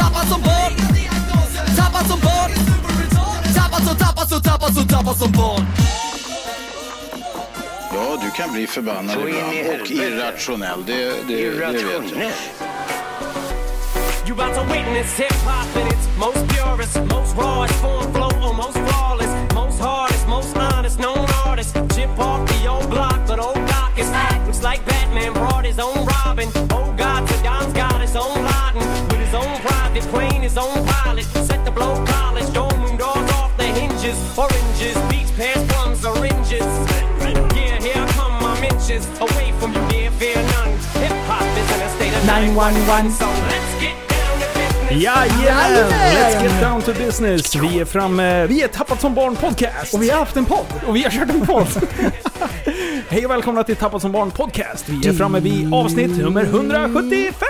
Tappad som barn Tappad som barn Tappad som, tappad som, tappad som, tappad som barn Ja, du kan bli förbannad Så in i ibland och helvete. irrationell. Det, det, det vet jag. Irrationell. You about to witness hip hop in its most purest, most rawest form, flow almost flawless, most hardest, most honest known artist. Chip off the old block, but old Doc is looks like Batman brought his own Robin. Old God to Don's got his own Laden with his own private plane, his own pilot. Set the blow college, dome room doors off the hinges. Oranges, beach pants, plums, oranges. Yeah, here come my mentions. Away from you, dear, fear none. Hip hop is in a state of 911, so let's get down to business. Jajamän! Let's get down to business. Vi är framme. Vi är Tappat som barn podcast. Och vi har haft en podd. Och vi har kört en podd. Hej och välkomna till Tappat som barn podcast. Vi är framme vid avsnitt nummer 175!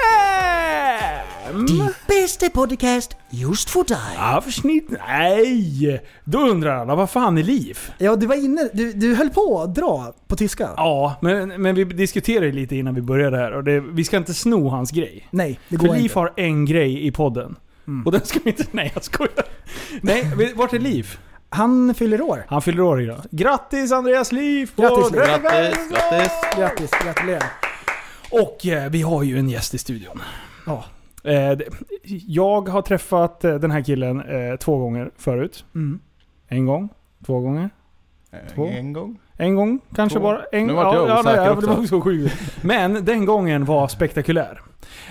Bästa podcast just för dig. Avsnitt... Nej! Då undrar alla, vad fan är liv? Ja, du var inne. Du, du höll på att dra på tyska. Ja, men, men vi diskuterade lite innan vi började här och det, vi ska inte sno hans grej. Nej, det går För Liv inte. har en grej i podden. Och den ska vi inte... Nej, jag skojar. Mm. Nej, vi- vart är Liv? Han fyller år. Han fyller år idag. Grattis Andreas Liv! på Grattis, Liv. Drömmen! Grattis, grattis. Grattis, gratulerar. Och eh, vi har ju en gäst i studion. Ja. Eh, det- jag har träffat eh, den här killen eh, två gånger förut. Mm. En gång, två gånger. Två. Eh, En gång. En gång kanske Två. bara. En, Nu vart jag osäker nej, också. det var så sjukt. Men den gången var spektakulär.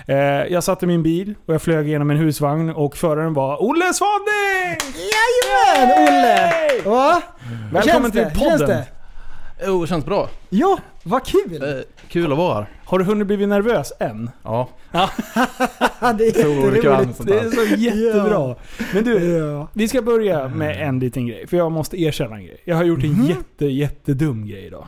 Eh, jag satt i min bil och jag flög genom en husvagn och föraren var Olle Svanning! Jajamän, Olle! Va? Välkommen Känns det? till podden! Känns det? Jo, det känns bra. Ja, vad kul! Eh, Kul att vara här. Har du hunnit bli nervös än? Ja. Ja, det är jätteroligt. sånt Det är där. så jättebra. Men du, Ja. Mm. vi ska börja med en liten grej. För jag måste erkänna en grej. Jag har gjort en Mm-hmm. jätte, jättedum grej idag.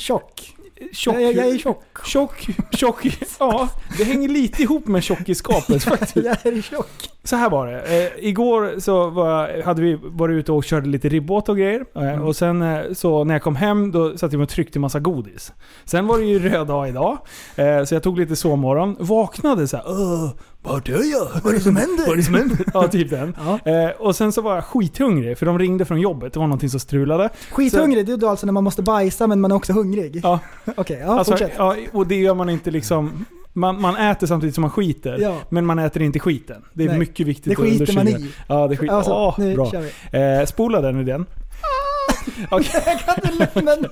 Tjock. Tjock, Jag- jag är tjock. Tjock, tjock. Ja, det hänger lite ihop med tjockiskapet faktiskt. Jag är tjock. Så här var det. Eh, igår så var, hade vi varit ute och körde lite ribbåt och grejer. Eh, Mm. Och sen eh, så när jag kom hem då satt jag mig och tryckte massa godis. Sen var det ju röd dag idag. Eh, så jag tog lite sovmorgon. Vaknade så här. "Åh, Vart är jag? Vad är det som händer? Vad är det som händer? ja, typ den. Ja. Eh, och sen så var jag skithungrig för de ringde från jobbet. Det var någonting som strulade. Skithungrig, det är då alltså när man måste bajsa men man är också hungrig? Ja. Okej, ja Alltså, fortsätt. ja, och det gör man inte liksom... Man, man äter samtidigt som man skiter, Ja. men man äter inte skiten. Det är Nej. mycket viktigt Det skiter man understryka. i. Ja, det skiter... Alltså, Åh, nu bra. kör vi. Ah! Eh, spola den idén. Okej, Men,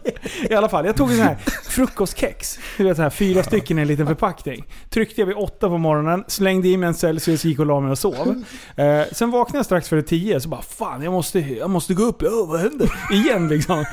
I alla fall, jag tog en sån här frukostkex. Du vet så här, fyra stycken i en liten förpackning. Tryckte jag vid åtta på morgonen, slängde i mig en Celsius, gick och la mig och sov. Eh, sen vaknade jag strax före tio, så bara fan jag måste, jag måste gå upp. Ja, vad händer? Igen liksom.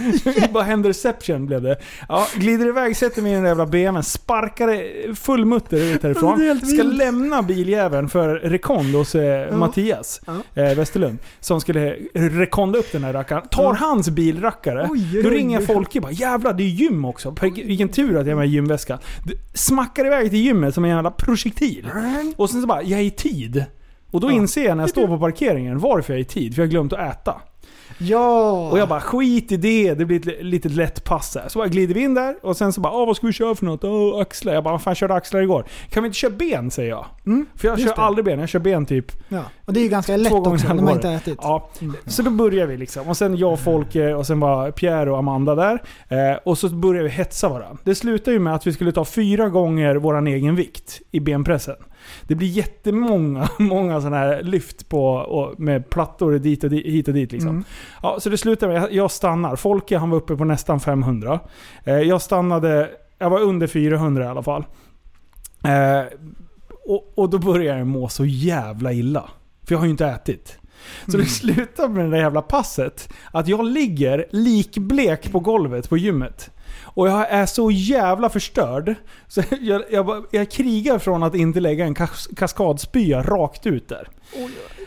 Vad händer Reception blev det. Ja, glider iväg, sätter mig i den jävla BMWn, sparkar full mutter ut härifrån. Det är helt Ska vilt. lämna biljäveln för rekond hos eh, Mattias Ja. eh, Westerlund. Som skulle rekonda upp den här rackaren. Tar Ja. hans bilrackare. Oj, Då oj, ringer oj. Folke bara jävlar det är gym också. Per- Vilken tur att jag har med gymväska. Du Smackar iväg till gymmet som en jävla projektil. Och sen så bara, jag är i tid. Och då Mm. Ja. inser jag när jag står på parkeringen varför jag är i tid. För jag har glömt att äta. ja. Och jag bara skit i det, det blir ett li- litet lätt pass där. Så bara glider vi in där och sen så bara ah, vad ska vi köra för något? Åh, axlar. Jag bara vad fan körde axlar igår? Kan vi inte köra ben säger jag. Mm, För jag just kör det. aldrig ben, jag kör ben typ ja. Och det är ju ganska lätt två gånger också när man inte har ätit. Mm. Ja. Så då börjar vi liksom. Och sen jag, Folke och sen var Pierre och Amanda där. Eh, och så börjar vi hetsa varandra. Det slutar ju med att vi skulle ta fyra gånger vår egen vikt i benpressen. Det blir jättemånga många sådana här lyft på, och med plattor dit och dit, hit och dit. Liksom. Mm. Ja, så det slutar med att jag stannar. Folke han var uppe på nästan 500. Eh, jag stannade, jag var under 400 i alla fall. Eh, och, och då börjar jag må så jävla illa. För jag har ju inte ätit. Så det slutar med det där jävla passet. Att jag ligger likblek på golvet på gymmet. Och jag är så jävla förstörd. Så jag, jag, bara- jag krigar från att inte lägga en kas, kaskadspya rakt ut där.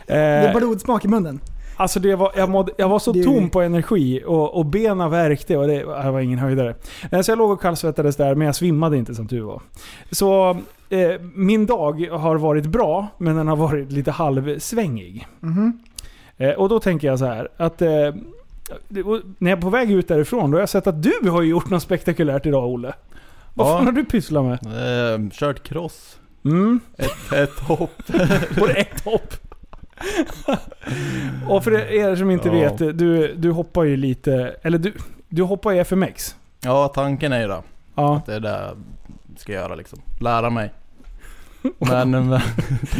Det Eh, är blodsmak i munnen. Alltså det var, jag, mådde, jag var så Det- tom på energi och, och bena värkte och det, jag var ingen höjdare. Eh, Så jag låg och kallsvettades där men jag svimmade inte som tur var. Så eh, min dag har varit bra men den har varit lite halvsvängig. Eh, och då tänker jag så här att eh, det- och när jag är på väg ut därifrån då har jag sett att du har ju gjort något spektakulärt idag Olle. Vad Ja. fan har du pysslat med? Eh, kört cross. Mm. Ett, ett hopp. Både ett hopp. och för er som inte Ja. vet, du, du hoppar ju lite... Eller du, du hoppar i FMX. Ja, tanken är ju då. Ja. Det är det jag ska göra liksom. Lära mig. Men, men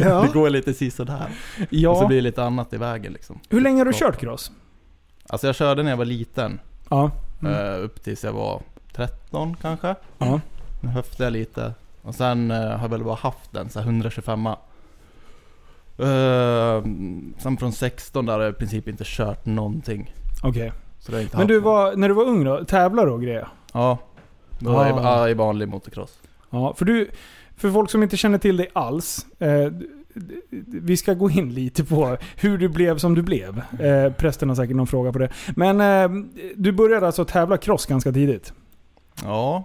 Ja. det går lite sisådär. Och så ja. blir det lite annat i vägen liksom. Hur länge har du kört cross? Alltså jag körde när jag var liten. Ja. Eh, upp tills jag var 13 kanske. Mm. Ja. Nu höftade jag lite. Och sen eh, har jag väl bara haft den, så här 125 uh, Sen från 16 där har jag i princip inte kört någonting. Okej. Så det har jag inte Men haft du någon. var, när du var ung då? Tävlar du och grejer? Ja. Då var jag Ah. ja, i vanlig motocross. Ja, för du... För folk som inte känner till dig alls. Eh, d- d- vi ska gå in lite på hur du blev som du blev. Eh, prästen har säkert någon fråga på det. Men eh, du började alltså tävla cross ganska tidigt? Ja.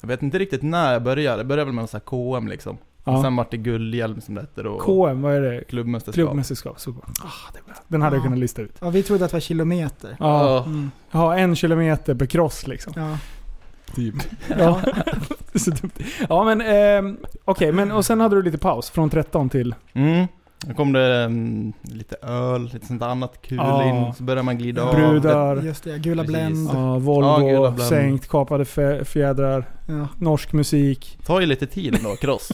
Jag vet inte riktigt när jag började. Jag började väl med en sån här KM liksom. Ja. Och sen vart det guldhjälm som det hette då. KM, vad är det? Klubbmästerskap. Klubbmästerskap. Så bra. Ah, det är bra. Den hade jag Ja. kunnat lista ut. Ja, vi trodde att det var kilometer. Ja, Ja. Mm. ja en kilometer per cross liksom. Ja. Typ. Ja, Så dumt. ja men ehm, okej, men och sen hade du lite paus från 13 till... Mm. Då kom det mm, lite öl, lite sånt annat kul Ja. in. Så började man glida av. Brudar, Just det, gula Precis. Blend. ja, Ja, gula Volvo, bland- sänkt, kapade fä- fjädrar, Ja. norsk musik. Det tar ju lite tid ändå, cross.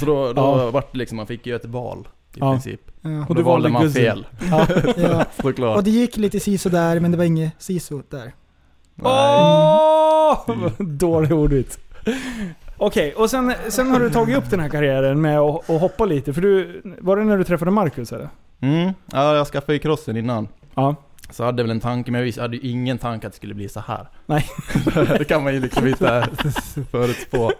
så då, då Ja. vart det liksom, man fick ju ett val i Ja. princip. Ja. Och Och du då valde valde man Guzzi. fel, Ja. Ja. Och såklart. det gick lite siso där, men det var inget siso där. Nej. Åh! Dålig ordvits. Okej, och sen, sen har du tagit upp den här karriären med att, att hoppa lite. För du, var det när du träffade Marcus eller? Mm. Ja, jag skaffade ju crossen innan. Ja. Så jag hade väl en tanke, men jag visste- jag hade ju ingen tanke att det skulle bli så här. Nej. det kan man ju liksom inte förutspå.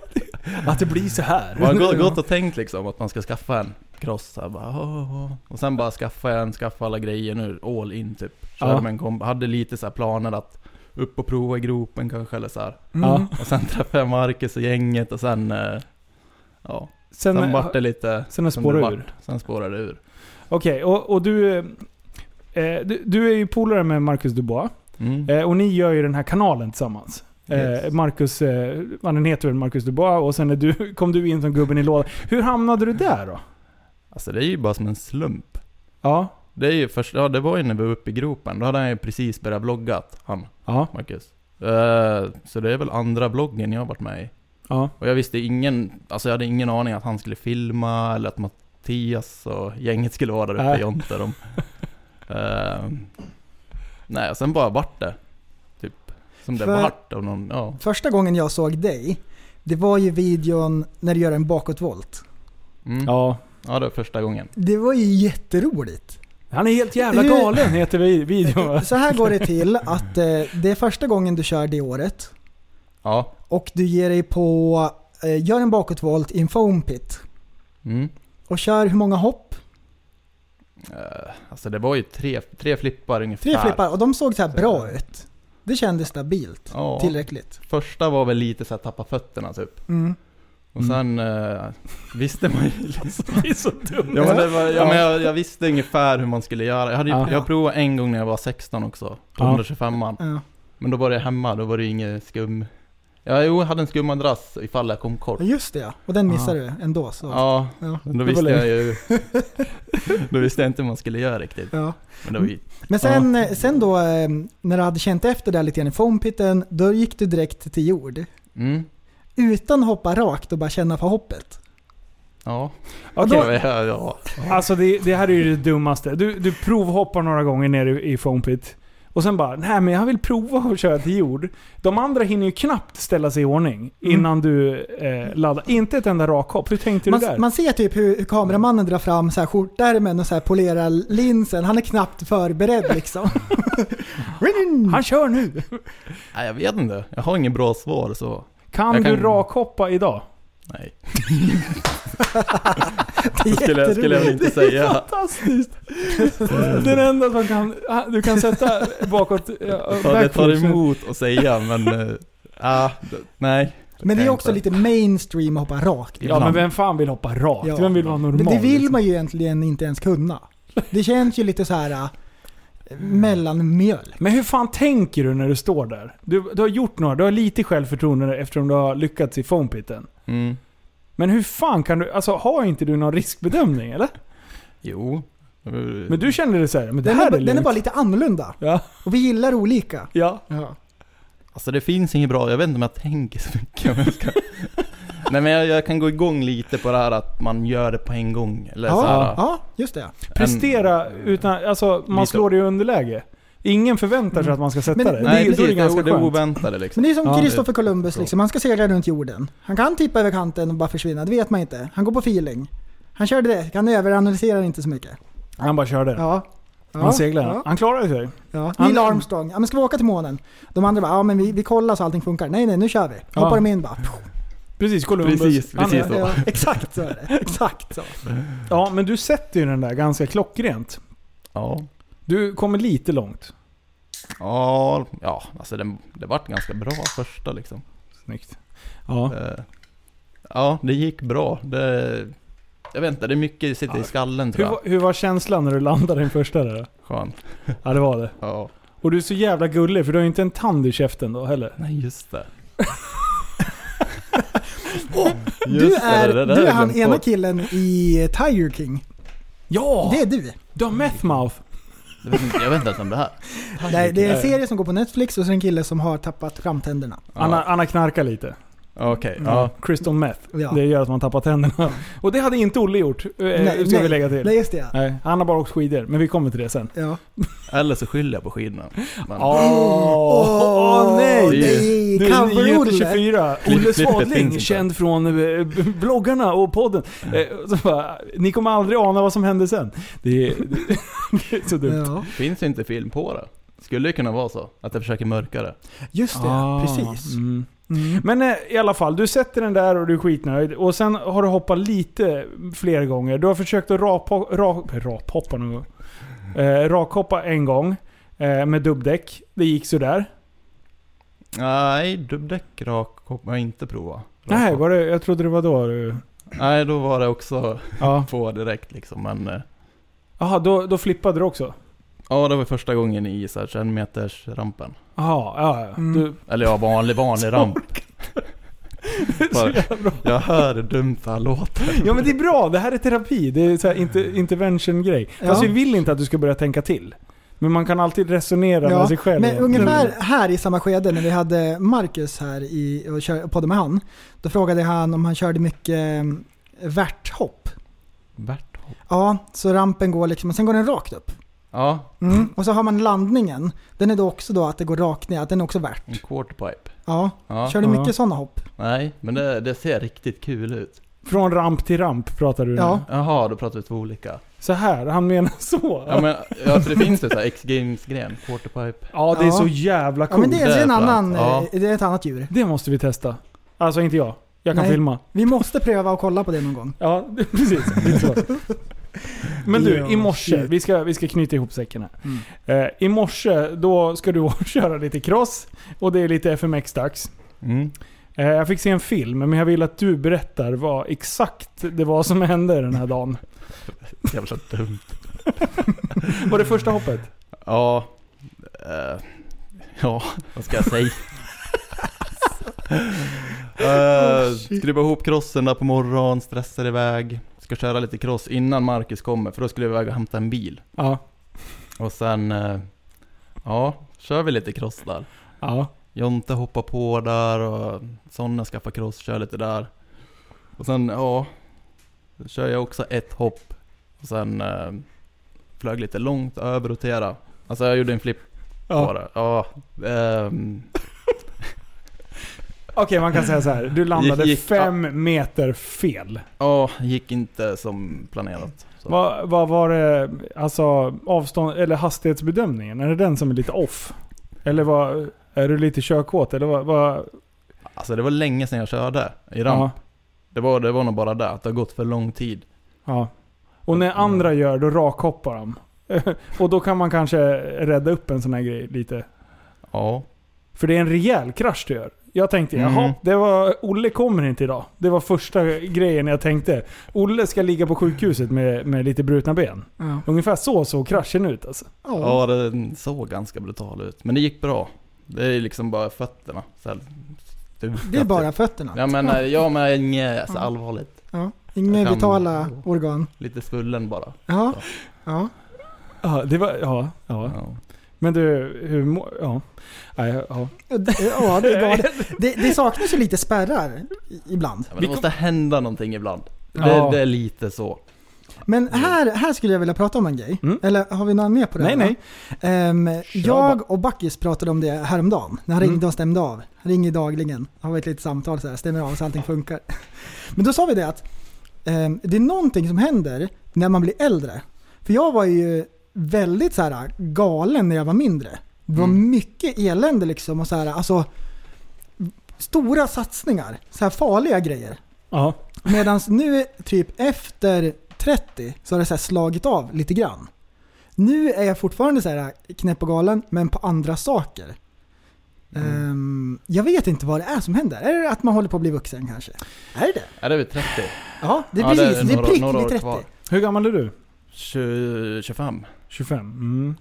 Att det blir så här. Man har gått- gått och tänkt liksom att man ska skaffa en cross. Så här, bara, "Åh, åh." Och sen bara skaffa en, skaffa alla grejer nu, all in typ. Körde Ja. med en komp- hade lite så här planer att upp och prova i gropen kanske eller så här. Ja. Och sen träffade jag Marcus och gänget och sen... eh, Ja, Sen, sen vart det lite... sen har som spårat det vart. eh, ur. Sen spårade det ur. Okej, och, och du, eh, du... Du är ju polare med Marcus Dubois. Mm. Eh, och ni gör ju den här kanalen tillsammans. Eh, Yes. Marcus... Eh, vad den heter väl Marcus Dubois och sen är du, kom du in som gubben i lådan. Hur hamnade du där då? Alltså det är ju bara som en slump. Ja. Det, är ju först, ja, det var ju när vi var uppe i gropen, då hade han ju precis börjat vlogga, han, Ja. Marcus. Eh, så det är väl andra vloggen jag har varit med i. Ja. Och jag visste ingen, alltså jag hade ingen aning att han skulle filma eller att Mattias och gänget skulle vara där uppe Nej. i Jonte. De. Eh, nej, och sen bara vart det. Typ. Som det För- vart av någon, ja. Första gången jag såg dig, det var ju videon när du gör en bakåtvolt. Mm. Ja. ja. det var första gången. Det var ju jätteroligt. Han är helt jävla Hur- galen heter vi- videon va? Så här går det till att eh, det är första gången du kör det året Ja. och du ger dig på, eh, gör en bakåtvolt i en foam pit Mm. och kör hur många hopp? Eh, alltså det var ju tre, tre flippar ungefär. Tre flippar och de såg så här bra ut. Det kändes stabilt. Ja. Tillräckligt. Första var väl lite så här tappa fötterna typ. Mm. Och sen eh, visste man ju liksom. Det är så dumt. Ja, men det var, ja, men jag, jag visste ungefär hur man skulle göra. Jag, hade, ju- Ja. jag provade en gång när jag var 16 också. Ja. 125 Ja. Men då var det hemma, då var det ju ingen skum... Ja, jo, jag hade en skummadrass ifall jag kom kort. Ja, Just det ja. Och den missade du ändå. Så. Ja, Ja. men då Det var visste jag ju... Då visste jag inte hur man skulle göra riktigt. Ja. Men det var ju... Men sen, eh, sen då eh, när du hade känt efter där lite grann i foampitten, då gick du direkt till jord. Mm. Utan hoppa rakt och bara känna på hoppet. Ja. Okej. Ja, ja, ja. Alltså det, det här är ju det dummaste. Du, du provhoppar några gånger nere i, i foam pit. Och sen bara, nej men jag vill prova att köra till jord. De andra hinner ju knappt ställa sig i ordning innan du eh, laddar. Inte ett enda rakhopp. Hur tänkte Man, du där? man ser typ hur, hur kameramannen drar fram så här skjortärmen och så här polerar linsen. Han är knappt förberedd liksom. Han kör nu! Nej, jag vet inte. Jag har ingen bra svar så. Kan, Jag kan- du rakhoppa idag? Nej. Det är Skulle, jag- skulle jag väl jätteroligt. inte säga. Fantastiskt! Mm. Den enda som kan... Du kan sätta bakåt... Ja, det tar backflips. emot att säga men... eh, ah, d- nej. Men det kan är jag också inte. lite mainstream att hoppa rakt. Ja men vem fan vill hoppa rakt? Ja. Vem vill vara normal? Men det vill liksom? man ju egentligen inte ens kunna. Det känns ju lite så här äh, mellanmjölk. Men hur fan tänker du när du står där? Du, du har gjort några, du har lite självförtroende eftersom du har lyckats i foampiten. Mm. Men hur fan kan du... Alltså har inte du någon riskbedömning eller? Jo. Men du känner dig såhär, men det Den, här är, är, den är lugnt. bara lite annorlunda. Ja. Och vi gillar olika. Ja. Alltså det finns inget bra, jag vet inte om jag tänker så mycket. om jag ska... Nej men jag, jag kan gå igång lite på det här att man gör det på en gång. Eller så Ja, här, ja, just det. Prestera utan... Alltså man Lite- slår dig i underläge. Ingen förväntar sig att man ska sätta Men- dig. Nej det, då är det precis, det, ganska är det skönt. oväntade liksom. Men det är som Ja, Kristoffer Columbus bra. liksom. Han ska segla runt jorden. Han kan tippa över kanten och bara försvinna, det vet man inte. Han går på feeling. Han körde det, han överanalyserar inte så mycket. Han bara körde. Ja. Ja, Han seglar. Ja, Han klarade sig. ja. Han- Neil Armstrong. Ja, men ska vi åka till månen? De andra bara, ja men vi, vi kollar så allting funkar. Nej nej, nu kör vi. Ja. Hoppar de in bara. Precis, Columbus. Precis, Han- precis. så. Ja, exakt så är det. Exakt så. Ja, men du sätter ju den där ganska klockrent. Ja. Du kommer lite långt. Ja, ja alltså det, det vart ganska bra första liksom. Snyggt. Ja. Eh, Ja, det gick bra. Det, jag vet inte, det är mycket sitter i skallen Hur, tror jag. var- hur var känslan när du landade den första där då? Skönt. Ja, det var det. Ja. Och du är så jävla gullig för du har ju inte en tand i käften då heller. Nej just det. Du är, det där du har är jag han glömt ena bort. killen i Tiger King. Ja! Det är du. Du har meth mouth. Jag vet inte- Jag vet inte ens om det här. Nej, det är en serie som går på Netflix och så är det en kille som har tappat framtänderna. Anna, Anna knarkar lite. Okej, ja. Crystal meth. Ja. Det gör att man tappar tänderna. Och det hade inte Olle gjort. eh, Nej, ska vi nej. lägga till. Nej, just det ja. Nej, han har bara åkt skidor. Men vi kommer till det sen. ja. Eller så skyller jag på skidorna. Men- Åh åh, nej! det är- Du är Nyheter Cover-Olle. 24. Klipp- Olle klippet finns Swadling, inte. känd från eh, b- bloggarna och podden. Eh, Så bara, ni kommer aldrig ana vad som hände sen. Det är, det är så dumt. Ja, Finns ju inte film på det. Skulle ju kunna vara så. Att jag försöker mörka det. just det. Ah. Precis. Mm. Men eh, i alla fall, du sätter den där och du är skitnöjd. Och sen har du hoppat lite fler gånger. Du har försökt att rapho- ra- raphoppa någon gång. Eh, rakhoppa en gång eh, med dubbdäck. Det gick sådär. Nej, dubbdäck rak kommer jag inte prova. Rak Nej, hopp. var det, jag trodde det var då du... Nej, då var det också Ja. på direkt liksom. Men eh, Jaha, då, då flippade du också? ja, det var första gången i så här 21 meters rampen. Jaha, ja, ja. Mm. Du, Eller ja, vanlig, vanlig ramp. så Bara- jävla... Jag hör hur dumt det här låter. Ja men det är bra, det här är terapi. Det är så här inte, intervention-grej. Fast vi Ja. vill inte att du ska börja tänka till. Men man kan alltid resonera med sig själv. Mm. Men ungefär här i samma skede när vi hade Marcus här i, och, kör, och poddade med han. Då frågade han om han körde mycket eh, värthopp. Berthold. Ja, så rampen går liksom, och sen går den rakt upp. Ja, Mm. Och så har man landningen. Den är då också då att det går rakt ner, att den är också värt. en quarterpipe. Ja. Ja, Mm. Kör du Ja. mycket sådana hopp? nej, men det, det ser riktigt kul ut. Från ramp till ramp pratar du nu. Ja. Jaha, då pratar vi två olika. Så här, han menar så. Ja, men ja, för det finns ju så här X-Games-gren, quarterpipe. Ja, det är Ja. så jävla Ja coolt. men det är, en Coolt. annan, Ja. eh, det är ett annat djur. det... måste vi testa. Alltså inte jag. Jag kan Nej. filma. Vi måste pröva och kolla på det någon gång. Ja, det- precis. Det är så. Men du, Ja, i morse. shit. Vi ska, vi ska knyta ihop säcken här. Eh, I morse, då ska du köra lite cross. Och det är lite FMX-dags. Mm. Eh, Jag fick se en film, men jag vill att du berättar vad exakt det var som hände den här dagen. Jävla dumt. Var det första hoppet? Ja, eh, ja, vad ska jag säga? uh, skruva ihop crossen där på morgonen, stressar iväg. Ska köra lite cross innan Marcus kommer, för då skulle jag iväg och hämta en bil. Ja. Och sen, eh, ja, kör vi lite cross där. Ja. Jonte hoppar på där och Sonna skaffar cross, kör lite där. Och sen, ja, då kör jag också ett hopp. Och sen eh, flög lite långt, överrotera. Alltså jag gjorde en flip Ja. Bara. Ja. ehm, Okej, man kan säga så här. Du landade Gick- gick- fem meter fel. ja, gick inte som planerat. Så. Vad vad var det, alltså avstånd, eller hastighetsbedömningen? Är det den som är lite off? Eller vad, är du lite körkåt? Eller vad, vad Alltså det var länge sedan jag körde i ramp. ja, Det, var, det var nog bara det, att det har gått för lång tid. ja. Och när andra gör, då rakhoppar de. Och då kan man kanske rädda upp en sån här grej lite. Ja. För det är en rejäl krasch du gör. Jag tänkte, jaha, Mm. det var, Olle kommer inte idag. Det var första grejen jag tänkte. Olle ska ligga på sjukhuset med, med lite brutna ben. Ja. Ungefär så såg kraschen ut alltså. Ja. Ja, den såg ganska brutal ut. Men det gick bra. Det är liksom bara fötterna. Så här, Det är bara fötterna. Ja men, eh, ja, men inget så allvarligt. Ja. Inga Jag kan- vitala organ. Lite svullen bara. Ja. ja. Ja, det var, ja, ja. Ja. Men du, hur mår... Ja. Nej, ja. Ja, det, ja, det, är galet. det, det saknas ju lite spärrar i- ibland. Ja, men det måste hända någonting ibland. Ja. Det, det är lite så. Men här, här skulle jag vilja prata om en grej. Mm. Eller har vi någon mer på det? Nej, här, nej. va? Ehm, jag och Backis pratade om det häromdagen. När Mm. han ringde och stämde av. Han ringer dagligen. Har vi ett litet samtal så här. Stämmer av så allting funkar. Men då sa vi det att ehm, det är någonting som händer när man blir äldre. För jag var ju väldigt så här galen när jag var mindre. Det var Mm. mycket elände liksom. Och så här, alltså, stora satsningar. Så här farliga grejer. Ja. Medan nu typ efter 30 så har det så här slagit av lite grann. Nu är jag fortfarande så här knäpp och galen, men på andra saker. Mm. Ehm, jag vet inte vad det är som händer. Är det att man håller på att bli vuxen kanske? Är det det? Är det vid 30? Ja, det är Ja, det är precis. Det är, några- prick några vid år 30. kvar. Hur gammal är du? 20, 25? 25? Mm.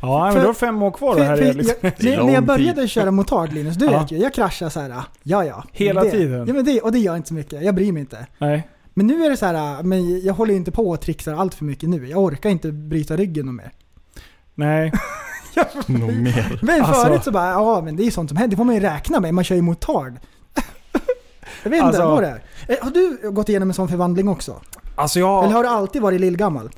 Ja, men För- du har fem år kvar För, det här. för är jag, liksom. när, när jag lång började köra motard Linus, du Ja. vet ju, jag kraschar så här. ja ja. Hela det, tiden. Ja, men det, och det gör inte så mycket, jag bryr mig inte. Nej. Men nu är det så här, men jag håller ju inte på och trixar allt för mycket nu. Jag orkar inte bryta ryggen och mer. Nej. Nog mer. Men Alltså- förut så bara, ja men det är ju sånt som händer, det får man ju räkna med, man kör ju motard. Jag vet inte Alltså- vad det är. Eh, Har du gått igenom en sån förvandling också? Alltså Eller jag, har du alltid varit lillgammal?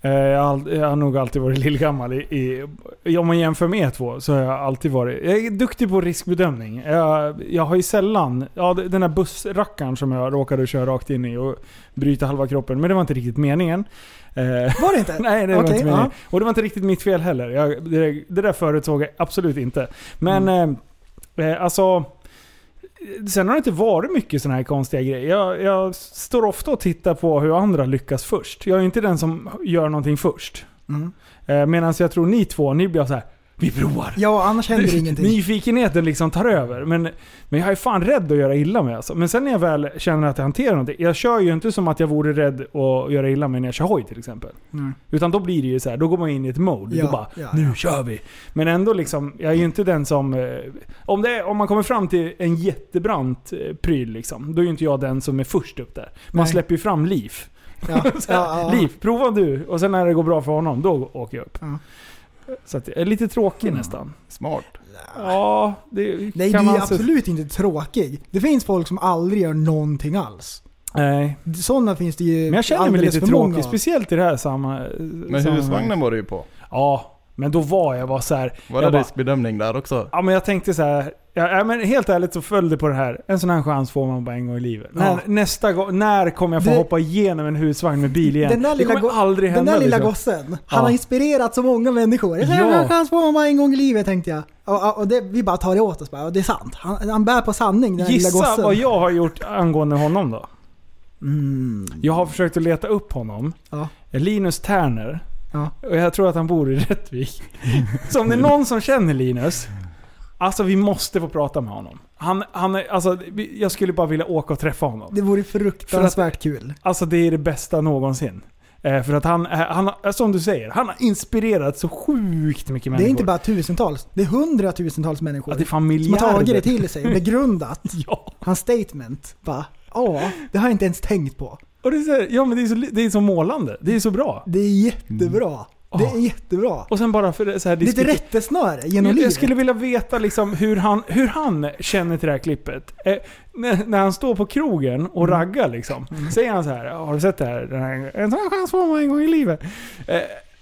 eh, jag, har, all- jag har nog alltid varit lillgammal. I, i, om man jämför med er två så har jag alltid varit... Jag är duktig på riskbedömning. Jag, jag har ju sällan... Ja, d- den här bussrackaren som jag råkade köra rakt in i och bryta halva kroppen. Men det var inte riktigt meningen. Eh, Var det inte? Nej, det var Okej, inte meningen. Och det var inte riktigt mitt fel heller. Jag, det, det där förutsåg jag absolut inte. Men eh, eh, alltså... eh, Sen har det inte varit mycket sådana här konstiga grejer. Jag, jag står ofta och tittar på hur andra lyckas först. Jag är inte den som gör någonting först. Mm. Eh, Medan jag tror ni två, ni blir så här. Vi provar! Ja, annars händer det ingenting. Nyfikenheten liksom tar över. Men, men jag är fan rädd att göra illa mig alltså. Men sen när jag väl känner att jag hanterar någonting. Jag kör ju inte som att jag vore rädd att göra illa mig när jag kör hoj till exempel. Mm. Utan då blir det ju så här, då går man in i ett mode. Ja, då bara, ja, nu ja. kör vi. Men ändå liksom, jag är ju inte den som... Eh, om, det är, om man kommer fram till en jättebrant eh, pryl liksom, då är ju inte jag den som är först upp där. Man Nej. släpper ju fram Liv. Ja, ja, ja. Liv, prova du. Och sen när det går bra för honom, då åker jag upp. Ja. Så att, jag är lite tråkig nästan. Smart. Ja, det Nej, kan du man är anses- absolut inte tråkig. Det finns folk som aldrig gör någonting alls. Nej, Sådana finns det ju men jag känner mig alldeles lite för många tråkig. av. Speciellt i det här samma... Men husvagnen var du ju på. Ja, men då var jag bara så här. Var det jag bara, riskbedömning där också? Ja men jag tänkte så här. Ja, ja, men helt ärligt så följde på det här. En sån här chans får man bara en gång i livet. Ja. När, nästa gång, när kommer jag få Det- hoppa igenom en husvagn med bil igen? Den där lilla, det kommer go- aldrig den hända. där lilla liksom. gossen, Ja. han har inspirerat så många människor. Jag Ja. ja. chans på honom en gång i livet tänkte jag. Och, och- och det, vi bara tar det åt oss bara, och det är sant. Han, han bär på sanning den där lilla Gissa gossen. vad jag har gjort angående honom då. Mm. Jag har försökt att leta upp honom. Ja. Linus Terner. Ja. Och jag tror att han bor i Rättvik. Så om det är någon som känner Linus. Alltså vi måste få prata med honom. Han, han, är- alltså, vi- jag skulle bara vilja åka och träffa honom. Det vore fruktansvärt kul. Alltså det är det bästa någonsin. Eh, för att han, eh, han, har- som du säger, han har inspirerat så sjukt mycket människor. Det är inte bara tusentals, det är hundratusentals människor att det är som har tagit det familjer. till sig och begrundat Ja. hans statement. Bara, ja, det har jag inte ens tänkt på. Och det är så, här- ja, men det är, så, det är så målande. Det är så bra. Det är jättebra. Det är Ah. jättebra. Och sen bara för det, så här, Lite diskutera- rättesnöre genom jag livet. skulle vilja veta liksom hur, han, hur han känner till det här klippet. Eh, när, när han står på krogen och Mm. raggar liksom. Säger han så här, har du sett det här? Den här en sån här chans får man en gång i livet. Eh,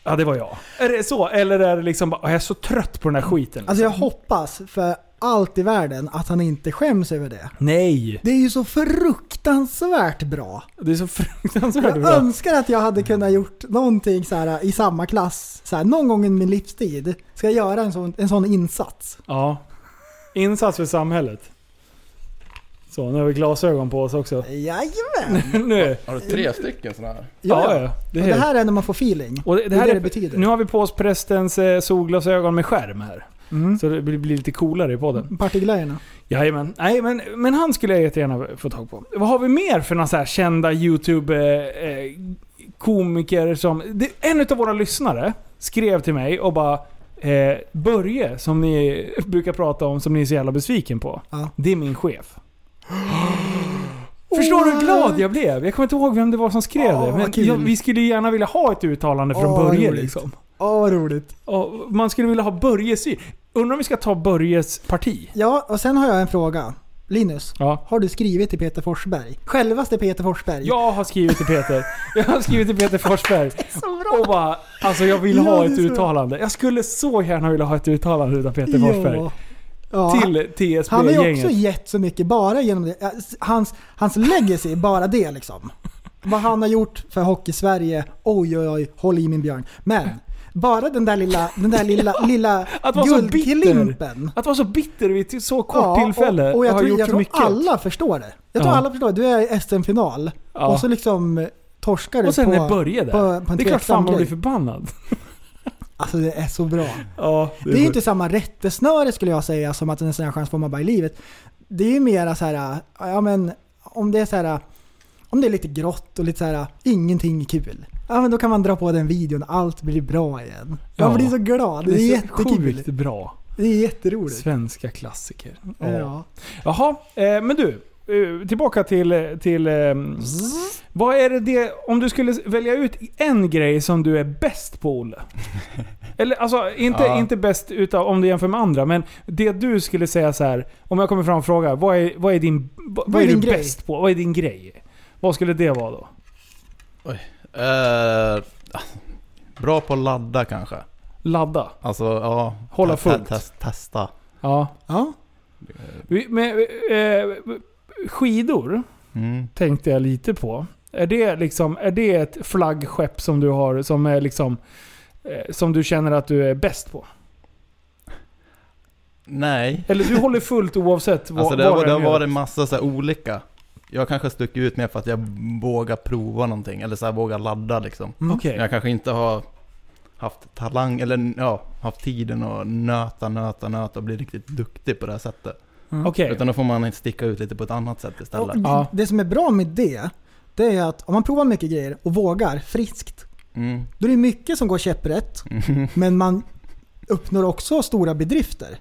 Ja, det var jag. Är det så? Eller är det liksom bara, "Åh, jag är så trött på den här skiten. Alltså jag hoppas för allt i världen att han inte skäms över det. Nej! Det är ju så fruktansvärt bra. Det är så fruktansvärt Jag bra. önskar att jag hade kunnat gjort någonting så här i samma klass. Så här, någon gång i min livstid ska jag göra en sån, en sån insats. Ja. Insats för samhället. Så, nu har vi glasögon på oss också. Jajamän! nu. Har du tre stycken sådana här? Ja, ja. Det Det, är det helt- här är när man får feeling. Och det, det här det är, det betyder. Nu har vi på oss prästens eh, solglasögon med skärm här. Mm. Så det blir, blir lite coolare i podden. Partiglöjorna. Jajamän. Nej, men, men han skulle jag jättegärna få tag på. Vad har vi mer för några så här kända YouTube-komiker som... Det, en av våra lyssnare skrev till mig och bara... Eh, Börje, som ni brukar prata om, som ni är så jävla besviken på. Ja. Det är min chef. Förstår du hur glad jag blev? Jag kommer inte ihåg vem det var som skrev Åh, det. vad Men kul. jag, vi skulle gärna vilja ha ett uttalande från Åh, vad Börje roligt. liksom. Åh vad roligt. Och man skulle vilja ha Börjes syn. Undrar om vi ska ta Börjes parti? Ja, och sen har jag en fråga. Linus, Ja. har du skrivit till Peter Forsberg? Självaste Peter Forsberg? Jag har skrivit till Peter. Jag har skrivit till Peter Forsberg. Så bra! Och bara, alltså jag vill Ja, ha det är ett så bra. uttalande. Jag skulle så gärna vilja ha ett uttalande utav Peter Forsberg. Ja. Ja. Till Han har ju också TSB-gänget. gett så mycket bara genom det. Ja, Hans, hans legacy, bara det liksom. Vad han har gjort för Hockey-Sverige. Oj, oj, oj, håll i min björn. Men, bara den där lilla, den där lilla, lilla Att vara så bitter. guldklimpen. Att vara så bitter vid ett så kort Ja, tillfälle och, och jag har tror, gjort jag så tror mycket. alla förstår det. Jag tror Ja. alla förstår det. Du är i SM-final Ja. och så liksom torskar du och sen på, är Börje där. på, på en det är klart fan tveksam man grej. blir förbannad. Alltså det är så bra. Ja, Det är ju inte samma rättesnöre skulle jag säga som att en sån här chans får man bara i livet. Det är ju mera så här, ja men om det är så här, om det är lite grått och lite så här, ingenting är kul. Ja men då kan man dra på den videon, allt blir bra igen. Ja. Man blir så glad, det är, så jättekul. sjukt bra. Det är jätteroligt. Svenska klassiker. Ja. Ja. Jaha, eh, men du. eh, Tillbaka till... eh, till ehm, vad är det, det Om du skulle välja ut en grej som du är bäst på Olle? Eller alltså, inte, Ja. inte bäst utav, om du jämför med andra, men det du skulle säga så här. Om jag kommer fram och frågar, vad är, vad är din... Vad, vad är, är din du grej? bäst på? Vad är din grej? Vad skulle det vara då? Eh, bra på att ladda kanske. Ladda? Alltså ja. Hålla te- te- fullt. tes- Testa. Ja. Ja. Vi- Men, eh, skidor Mm. tänkte jag lite på. Är det, liksom, är det ett flaggskepp som du har som, är liksom, eh, som du känner att du är bäst på? Nej. Eller du håller fullt oavsett vad, Alltså det, vad var, du det har än gör? varit massa så här olika. Jag kanske stuckit ut mer för att jag vågar prova någonting. Eller så här vågar ladda liksom. Mm. Okej. Jag kanske inte har haft talang, eller ja, haft tiden att nöta, nöta, nöta och bli riktigt duktig på det här sättet. Okej. Mm. Utan då får man sticka ut lite på ett annat sätt Och istället. Ja. det- det som är bra med det, det är att om man provar mycket grejer och vågar friskt, Mm. då är det mycket som går käpprätt. Men man uppnår också stora bedrifter.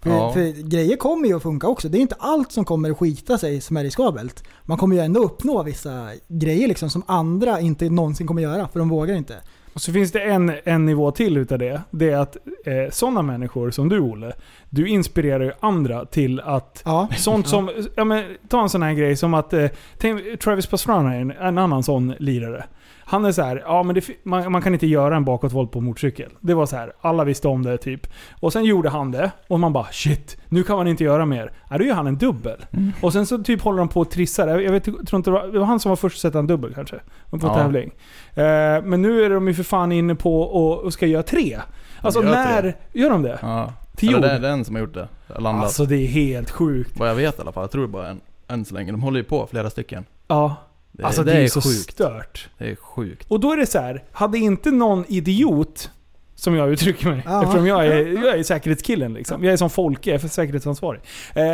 För, Ja. för grejer kommer ju att funka också. Det är inte allt som kommer att skita sig som är riskabelt. Man kommer ju ändå uppnå vissa grejer liksom som andra inte någonsin kommer göra, för de vågar inte. Och så finns det en, en nivå till utav det. Det är att eh, sådana människor som du Olle, du inspirerar ju andra till att Ja, Sånt som, ja men ta en sån här grej som att, eh, tänk, Travis Pastrana är en, en annan sån lirare. Han är så här, ja men det, fi- man, man kan inte göra en bakåtvolt på motorcykel. Det var så här, alla visste om det typ. Och sen gjorde han det, och man bara shit, nu kan man inte göra mer. Ja, då gör han en dubbel. Mm. Och sen så typ håller de på och trissar. Jag, jag vet, jag tror inte det var, det var han som var först att sätta en dubbel kanske. På Ja. tävling. Eh, men nu är de ju för fan inne på och, och ska göra tre. Alltså gör när, tre. gör de det? Ja. Till Eller jord? det är den som har gjort det. Landat. Alltså det är helt sjukt. Vad jag vet i alla fall. Jag tror det bara en, än så länge. De håller ju på flera stycken. Ja. Det, Alltså det, är, så stört. Det är sjukt. Och då är det så här, hade inte någon idiot, som jag uttrycker mig, Ja. eftersom jag är, jag är säkerhetskillen liksom. Jag är som Folke, jag är för säkerhetsansvarig. Eh,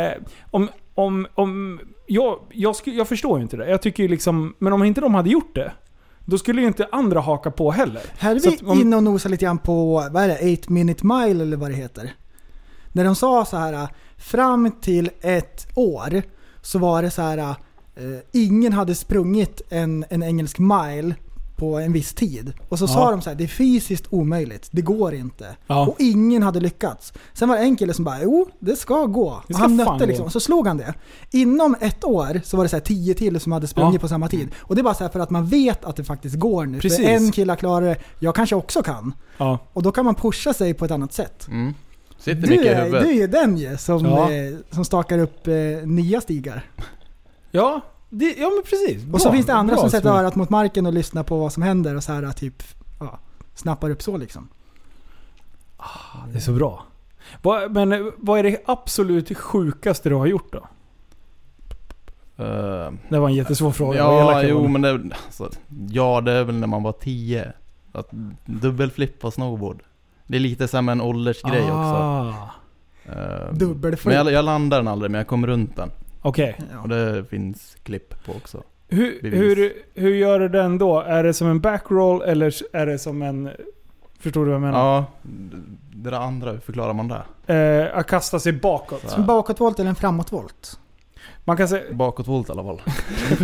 om, om, om, jag, jag, sku, jag förstår ju inte det. Jag tycker ju liksom, men om inte de hade gjort det, då skulle ju inte andra haka på heller. här är Så att vi om- inne och nosar lite grann på, vad är det, 8 minute mile eller vad det heter. När de sa så här, äh, fram till ett år äh, så var det så här, eh, ingen hade sprungit en, en engelsk mile på en viss tid. Och så Ja. sa de så här, det är fysiskt omöjligt, det går inte. Ja. Och ingen hade lyckats. Sen var det en kille som bara, jo det ska gå. Det och ska fan han gå. nötte liksom, så slog han det. Inom ett år så var det så här tio till som hade sprungit Ja. på samma tid. Och det är bara så här för att man vet att det faktiskt går nu. Precis. För en kille klarar det, jag kanske också kan. Ja. Och då kan man pusha sig på ett annat sätt. Mm. Sitter Du mycket i är, du huvudet. är ju den ju som, Ja. eh, som stakar upp eh, nya stigar. Ja, det, ja men precis. Och så finns det andra som sätter örat. örat mot marken och lyssnar på vad som händer och så här typ ja, snappar upp så liksom. Det är så bra. Vad, men eh, vad är det absolut sjukaste du har gjort då? Eh, Det var en jättesvår fråga. Vad elak ja, jag jo var nu. men det, alltså, ja, det är väl när man var 10. Att dubbelflipp på snowboard. Det är lite som en åldersgrej också. Ah, Eh, Dubbelflipp. Men jag, jag landar den aldrig, men jag kom runt den. Okej. Ja. Och det finns klipp på också. Hur, Bevis. hur, hur gör du den då? Är det som en backroll eller är det som en... Förstår du vad jag menar? Ja, det där andra, hur förklarar man det? Eh, att kasta sig bakåt. Så En här, bakåtvolt eller en framåtvolt? Man kan säga, Bakåtvolt i alla fall.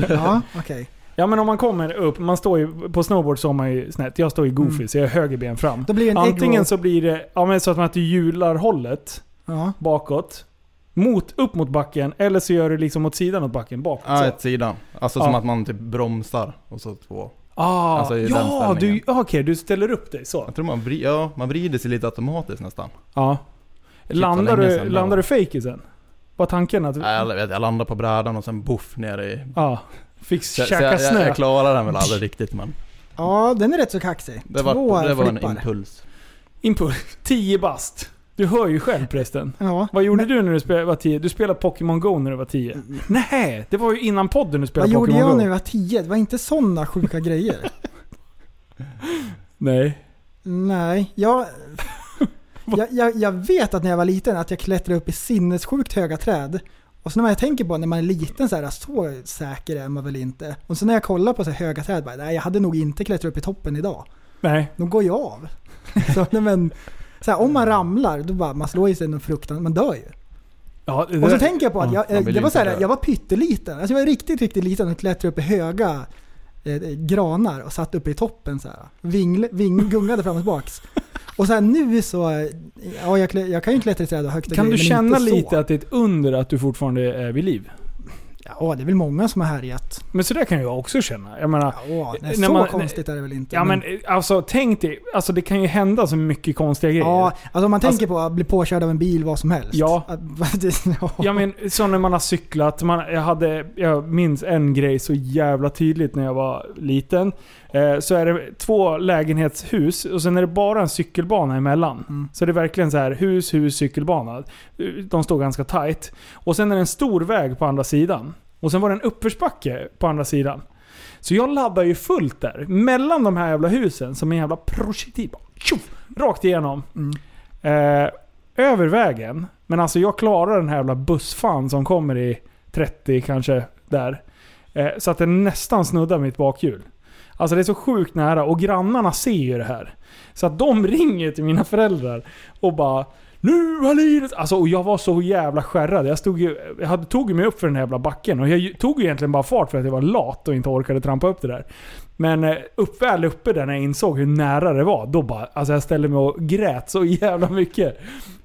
Ja, okej. ja men om man kommer upp, man står ju, på snowboard så har man ju snett. Jag står ju goofy Mm. så jag har höger ben fram. Då blir det en Antingen eggroll. så blir det ja, men så att man inte hjular hållet Ja. bakåt, mot, upp mot backen, eller så gör du liksom åt sidan åt backen, bakåt. så. Ja, åt sidan. Alltså Ja. som att man typ bromsar och så två. Ah, Alltså i den ja, du, ställningen. okej, du ställer upp dig så. Jag tror man, vri, ja, man vrider sig lite automatiskt nästan. Ja. Shit, Landar vad länge du, sedan det landar var. du fake sen? Vad tanken att... Nej, Jag, vet, jag landar på brädan och sen boff ner i... Ja. Fick Så, så käka jag, snö. jag, jag klarar den väl aldrig riktigt men. ja, den är rätt så kaxig. Det var, det var en flippar. impuls. Impuls. 10 bast. Du hör ju själv prästen. Ja. Vad gjorde du när du spelade, var 10? Du spelade Pokémon Go när du var 10. Nej, det var ju innan podden du Vad spelade gjorde Pokémon Go. jag när jag var tio? Det var inte sådana sjuka grejer. Nej. Nej, jag, jag, jag, jag vet att när jag var liten att jag klättrade upp i sinnessjukt höga träd. Och så när man tänker på när man är liten så här, så säker är man väl inte. Och så när jag kollar på så här höga träd, bara, nej jag hade nog inte klättrat upp i toppen idag. Nej. Då går jag av. så, nej, men, så här, om man ramlar, då bara, man slår i sig någon fruktan, man dör ju. Ja, det Mm. Och så där- tänker jag på att Ja. jag, man jag, vill jag, ju var, inte så här, dö. jag var pytteliten. Alltså jag var riktigt, riktigt liten och klättrade upp i höga eh, granar och satt uppe i toppen så här. Vingl, ving, gungade fram och tillbaks. Och så här, nu så, eh, ja jag, klä- jag kan ju klättra i träd och högt och Kan du grejer, men känna inte så. lite att det är ett under att du fortfarande är vid liv? Ja det är väl många som har härjat. Men så där kan jag också känna. Jag menar, Ja, nej, Eh, När så man- konstigt är det väl inte. ja men alltså tänk dig, alltså det kan ju hända så mycket konstiga grejer. ja, Ja, alltså om man tänker på att bli påkörd av en bil, vad som helst. Ja. Att- det- ja. jag men, så när man har cyklat, man, jag, hade, jag minns en grej så jävla tydligt när jag var liten. Eh, så är det två lägenhetshus och sen är det bara en cykelbana emellan. Mm. Så det är verkligen så här hus, hus, cykelbana. De står ganska tight. Och sen är det en stor väg på andra sidan. Och sen var det en uppförsbacke på andra sidan. Så jag laddar ju fullt där. Mellan de här jävla husen som en jävla projektil. bara tjoff, Rakt igenom. Mm. Eh, över vägen. Men alltså jag klarar den här jävla bussfan som kommer i 30 kanske där. Eh, så att den nästan snuddar mitt bakhjul. Alltså det är så sjukt nära och grannarna ser ju det här. Så att de ringer till mina föräldrar och bara nu har Linus... Alltså och jag var så jävla skärrad. Jag, stod ju, jag hade, tog ju mig upp för den här jävla backen och jag ju- tog ju egentligen bara fart för att jag var lat och inte orkade trampa upp det där. Men eh, upp, väl uppe där när jag insåg hur nära det var, då bara... Alltså jag ställde mig och grät så jävla mycket.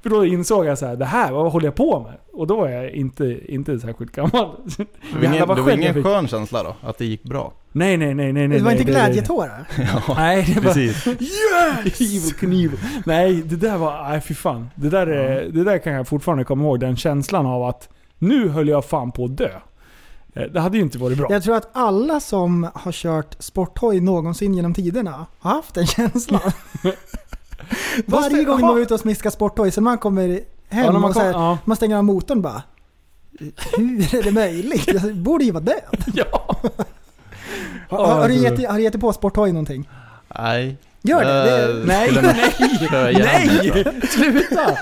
För då insåg jag så här, det här, vad håller jag på med? Och då var jag inte, inte särskilt gammal. Det var ingen, vad det var skäll jag ingen fick. skön känsla då, att det gick bra. Nej, nej, nej, nej. nej det var nej, inte nej. glädjetårar. Nej, det var... Precis. Evil Knievel. Nej, det där var... Nej, fy fan. Det där, är, det där kan jag fortfarande komma ihåg. Den känslan av att nu höll jag fan på att dö. Eh, Det hade ju inte varit bra. Jag tror att alla som har kört sporthoj någonsin genom tiderna har haft den känslan. Varje gång man är ute och smiskar sporthoj, sen man kommer hem Ja, när man och så här, kom- ja. man stänger av motorn bara. Hur är det möjligt? Jag borde ju vara död. Ja. Har, har, du alltså- gett, har du gett dig på sporthoj någonting? Nej. Gör det? det Eh, Nej, skulle man- köra igen. nej! Sluta!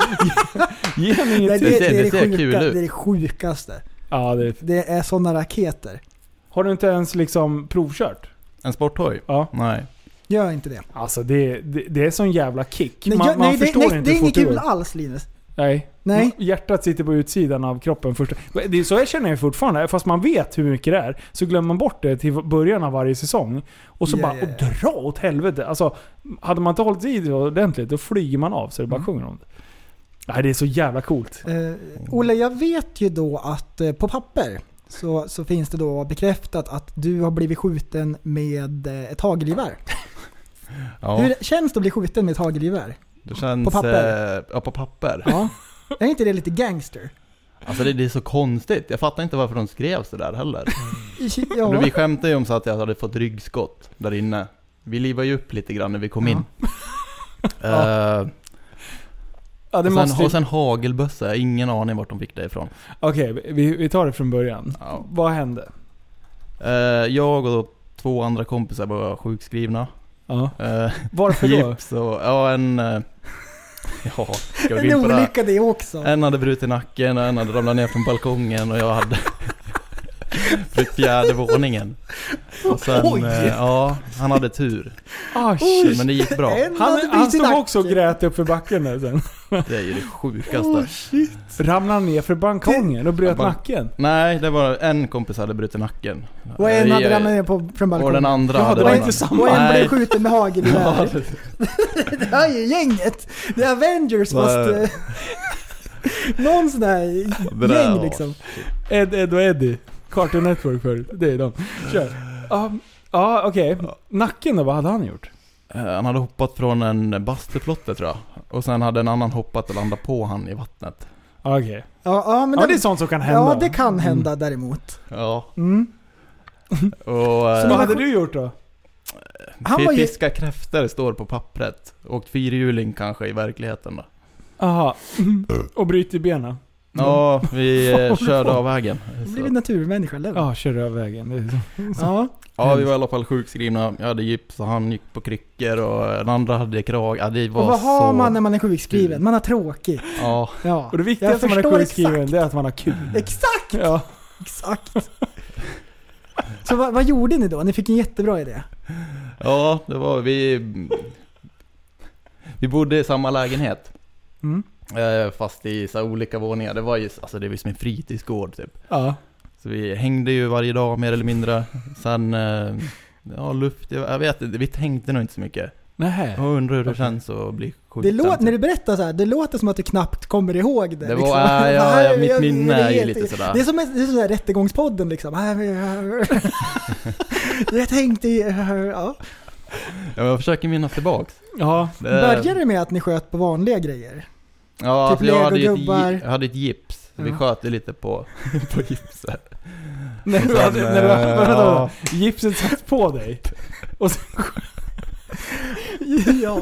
Ge ge mig Nej, inget det, det, ser- är det det, ser kul sjuka, det ut. är det sjukaste. ja, det, Det är sådana raketer. Har du inte ens liksom provkört? En sporthoj? Ja. Nej. Gör inte det. Alltså det, det, det är sån jävla kick. Nej, man jag, man nej, det, förstår nej, inte det är hur fort inget kul går. alls Linus. Nej. Nej. Hjärtat sitter på utsidan av kroppen först. Det är så jag känner jag fortfarande. Fast man vet hur mycket det är, så glömmer man bort det till början av varje säsong. Och så Ja, bara, ja, ja. och dra åt helvete. Alltså, hade man inte hållit i det ordentligt, då flyger man av så det bara Mm. sjunger om det. Nej, det är så jävla coolt. Eh, Olle, jag vet ju då att eh, på papper så, så finns det då bekräftat att du har blivit skjuten med eh, ett hagelgevär. Ja, Hur känns det att bli skjuten med ett hagelgevär? det känns... På papper? Eh, ja, på papper. Ja. Är inte det lite gangster? Alltså det, det är så konstigt. Jag fattar inte varför de skrev så där heller. Ja. Men Vi skämtade ju om så att jag hade fått ryggskott där inne. Vi livade ju upp lite grann när vi kom in. Eh, Ja, det och, sen, måste... och sen hagelbössa, jag har ingen aning vart de fick det ifrån. Okej, vi, vi tar det från början. Ja. Vad hände? Eh, jag och två andra kompisar var sjukskrivna. Ja. Eh, Varför då? gips och, ja en... eh, ja, ska vi gå En in på det här? olycka det också. En hade brutit nacken och en hade ramlat ner från balkongen och jag hade blivit fjärde våningen. Och sen, Oj! eh, ja, han hade tur. Ah, shit. Men det gick bra. En Han, hade han brutit stod nacken. också och grät upp för backen där sen. Det är ju det sjukaste. Ramlade han ner för balkongen och bröt Ja, ban- nacken. Nej, det var en kompis hade brutit nacken. Och en Vi- hade ramlat ner på, från Och den balkongen. andra Ja, hade det var ramlat- inte Och samma. en Nej. blev skjuten med Ja, hagelgevär. Det här är ju gänget. Det är Avengers Vad fast... är det? eh, Någon sån där det där, gäng ja. liksom. Ed, Ed och Eddie. Cartoon Network förut. Det är de. Kör. Ja, ja, okej. Nacken då? Vad hade han gjort? Eh, Han hade hoppat från en bastuplotte tror jag. Och sen hade en annan hoppat och landat på han i vattnet. Ja, Okej. Ja, ja, men Ja, den- det är sånt som kan hända. Ja, det kan hända Mm. däremot. Ja. Mm. Och... eh, Vad hade du gjort då? Han var ju, Fiska kräftor står på pappret. Åkt fyrhjuling kanske i verkligheten då. Aha. Mm. Och bryter benen? Mm. Ja, vi eh, Fan, körde vad- av vägen. han blev en Så. naturmänniska, eller hur? Ja, kör över vägen. Det är så. Ja. Ja, vi var i alla fall sjukskrivna. Jag hade gips och han gick på kryckor och eh, den andra hade krag. Ja, det var Och vad har så... man när man är sjukskriven? Man har tråkigt. Ja, Ja. Och det Jag viktigaste när man är förstår sjukskriven exakt. det är att man har kul. Exakt, Ja. exakt. Så vad, vad gjorde ni då? Ni fick en jättebra idé. ja det var vi... Vi bodde i samma lägenhet. Mm. eh, Fast i så här olika våningar. Det var ju alltså det var ju som en fritidsgård typ. Ja. Så vi hängde ju varje dag mer eller mindre. Sen, eh, ja luft, jag jag vet inte, vi tänkte nog inte så mycket. Nähä. Jag undrar hur det känns att bli skjuten. typ. Det låter, när du berättar så här, det låter som att du knappt kommer ihåg det. liksom. Det var, ja, ja, ja, mitt minne är ju helt- lite sådär. Det är som, en- det är som den här rättegångspodden liksom. Jag tänkte ju- ja. Ja, Jag försöker minnas tillbaks. Ja. Det- Började det med att ni sköt på vanliga grejer? Ja, typ alltså jag hade, ju ett, legogubbar? gi- jag hade ett gips. Så vi Ja. sköt ju lite på, på gipset. När du Sen, hade, när du hade, eh, vänta, ja. vänta. Gipset satt på dig. Och sen Ja.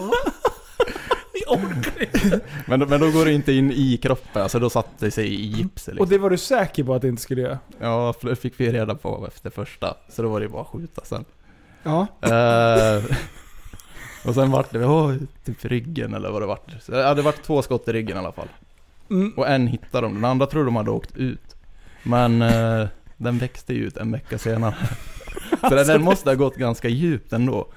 Men, men då går det inte in i kroppen, alltså då satte det sig i gipset Och liksom. det var du säker på att det inte skulle göra? Ja, för det fick vi reda på efter första. Så då var det ju bara att skjuta sen. ja. Eh, och sen vart det, åh, typ ryggen eller vad det vart. Så, ja, det vart två skott i ryggen i alla fall. Mm. Och en hittade de, den andra tror de hade åkt ut. Men eh, den växte ju ut en vecka senare. Så den, den måste ha gått ganska djupt ändå.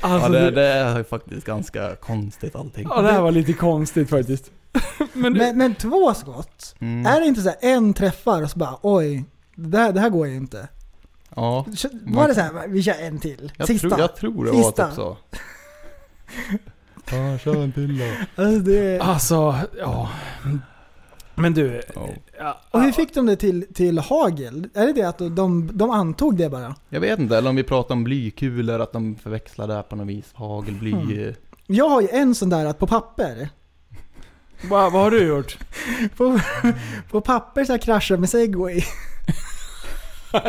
Alltså, ja, det, det, det är faktiskt ganska konstigt allting. ja, det här var lite konstigt faktiskt. Men, du, Men, men två skott? Mm. Är det inte så här, en träffar och så bara oj, det här, det här går ju inte. Ja. Kö- Var det så här, vi kör en till? Jag, Sista? Tror, jag tror det var Sista. typ så. Fan, kör en till då. Alltså det... alltså, ja. Men du. Ja. Ja, Och hur fick de det till, till hagel? Är det det att de, de antog det bara? Jag vet inte, eller om vi pratar om blykulor, att de förväxlar det här på något vis. Hagelbly. eh, Jag har ju en sån där att på papper, vad, vad har du gjort? på, på papper så här kraschade jag med segway.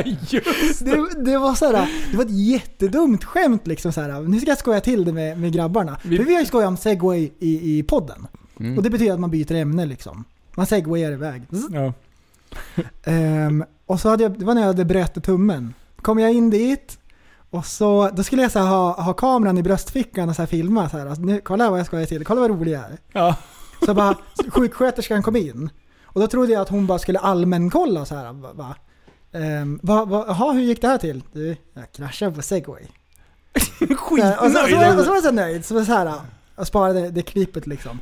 Just Det, det var så här, det var ett jättedumt skämt liksom så här. nu ska jag skoja till det med, med grabbarna. Vi- För vi har ju skojat om segway i, i podden. Mm. Och det betyder att man byter ämne liksom. Man segwayar iväg. Zzz. ja. Ehm, och så hade jag, det var när jag hade bröt tummen. Kom jag in dit och så, då skulle jag så här, ha, ha kameran i bröstfickan och så här filma så här. Alltså, nu, kolla vad jag skojar till, kolla vad rolig jag är. Ja. Så jag bara, sjuksköterskan kom in. Och då trodde jag att hon bara skulle allmänkolla så här. Va, va. Ehm, va, va, aha, hur gick det här till? Du, jag kraschade på segway. Så här, och, så, och, så, var- och så var jag så nöjd, så var det så här, jag sparade det klippet liksom.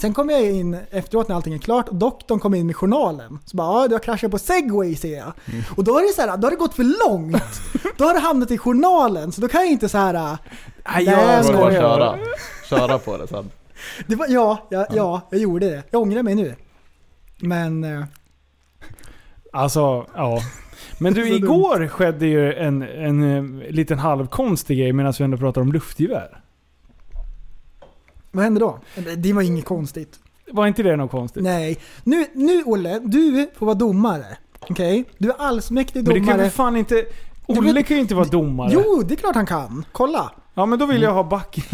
Sen kommer jag in efteråt när allting är klart och doktorn kommer in med journalen. Så bara ja, du har kraschat på segway ser jag. Och då är det så här, då har det gått för långt. då har det hamnat i journalen så då kan jag inte så här... Nej, Nej, jag jag Går det bara att skojar. köra? Köra på det sen. Det var, ja, ja, ja, jag gjorde det. Jag ångrar mig nu. Men... eh, Alltså, ja. Men Så du, dumt. igår skedde ju en, en eh, liten halvkonstig grej medan vi ändå pratar om luftgevär. Vad hände då? Det var inget konstigt. Var inte det något konstigt? Nej. Nu, nu Olle, du får vara domare. Okej? Du är allsmäktig Men det kan ju domare. för fan inte... vet- Olle kan ju inte vara domare. Jo, Mm. det är klart han kan. Kolla. Ja, men då vill jag ha backen.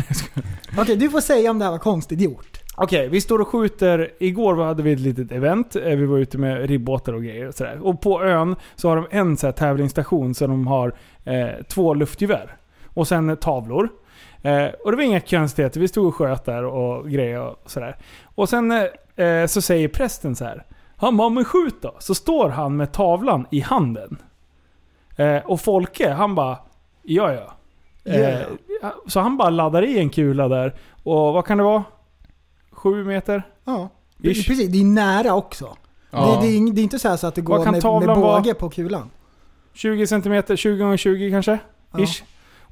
Okej, du får säga om det här var konstigt gjort. Okej, vi står och skjuter. Igår hade vi ett litet event. Eh, Vi var ute med ribbåtar och grejer. Och, sådär. och på ön så har de en så här tävlingsstation så de har eh, två luftgevär. Och sen eh, tavlor. Eh, och det var inga konstigheter. Vi stod och sköt där och grejer och sådär. Och sen eh, eh, så säger prästen så här. Han bara, men skjut då. Så står han med tavlan i handen. Eh, och Folke, han bara, ja ja. Eh, Yeah. så han bara laddar i en kula där. Och vad kan det vara? Sju meter? Ja. Ish. Precis, det är nära också. Ja. Det, det, är, ing- det är inte så, här så att det Vad går kan med, med tavlan vara? båge på kulan. 20 centimeter, 20 gånger 20 kanske? Ja. Ish.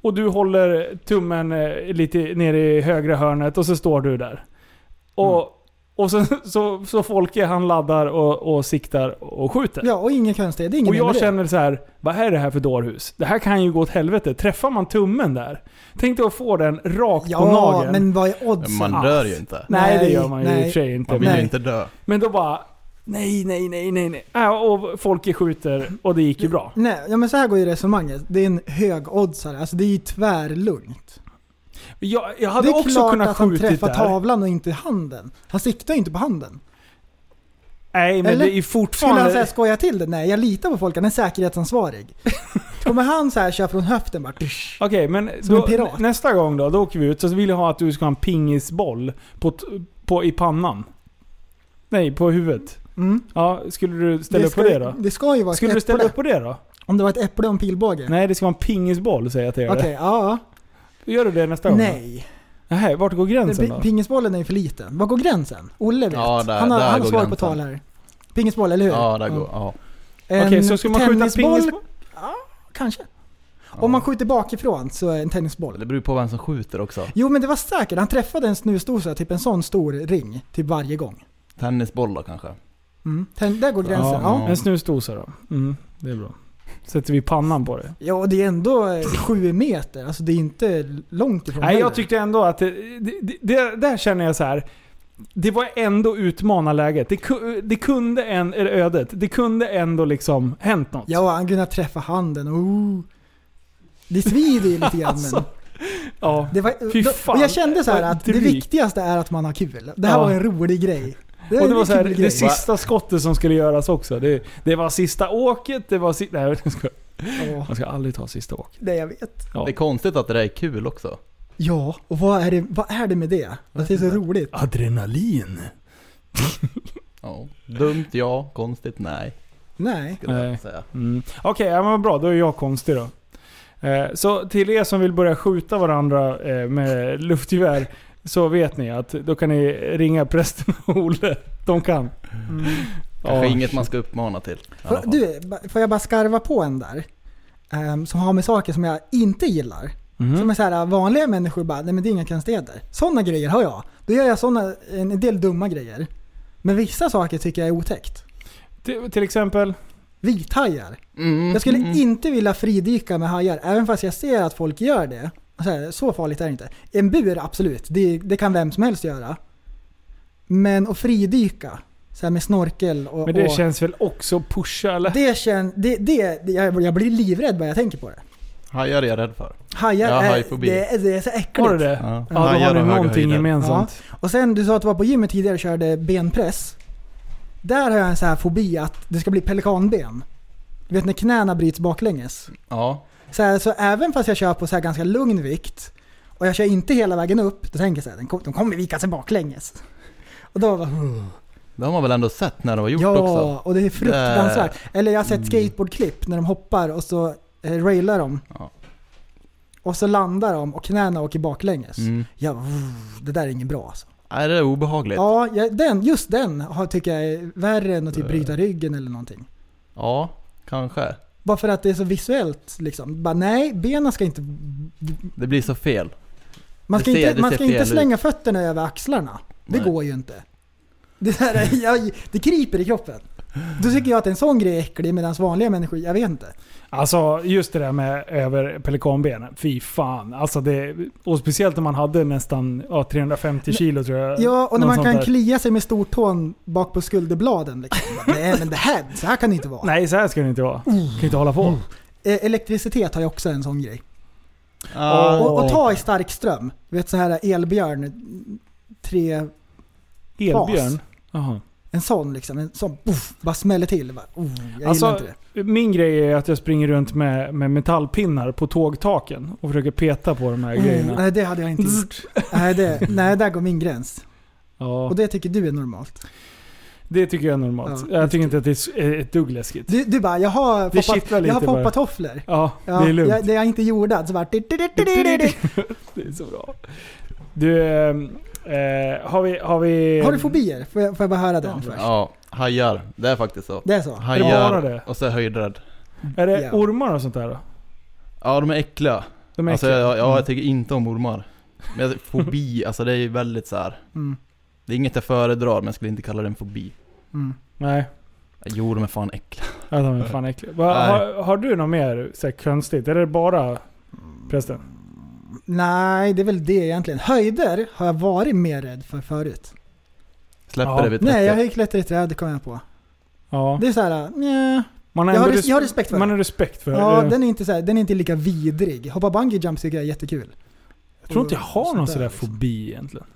Och du håller tummen eh, lite nere i högra hörnet och så står du där. Och, Mm. och så, så, så Folke han laddar och, och siktar och skjuter. Ja, och ingen konstighet. Det är ingen Och jag med det. känner så här, vad är det här för dårhus? Det här kan ju gå åt helvete. Träffar man tummen där? Tänk dig att få den rakt på Ja, nageln. men vad är oddsen? Man dör ju inte. nej, det gör man ju i nej. och för sig inte. Man vill ju Nej. inte dö. Men då bara, nej, nej, nej, nej, nej. Äh, och Folke skjuter och det gick ju bra. Nej, ja, men så här går ju resonemanget. Det är en hög oddsare. Alltså det är ju tvärlugnt. Jag, jag hade det är också klart kunnat att han skjutit träffar där. tavlan och inte handen. Han siktar ju inte på handen. Nej, men Eller? det är Skulle han säga fortfarande... skoja till det? Nej, jag litar på folk. Han är säkerhetsansvarig. Kommer han så här köra från höften bara... tsch. Okej, men Som då, en pirat. nästa gång då, då åker vi ut. Så vill jag ha att du ska ha en pingisboll på, t- på, i pannan. Nej, på huvudet. Mm. Ja, skulle du ställa upp på det då? Det ska ju vara Skulle ett du ställa äpple. upp på det då? Om det var ett äpple och en pilbåge. Nej, det ska vara en pingisboll säger jag till dig. Okej, ja. Gör du det nästa gång? då? Nej. Nej, vart går gränsen Pi- då? Pingisbollen är ju för liten. Var går gränsen? Olle vet. Ja, där- han har, där han har går svar på gränsen. tal här. Pingisboll, eller hur? Ja, där går... Ja. En Okej, så ska man skjuta tennisboll- pingisboll? Kanske. Om man skjuter bakifrån så är en tennisboll. Det beror ju på vem som skjuter också. Jo men det var säkert, han träffade en snusdosa, typ en sån stor ring, typ varje gång. Tennisbollar kanske. Mm. Ten, där går gränsen. Ja, Ja, en snusdosa då. Mm, det är bra. Sätter vi pannan på det? Ja, och det är ändå eh, sju meter, alltså det är inte långt ifrån Nej, jag heller. tyckte ändå att... Det, det, det- det, där känner jag så här. Det var ändå utmanarläget. Det, ku- det kunde en, eller ödet, det kunde ändå liksom hänt något. Ja, han kunde träffa handen, oh. Det svider ju lite grann men... Alltså, ja. Det var, Fy då- fan, och jag kände så här att det drygt. viktigaste är att man har kul. Det här Ja. var en rolig grej. Och det en var så här, kul det sista skottet som skulle göras också. Det, det var sista åket, det var si- Nej, jag ska, Ja, man ska aldrig ta sista åket. det jag vet. Ja. Det är konstigt att det där är kul också. Ja, och vad är det, vad är det med det? Att det är så roligt. Adrenalin. Ja. Dumt ja, konstigt nej. Nej. Skulle Nej. jag säga. Mm. Okej, ja, men vad bra. Då är jag konstig då. Eh, så till er som vill börja skjuta varandra eh, med luftgevär så vet ni att då kan ni ringa prästen och Olle. De kan. Mm. Kanske Ja. inget man ska uppmana till. i alla Får, fall. du, ba- får jag bara skarva på en där? Ehm, som har med saker som jag inte gillar. Som Mm. Mhm. är så här, äh, vanliga människor bara, nej men det är inga konstigheter. Sådana grejer har jag. Då gör jag såna, en del dumma grejer. Men vissa saker tycker jag är otäckt. Till, till exempel? Vithajar. Mm, Jag skulle mm, inte vilja fridyka med hajar, även fast jag ser att folk gör det. Så, här, så farligt är det inte. En bur, absolut. Det, det kan vem som helst göra. Men att fridyka, så här med snorkel och... Men det och, känns väl också pusha eller? det, känns, det, det, det, jag jag blir livrädd bara jag tänker på det. Hajar är jag rädd för. Jag Hajar har är, hajfobi. det, är- det är så äckligt. Har du det? Ja. Ja, då har Hajar ni och höga någonting höjder. gemensamt. Och sen du sa att du var på gymmet tidigare och körde benpress. Där har jag en så här fobi att det ska bli pelikanben. Du vet när knäna bryts baklänges. Ja. Så, här, så även fast jag kör på så här ganska lugn vikt och jag kör inte hela vägen upp, då tänker jag så här, den kom- de kommer vika sig baklänges. Och då bara, Det har man väl ändå sett när det var gjort ja, också? Mm. och det är fruktansvärt. Eller jag har sett skateboardklipp när de hoppar och så eh, railar de. Ja. Och så landar de och knäna åker baklänges. Mm. Ja, det där är inget bra alltså. Nej, det är obehagligt. Ja. Ja, ja, den, just den har, tycker jag är värre än att Äh. typ bryta ryggen eller någonting. kanske. Bara för att det är så visuellt liksom. Bara, nej, benen ska inte... Det blir så fel. Man ska Det ser- inte, det man ser ska inte fel ut. slänga fötterna över axlarna. Det Nej. går ju inte. Det, där, är- jag, det kryper i kroppen. Då tycker jag att en sån grej är äcklig medan vanliga människor, jag vet inte. Alltså just det där med över pelikanbenen. Fy fan. Alltså det, och speciellt om man hade nästan ja, 350 kilo tror jag. Ja, och när Något man sånt kan där. klia sig med stortån bak på skulderbladen. Liksom. Bara, Nej men det här, så här kan det inte vara. Nej, så här ska det inte vara. Kan inte hålla på. Eh, Elektricitet har ju också en sån grej. Ja, Åh. Och, och ta i stark ström. Du vet så här elbjörn, tre, Elbjörn. Jaha. en sån liksom. En sån, puff, bara smäller till. Bara, oh, jag Alltså, gillar inte det. Min grej är att jag springer runt med, med metallpinnar på tågtaken och försöker peta på de här Mm, grejerna. nej, det hade jag inte gjort. nej, det, nej, där går min gräns. Ja, Och det tycker du är normalt. det tycker jag är normalt. Ja, jag tycker inte att det är s- är ett dugg läskigt. Du, du bara, jag har Det kittlar poppat, jag har lite bara. poppat tofflor. Ja, det Ja, är lugnt. jag, det jag inte jordad. Så bara, Det är så bra. Du, ehm, eh, har vi... Har vi... Har du fobier? Får jag, får jag bara höra den först? ja, hajar. Det är faktiskt så. Det är så? bara det? Hajar och så är jag höjdrädd. Är det Ja. ormar och sånt där då? Ja, de är äckliga. De är alltså, äckliga. jag, ja, Mm. jag tycker inte om ormar. Men jag- fobi, alltså det är ju väldigt så här. Mm, Det är inget jag föredrar, men jag skulle inte kalla det en fobi. mm. Nej, Jo, de är fan äckliga. ja, de är fan äckliga. Va, Nej. har, har du något mer så här, konstigt? Är det bara Mm. prästen? Nej, det är väl det egentligen. Höjder har jag varit mer rädd för förut. Släpper Ja. det vid Nej, jag har täcket. ju klättrat i träd, kom jag på. Ja. Det är såhär, nja. Man jag har ändå res- jag har respekt för Man det. har respekt för Ja, det. den är inte så här, den är inte lika vidrig. Hoppa bungee jump tycker jag är jättekul. Jag tror inte jag har någon sådär liksom. fobi egentligen.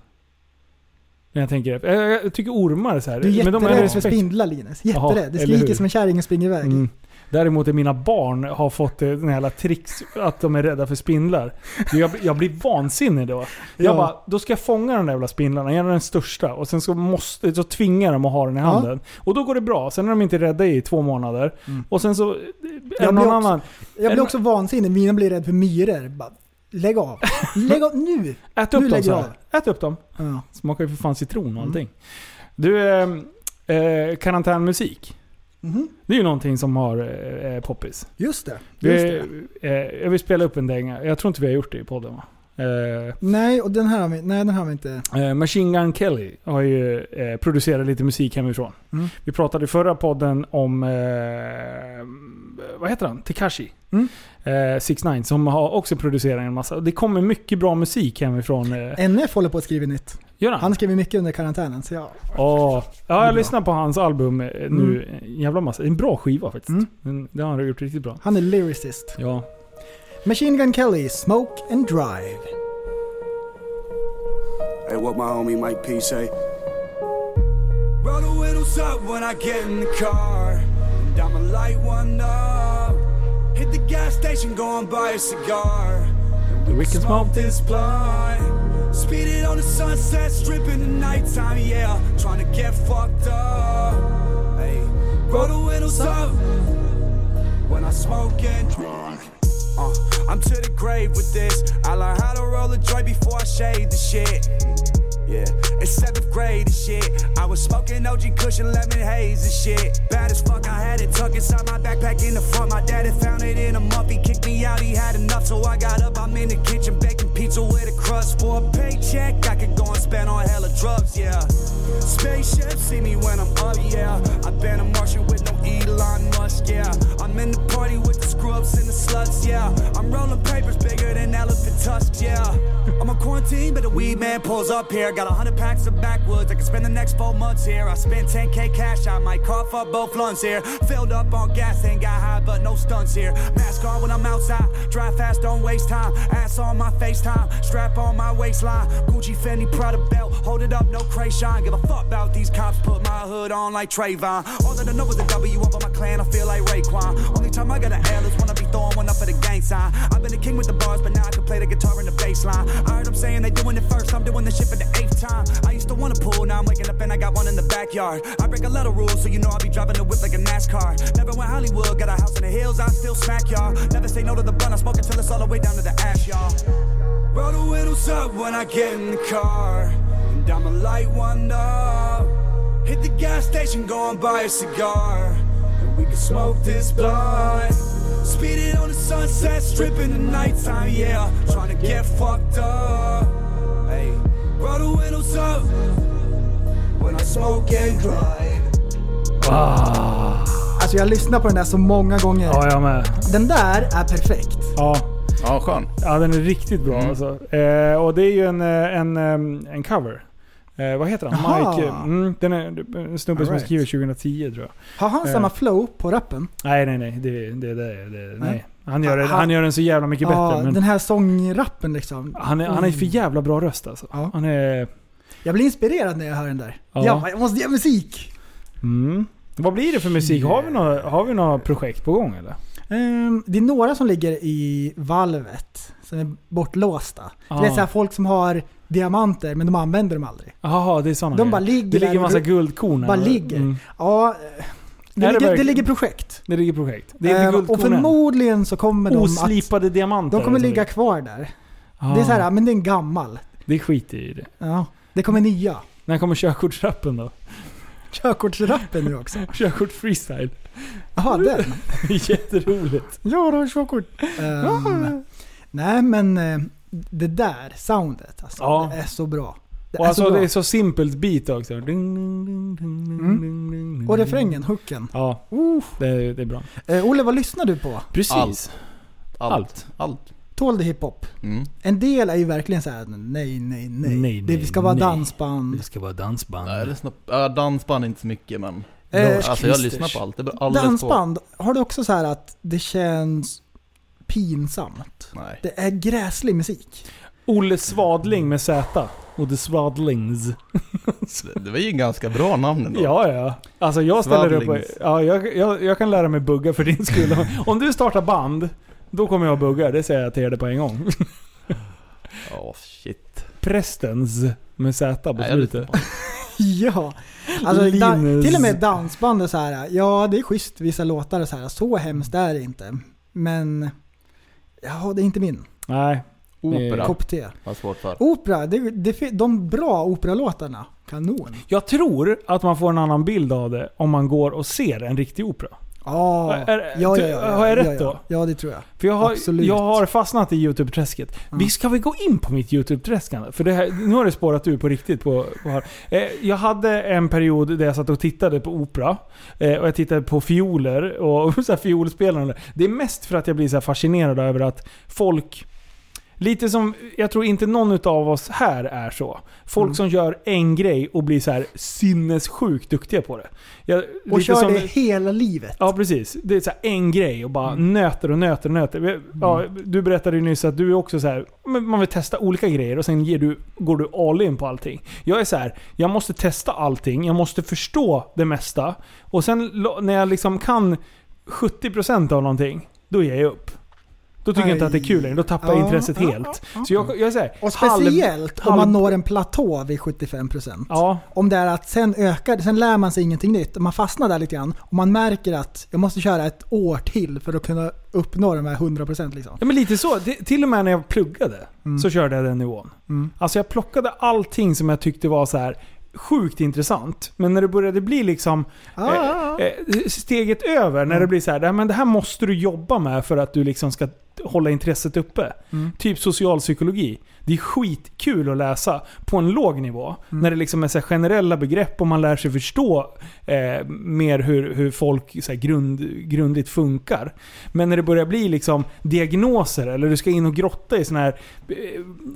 När jag tänker efter. Jag, jag tycker ormar är så här. Du är men de har jätterädd för respekt. spindlar Linus. Jaha, Jätterädd. Det eller hur? skriker som en kärring och springer iväg. Mm. Däremot är mina barn har fått eh, den här jävla tricks att de är rädda för spindlar. Jag, jag blir vansinnig då. Jag Ja. bara, då ska jag fånga de där jävla spindlarna, gärna den största. Och sen så, måste, så tvingar jag dem att ha den i Ja. handen. Och då går det bra. Sen är de inte rädda i två månader. Mm. Och sen så... eh, Är blir någon också- annan... Jag Eller- blir också vansinnig. Mina blir rädd för myror. Bara, Lägg av. Lägg av nu! Ät Nu upp dem lägger så jag här. Ät upp dem. Ja. Smakar ju för fan citron och Mm. allting. Du, eh, eh, karantänmusik. Mhm. Det är ju någonting som har eh, eh, poppis. Just det. Det, Just det. Eh, jag vill spela upp en dänga. Jag tror inte vi har gjort det i podden va? Eh, Nej, och den här har vi, nej, den här har vi inte. Eh, Machine Gun Kelly har ju eh, producerat lite musik hemifrån. Mm. Vi pratade i förra podden om, eh, vad heter han? Tekashi. Mm. Eh, 6 9 som har också producerat en massa. Det kommer mycket bra musik hemifrån. Eh, NF håller på att skriva nytt. gör han? Han skriver mycket under karantänen. Så ja. Ja, ja, är jag bra. lyssnar på hans album eh, nu en jävla massa. Det är En bra skiva faktiskt. Mm. Den, det har han gjort riktigt bra. Han är lyricist. Ja. Machine Gun Kelly, Smoke and Drive. Hey, what my homie Mike P say? Roll the windows up when I get in the car. And I'ma light one up. Hit the gas station, go and buy a cigar. And We can smoke this blunt. Speed it on the sunset, strip in the nighttime, yeah. Tryna get fucked up. Hey, roll the windows up when I smoke and drink. Uh, I'm to the grave with this. I learned how to roll a joint before I shade the shit. Yeah, in seventh grade and shit. I was smoking OG cushion lemon haze and shit. Bad as fuck, I had it tucked inside my backpack in the front. My dad had found it in a muff. He kicked me out, he had enough. So I got up, I'm in the kitchen baking pizza with a crust. For a paycheck, I could go and spend on hella drugs, yeah. Spaceship, see me when I'm up, yeah. I've been a Martian with no Elon Musk, yeah. I'm in the party with the screw ups and the sluts, yeah. I'm rolling papers bigger than elephant tusks, yeah. I'm on quarantine, but the weed man pulls up here. Got a hundred packs of backwoods, I can spend the next four months here. I spent 10k cash, I might cough up both lungs here. Filled up on gas, ain't got high, but no stunts here. Mask on when I'm outside, drive fast, don't waste time. Ass on my FaceTime, strap on my waistline. Gucci, Fendi, Prada belt, hold it up, no shine. Give a fuck about these cops, put my hood on like Trayvon. All that I know is a W up on my clan, I feel like Raekwon. Only time I got an L is when I be throwing one up at a gang sign. I've been a king with the bars, but now I can play the guitar in the bass line. I heard them saying they doing it first, I'm doing this shit for the eighth time. I used to want to pool, now I'm waking up and I got one in the backyard. I break a lot of rules, so you know I be driving the whip like a NASCAR. Never went Hollywood, got a house in the hills, I still smack y'all. Never say no to the bun, I smoke it till it's all the way down to the ash, y'all. Roll the windows up when I get in the car. And and I'ma light one up. Hit the gas station, go and buy a cigar. And we can smoke this blunt. Speed it on the sunset, strip in the nighttime, yeah. Tryna get fucked up. Hey, roll the windows up when I smoke and grind. Alltså jag lyssnar på den där så många gånger. Ah. Ja, jag med. Den där är perfekt. Ja, Ja, skön. ja den är riktigt bra Mm. alltså. eh, Och det är ju en, eh, en, eh, en cover. Eh, vad heter han? Aha. Mike... eh, Mm, den är en snubbe som Alright. skriver 2010 tror jag. Har han Eh. samma flow på rappen? Nej, nej, nej. Det, det, det, det, nej. Nej. Han, gör, det- Han- han gör den så jävla mycket Ja, bättre. Men den här sångrappen liksom. han, är, han är för jävla bra röst alltså. Ja. Han är... Jag blir inspirerad när jag hör den där. Ja. Ja. Jag, bara, jag måste göra musik! Mm. Vad blir det för musik? Har vi några, har vi några projekt på gång eller? Ehm, det är några som ligger i valvet, som är bortlåsta. Det är Ah. så här folk som har diamanter men de använder dem aldrig. Jaha, det är sådana De bara grejer. ligger Det ligger där en massa och- guldkorn här. bara ligger. Mm. Ja, eh, det, Är det ligger, det verkligen- ligger projekt. Det ligger projekt. Det är inte Ehm, och guldkorn än. förmodligen så kommer de att... Oslipade diamanter. alltså. De kommer som ligga ligger- kvar där. Ah, Det är så här, men det är en gammal. Det skiter i det. Ja, det kommer nya. När kommer körkortsrappen då? Körkortsrappen nu också. Körkort freestyle. Jaha, den. Jätteroligt. Ja, du har körkort. Ehm, nej men eh, det där soundet alltså. Ja. Det är så bra. Det Och är så alltså bra. det är så simpelt beat också. Ding, ding, ding, ding, ding, Mm. ding, ding. Och refrängen, hooken. Ja, Uh. det är, det är bra. Eh, Olle, vad lyssnar du på? Precis. Allt. Allt. Allt. Allt. Tål du hiphop? Mm. En del är ju verkligen så här: nej, nej, nej. Nej, det, nej, vi ska vara nej. dansband. ska vara dansband. Nej, det snabb... ja, dansband inte så mycket men... Eh, alltså jag lyssnar på allt. Det beror alldeles dansband, har du också så här att det känns pinsamt? på. Nej. Det är gräslig musik. Olle Svadling med Z. Olle Svadlings. Det, det var ju en ganska bra namn ändå. Ja, ja. Alltså jag ställer upp och, Svadlings. ja, jag, jag, jag kan lära mig bugga för din skull. Om- Om du startar band, då kommer jag bugga. Det säger jag till er på en gång. Ja, shit. Prästens med Z på Nej, jag lyssnar slutet. på allt. ja. Alltså, da, Linus. till och med dansband är så här. ja det är schysst vissa låtar och så här. så hemskt är det inte. Men, ja det är inte min. Nej. Opera. Kopp te. Vad svårt för. Opera, det, det, fi- de bra operalåtarna, kanon. Jag tror att man får en annan bild av det om man går och ser en riktig opera. Ja, Är- är- ty- har jag ja, rätt ja, då? Ja, det tror jag. För jag har, Absolut. jag har fastnat i YouTube-träsket. Vi ska vi gå in på mitt YouTube-träskande? För det här, nu har det spårat ur på riktigt. På, på här. Eh, jag hade en period där jag satt och tittade på opera. Eh, och jag tittade på fioler och så här fiolspelande. Det är mest för att jag blir så här fascinerad över att folk... Lite som, jag tror inte någon av oss här är så. Folk Mm. som gör en grej och blir så här sinnessjukt duktiga på det. Jag, Och lite kör som- det hela livet. Ja, precis. Det är så här en grej och bara Mm. nöter och nöter och nöter. Vi- Ja, du berättade ju nyss att du är också så här, men man vill testa olika grejer och sen ger du, går du all in på allting. Jag är så här, jag måste testa allting, jag måste förstå det mesta. Och sen lo- när jag liksom kan 70% av någonting, då ger jag upp. Då tycker jag inte att det är kul längre, då tappar jag Ja, intresset ja, helt. Så jag, jag är så här, Och halv- speciellt om halv- man når en platå vid 75%. Ja, Om det är att sen ökar sen lär man sig ingenting nytt. Man fastnar där lite grann och man märker att jag måste köra ett år till för att kunna uppnå de här 100% liksom. Ja men lite så. Det, till och med när jag pluggade så körde jag den nivån. Alltså jag plockade allting som jag tyckte var så här sjukt intressant. Men när det började bli liksom Ah, ah, Mm. ah. eh, eh, steget över, när det blir så här, "Nej, men det här måste du jobba med för att du liksom ska hålla intresset uppe. Mm. Typ socialpsykologi. Det är skitkul att läsa på en låg nivå. Mm. När det liksom är så här generella begrepp och man lär sig förstå eh, mer hur, hur folk så här grund, grundligt funkar. Men när det börjar bli liksom diagnoser eller du ska in och grotta i sån här eh,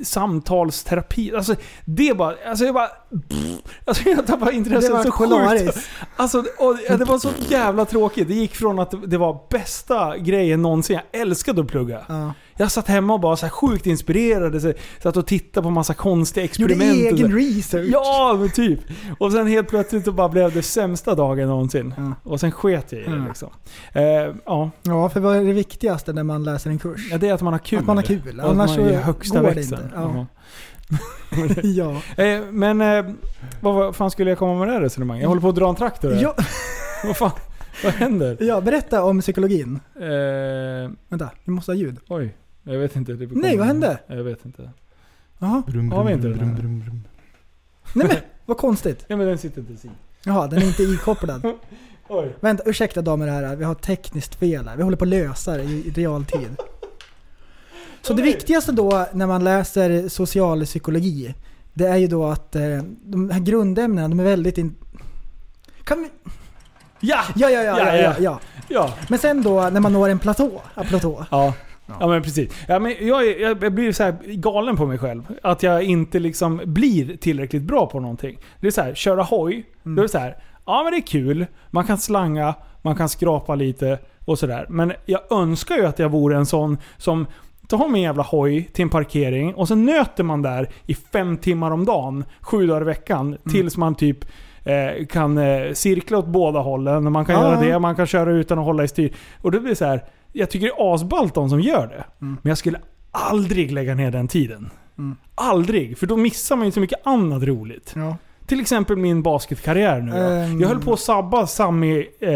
samtalsterapi. Alltså det är bara... Alltså jag bara... Pff, alltså jag tappar Det intresset var så Polaris. sjukt. Alltså, och det var så jävla tråkigt. Det gick från att det var bästa grejen någonsin. Jag älskade att plugga. Ja. Jag satt hemma och bara så här sjukt inspirerad. Så satt och tittade på massa konstiga Gjorde experiment. och så. egen research. Ja, men typ. Och sen helt plötsligt så bara blev det sämsta dagen någonsin. Ja. Och sen sket jag i det Mm. liksom. Eh, ja. Ja, för vad är det viktigaste när man läser en kurs? Ja, det är att man har kul. Att man har kul. Och att Annars man är i så högsta går det växeln. inte. Ja. ja. Ja. Eh, men eh, vad, vad fan skulle jag komma med det här resonemanget? Jag håller på att dra en traktor här. Ja, Vad fan? Vad händer? ja, berätta om psykologin. Eh, Vänta, vi måste ha ljud. oj, jag vet inte. Det Nej, vad hände? Jag vet inte. Jaha. Brum, Har vi inte brum, den här? brum, brum, brum. Nej men, vad konstigt. Nej men den sitter inte i. Jaha, den är inte ikopplad. Oj. Vänta, ursäkta damer och herrar. Vi har tekniskt fel här. Vi håller på att lösa det i i realtid. Så det viktigaste då när man läser socialpsykologi, det är ju då att eh, de här grundämnena, de är väldigt... In... Kan vi... Ja! ja, ja, ja, Ja, ja, ja. ja, ja. Ja. Men sen då när man når en platå, ja, platå. Ja. Ja men precis. Ja, men jag, är- jag, jag blir så här galen på mig själv. Att jag inte liksom blir tillräckligt bra på någonting. Det är så här, köra hoj. Då är det så här, ja men det är kul. Man kan slanga, man kan skrapa lite och sådär. Men jag önskar ju att jag vore en sån som tar min jävla hoj till en parkering och så nöter man där i fem timmar om dagen, sju dagar i veckan. Tills man typ eh, kan eh, cirkla åt båda hållen. och Man kan Ja, göra ja. det, man kan köra utan att hålla i styr. Och då blir det så här. Jag tycker det är asballt de som gör det. Men jag skulle aldrig lägga ner den tiden. Aldrig, för då missar man ju så mycket annat roligt. Ja. Till exempel min basketkarriär nu då. Ehm. Jag höll på att sabba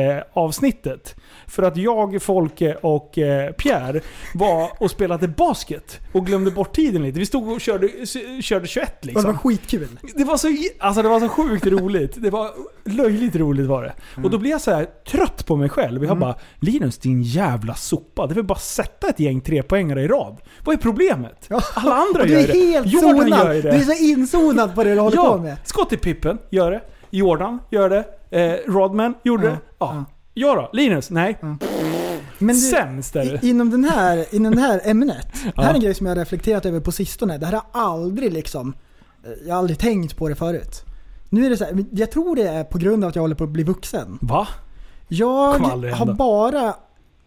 Sami-avsnittet. för att jag, Folke och eh, Pierre var och spelade basket. Och glömde bort tiden lite. Vi stod och körde, s- körde 21 Och det var liksom. skitkul. Det var så, j- alltså det var så sjukt roligt. Det var löjligt roligt var det. Mm. Och då blir jag så här trött på mig själv. Jag bara Linus din jävla sopa. Det vill bara sätta ett gäng trepoängare i rad. Vad är problemet? Alla andra Och gör du är det. helt Jordan zonad. gör ju Du det. är så insonad på det du håller på med. skott i pippen, gör det. Jordan, gör det. Eh, Rodman, gjorde Ja, det. Ja. ja. Jag då? Linus? Nej. Men du, Sämst är det. I- Inom, den här, inom det här ämnet. Det här är Ja. en grej som jag har reflekterat över på sistone. Det här har aldrig liksom... eh, Jag har aldrig tänkt på det förut. Nu är det så här, men jag tror det är på grund av att jag håller på att bli vuxen. Va? Jag Kommer aldrig har hända. bara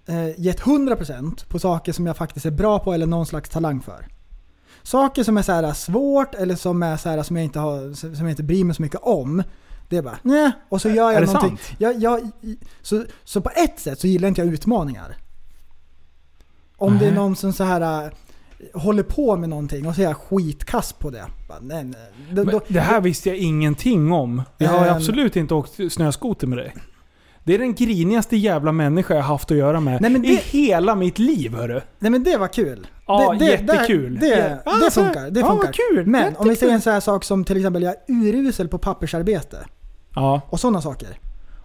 eh, gett 100% på saker som jag faktiskt är bra på eller någon slags talang för. Saker som är så här svårt eller som, är så här, som, jag inte har, som jag inte bryr mig så mycket om. Det är bara nej. Och så gör jag det någonting. sant? Jag, jag, så, så på ett sätt så gillar inte jag utmaningar. Om det är Nej. någon som så här äh, håller på med någonting och så är jag skitkass på det. Bara, nej, nej. Då, Men då, det här visste jag ingenting om. Jag har ju Ehm. absolut inte åkt snöskoter med dig. Det är den grinigaste jävla människa jag haft att göra med Nej, men i det- hela mitt liv hörru. nej men det var kul. Ja, det, det, jättekul. Det, det, Ja, det så- funkar. Det ja, funkar. vad kul. Men om vi Jättekul. säger en sån här sak som till exempel jag är urusel på pappersarbete Ja. och sådana saker.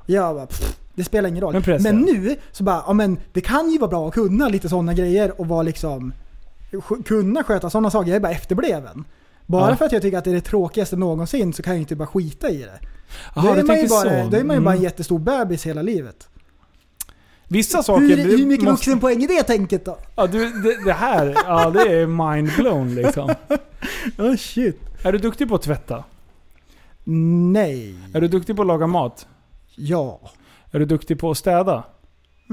Jag bara, pff, det spelar ingen roll. Men pressen. nu så bara, ja men det kan ju vara bra att kunna lite sådana grejer och vara liksom sk- kunna sköta sådana saker. Jag är bara efterbliven. Bara Ja. för att jag tycker att det är det tråkigaste någonsin så kan jag ju inte bara skita i det. Aha, då, du är man ju tänker bara, så. då är man ju bara en Mm. jättestor bebis hela livet. Vissa saker... hur, du hur mycket måste- vuxenpoäng är det tänket då? Ja, du, det, det här, ja det är mind-blown liksom. Oh shit. Är du duktig på att tvätta? Nej. Är du duktig på att laga mat? Ja. Är du duktig på att städa?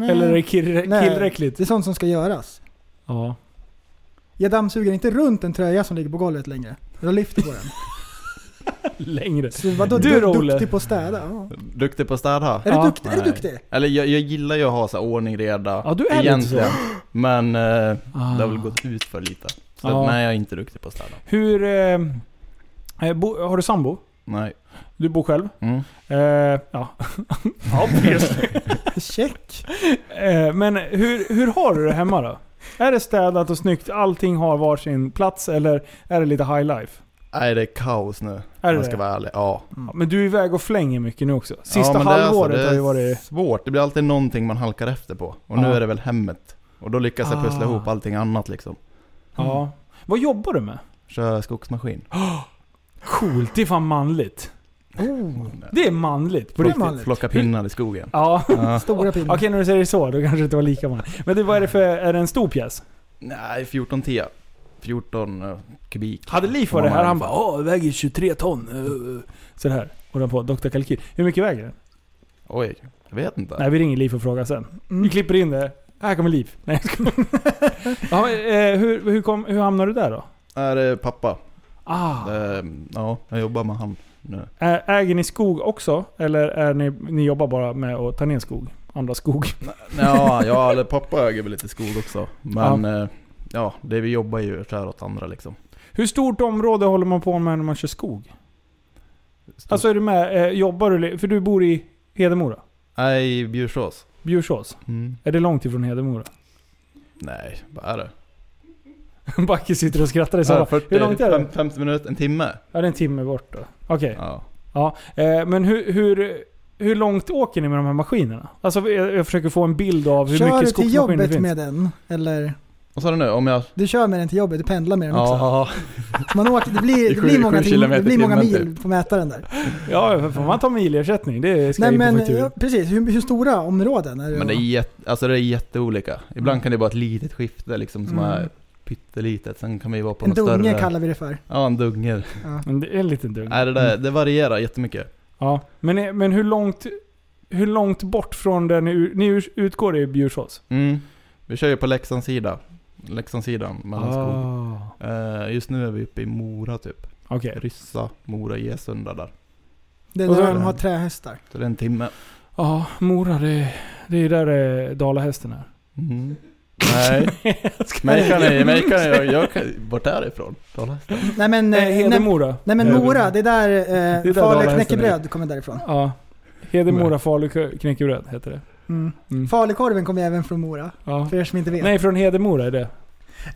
Eller är det killrä- Nej. killräckligt? Det är sånt som ska göras. Ja. Jag dammsuger inte runt en tröja som ligger på golvet längre. Jag lyfter på den. Längre. Så vadå, Du du, då, är Olle? duktig på att städa? Ja. Duktig på att städa? Är, Ja. du duktig? är du Nej. duktig? Eller jag, jag gillar ju att ha så här ordning reda Ja, du är lite egentligen. Men eh, det har väl Ah. gått ut för lite. Så Ja. att, nej, jag är inte duktig på att städa. Hur... Eh, eh, bo, har du sambo? Nej. Du bor själv? Mm. Eh, ja. Obviously. Check. eh, men hur, hur har du det hemma då? Är det städat och snyggt? Allting har var sin plats eller är det lite high life? Nej, det är kaos nu. Är Om det jag ska det? vara ärlig. Ja. Ja, Men du är iväg och flänger mycket nu också. ja, Sista men det är halvåret alltså, har ju Det är varit... svårt. Det blir alltid någonting man halkar efter på. Och nu Ja. är det väl hemmet. Och då lyckas jag pussla Ah. ihop allting annat liksom. Ja. Vad jobbar du med? Kör skogsmaskin. Coolt, det är fan manligt. Oh. Det är manligt på Det är riktigt. manligt. Plocka pinnar i skogen. Ja. Ja. Stora pinnar. Okej, när du säger det så, då kanske det inte var lika många. Men det, vad är det för... Är det en stor pjäs? Nej, 14 T. 14 eh, kubik. Hade Liv varit här, han bara åh, väger 23 ton. eh." Sådär. Och den på Dr. Kalkyl. Hur mycket väger den? Oj, jag vet inte. Nej, vi ringer Liv och frågar sen. Mm. Vi klipper in det. Här kommer Liv. Nej, jag skojar. ja, men, eh, hur, hur, kom, hur hamnar du där då? Är det pappa? Ah, Eh, Ja, jag jobbar med han nu. Ä- äger ni skog också? Eller är ni, ni jobbar bara med att ta ner skog? Andra skog? Ja, ja eller pappa äger väl lite skog också. Men eh, ja, det vi jobbar ju så här åt andra liksom. Hur stort område håller man på med när man kör skog? Alltså är du med, eh, jobbar du, li- för du bor i Hedemora? Nej, Bjursås. Bjursås? Mm. Är det långt ifrån Hedemora? Nej, vad är det? Backe sitter och skrattar i Ja, soffan. Hur långt är det? fem- 50 minuter, en timme? Ja, det är en timme bort då. Okej. Ja. Ja. Eh, Men hur, hur, hur långt åker ni med de här maskinerna? Alltså jag, jag försöker få en bild av hur Kör mycket du till skogsmaskiner det jobbet finns. med den? Eller? Vad sa du nu? Om jag... Du kör med den till jobbet, du pendlar med den också. Ja, Man åker, det blir, är det sju- blir sju många, tim- det kilometer blir i många timmen, mil typ. på mätaren där. Ja, för får man ta milersättning? Det ska Nej ju på men eh, fakturan. ja, precis, hur, hur stora områden är det? men det är, jätte, alltså det är jätteolika. Ibland kan det vara ett litet skifte liksom som Mm. är pyttelitet. Sen kan vi vara på en något dunge större. kallar vi det för. Ja, en dunge. Men det är en liten dugg. Nej, det, där, det varierar jättemycket. Ja. Men, men hur, långt, hur långt bort från där ni, ur- ni ur- utgår i Bjursås? Mm. Vi kör ju på Leksands sida. Leksandssidan, Mellanskog. Ah. Eh, just nu är vi uppe i Mora typ. Okej. Ryssa, Mora, Gesunda där. Det är Och där så- de har trähästar. Så det är en timme. Ja, Mora det, det är ju där eh, dalahästen är. Mhm. Nej, mig kan ni, mig kan jag, jag kan, vart är det ifrån? Dalhästan? Nej men, Nej, eh, nej, Hedemora. nej, men Eh, Mora, det är där eh, där Falu Dalahästen knäckebröd kommer därifrån. Ja. Hedemora Falu knäckebröd heter det. Mm. Mm. Falukorven kommer även från Mora, Ja. för er som inte vet. Nej, från Hedemora är det.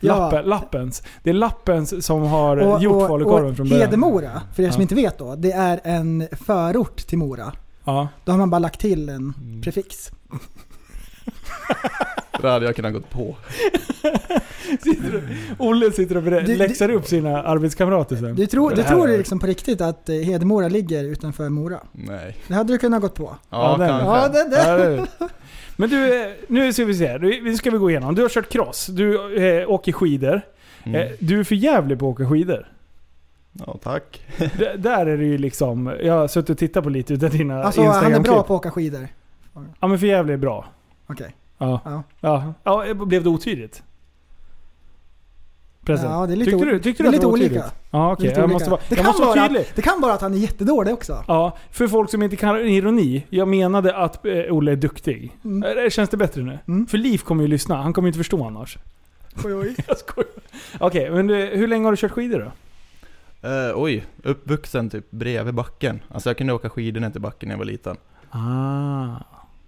Ja. Lappen, Lappens. Det är Lappens som har Och- gjort och- falukorven och från början. Hedemora, för er som Ja. inte vet då, det är en förort till Mora. Ja. Då har man bara lagt till en Mm. prefix. Det hade jag kunnat gått på. Sitter och- Olle sitter och berä- Du- du- läxar upp sina arbetskamrater sen. Du tror, du Det här tror är- liksom på riktigt att eh, Hedemora ligger utanför Mora? Nej. Det hade du kunnat gått på. Ja, den- kanske. Ja, det, det. Ja, det är det. Men du, eh, nu ska vi se. här. Du- Nu ska vi gå igenom. Du har kört cross. Du eh, åker skidor. Eh, Mm. du är för jävlig på att åka skidor. ja tack. D- där är det ju liksom... Jag har suttit och tittat på lite utav dina Alltså han är Instagram-klipp. bra på att åka skidor. Ja men för jävlig är bra. Okej. Ja. Ja. Ja. ja. eh, blev det otydligt? Pressen. Ja, det är lite tyckte o- du, tyckte du det är att lite det var olika. otydligt? Ja okej. Lite Jag olika. måste vara, det, jag kan måste vara vara, tydlig. det kan vara att han är jättedålig också. Ja, för folk som inte kan ironi. Jag menade att eh, Olle är duktig. Mm. Eh, Känns det bättre nu? Mm. För Liv kommer ju lyssna. Han kommer ju inte förstå annars. Oj, oj. Jag skojar. Okej, men du, hur länge har du kört skidor då? Eh, oj, uppvuxen typ bredvid backen. Alltså jag kunde åka skidor ner till backen när jag var liten. Ah.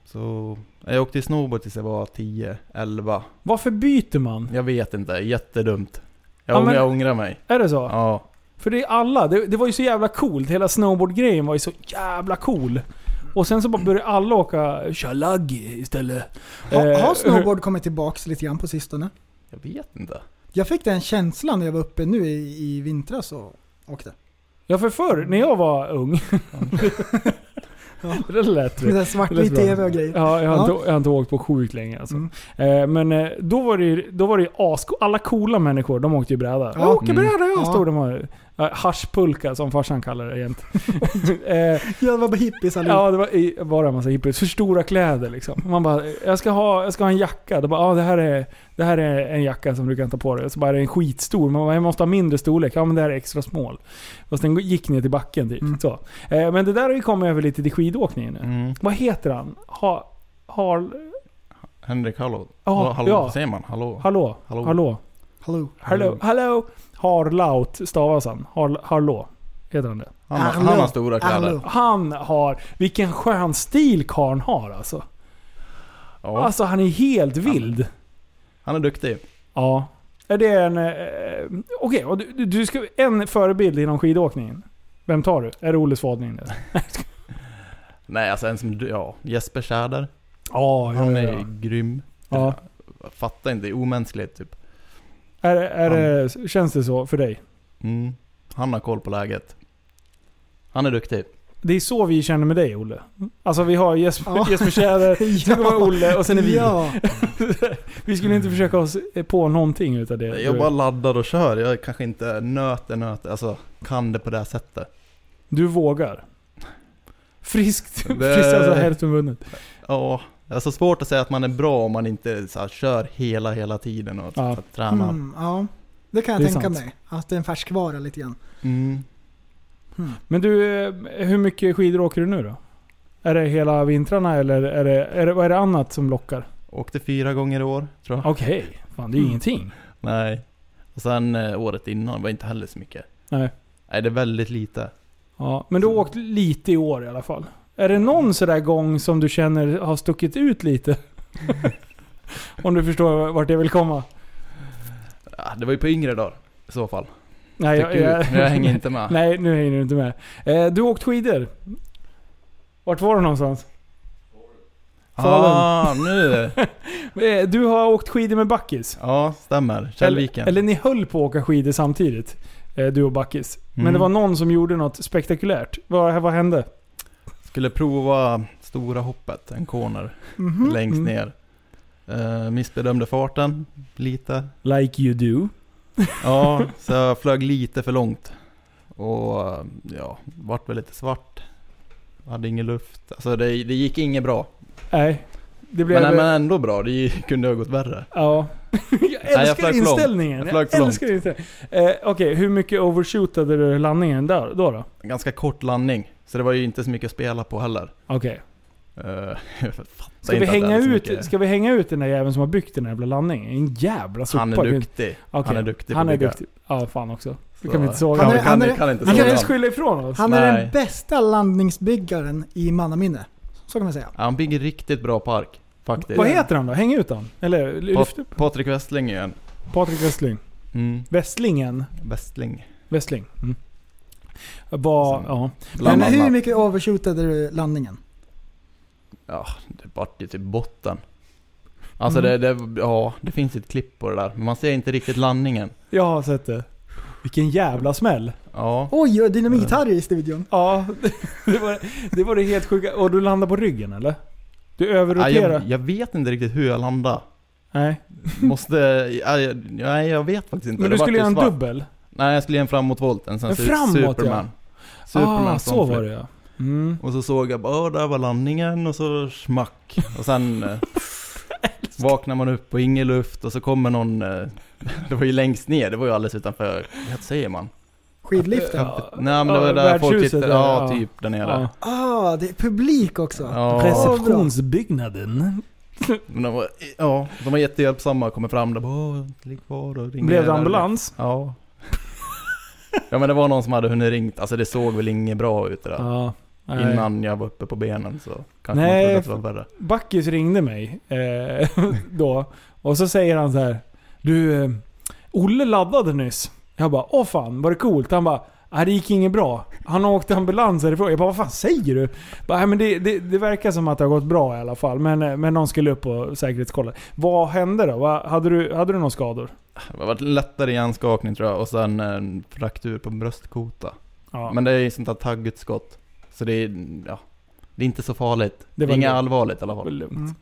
Så jag åkte snowboard tills jag var 10, 11. Varför byter man? Jag vet inte, jättedumt. Jag, Ja, ång- men- jag ångrar mig. Är det så? Ja. För det är alla. Det, det var ju så jävla coolt. Hela snowboardgrejen var ju så jävla cool. Och sen så bara började alla åka köra luggy istället. Ha, Eh, har snowboard kommit tillbaks lite grann på sistone? Jag vet inte. Jag fick den känslan när jag var uppe nu i, i vintras och åkte. Ja för förr, när jag var ung. det lät det. Med där Det svartvit lät bra. tv och grejer. Ja, jag har, Ja. Inte, jag har inte åkt på sjukt länge alltså. Mm. eh, Men eh, då var det ju, då var det ju as, alla coola människor, de åkte ju bräda. Jag åker Mm. bräda jag! Ja. Stod de här. Ja, Haschpulka som farsan kallar det jämt. eh, Jag var bara hippies allihop. Ja, det var i- bara en massa hippies. För stora kläder liksom. Man bara, jag ska ha, jag ska ha en jacka. Då bara, ah, det, här är, det här är en jacka som du kan ta på dig. Och Så bara, det är en skitstor. Man bara, jag måste ha mindre storlek. Ja, men det här är extra small. Och sen gick ner till backen typ. Mm. Så. Eh, men det där har ju kommit över lite till skidåkningen nu. Mm. Vad heter han? Ha, har, Henrik, hallå? Ja, hallå, hallå ja. vad säger man? Hallå? hallå? Hallå. Hallå? Hallå. Hallå? hallå? Harlaut stavas han. Har, harlå? Heter han det? Han, har- Hallå. han har stora kläder. Hallå. Han har... Vilken skön stil karln har alltså. Ja, Alltså han är helt vild. han är duktig. Ja. Är det en... Eh, eh, Okej, och du, du- du ska, en förebild inom skidåkningen. Vem tar du? Är det Olle Svadning? det? Nej, alltså en som du, ja, Jesper Tjäder. Ja, Han ja, är ja. grym. ja. Jag fattar inte, det är omänskligt typ. Är, det- är det, känns det så för dig? Mm. Han har koll på läget. Han är duktig. Det är så vi känner med dig Olle. Alltså vi har Jesper, Ja. Jesper Tjäder, sen kommer Olle och sen är vi. Ja. Vi skulle inte försöka oss på någonting utav det. Jag bara laddar och kör. Jag kanske inte nöter, nöter, alltså kan det på det här sättet. Du vågar. Friskt. Det- Friskt alltså hälften vunnet. Ja, det är så svårt att säga att man är bra om man inte så här, kör hela, hela tiden och Ja. så, här, tränar. Mm. Mm, ja. Det kan jag Det är tänka sant. mig. Att det är en färskvara lite grann. Mm. Men du, eh, hur mycket skidor åker du nu då? Är det hela vintrarna eller är det, är det, vad är det annat som lockar? Åkte fyra gånger i år, tror jag. Okej, fan det är ju ingenting. Nej. Och sen eh, året innan var inte heller så mycket. Nej. Nej, det är väldigt lite. Ja, men du har åkt lite i år i alla fall. Är det någon sådär gång som du känner har stuckit ut lite? Om du förstår vart jag vill komma. Ja, det var ju på yngre dagar i så fall. Nej, Tycker du? Men jag hänger inte med. Nej, nu hänger du inte med. Eh, du har åkt skidor. Vart var du någonstans? Ah, nu. Eh, du har åkt skidor med Backis. Ja, stämmer. Eller, Källviken. eller ni höll på att åka skidor samtidigt. Eh, du och Backis. Men Mm. det var någon som gjorde något spektakulärt. Vad, vad hände? Skulle prova stora hoppet, en corner, Mhm. längst Mm. ner. Eh, missbedömde farten lite. Like you do. Ja, så jag flög lite för långt. Och eh, ja, vart väl lite svart. Hade ingen luft. Alltså det, det gick inget bra. Nej. Det blev... Men, men ändå bra, det kunde ha gått värre. Ja. jag jag älskar flög för långt. inställningen. Jag Jag, flög för långt. älskar inställningen. Eh, Okej, hur mycket overshootade du landningen där, då? då? Ganska kort landning, så det var ju inte så mycket att spela på heller. Okej. Uh, Ska vi, hänga ut, ska vi hänga ut den där jäveln som har byggt den här jävla landningen? En jävla sopa. Han är duktig. Okej. Han är duktig på Han är att bygga. duktig. Ja, fan också. Det Så- kan vi inte såga. Ja, Han är- vi han kan, är- vi kan inte Vi kan såga inte han. ens skylla ifrån oss. Han är Nej. den bästa landningsbyggaren i mannaminne. Så kan man säga. Ja, han bygger riktigt bra park. Faktiskt. Vad heter han då? Häng ut han. Eller lyft upp. Pat- Patrik Westling är en. Patrik Westling. Mm. Westlingen. Westling. Westling. Mm. Var, Som- ja. Bland Men hur annat. mycket overshootade du landningen? Ja, det vart ju typ botten. Alltså Mm. det, det, ja, det finns ett klipp på det där. Men man ser inte riktigt landningen. Jag har sett det. Vilken jävla smäll. Ja. Oj, oj, dynamit-Harry i studion. Ja, det var det, var det helt sjuka. Och du landade på ryggen eller? Du Ja, överroterar? jag, jag vet inte riktigt hur jag landade. Nej. Måste... ja, jag- Nej, jag vet faktiskt inte. Men Det du vart skulle ju göra en svart. dubbel? Nej, jag skulle ge en framåtvolt. En sån En su- framåt, ja. Superman. som Ah, så var flög. det ja. Mm. Och så såg jag bara, "Åh, där var landningen och så smack. Och sen eh, vaknar man upp och ingen luft och så kommer någon, eh, det var ju längst ner, det var ju alldeles utanför, vad säger man? Skidliften. Ja. Nej men det var Ja, där folk värdshuset tittade, där, ja, ja. typ där nere. Ja. Ah, det är publik också. Ja, Receptionsbyggnaden. men de var, ja, de var jättehjälpsamma och kommer fram där bara, "Åh, ligg kvar och ringer. Blev det där." ambulans? Ja. Ja men det var någon som hade hunnit ringt, alltså det såg väl inget bra ut det där. Ja. Nej. Innan jag var uppe på benen så kanske Nej, man trodde att det var värre. Backis ringde mig eh, då och så säger han så här. Du, eh, Olle laddade nyss. Jag bara, åh fan var det coolt? Han bara, nej det gick inget bra. Han åkte ambulans härifrån. Jag bara, vad fan säger du? Bara, "Nej, men det, det, det verkar som att det har gått bra i alla fall. Men, eh, men någon skulle upp och säkerhetskolla. Vad hände då? Vad, hade, du, hade du några skador? Det har varit lättare hjärnskakning tror jag och sen en fraktur på bröstkota. Ja, Men det är ju sånt här taggutskott. Så det är, ja, det är inte så farligt. Det Det, var är inget lugnt. allvarligt i alla det var fall. lugnt.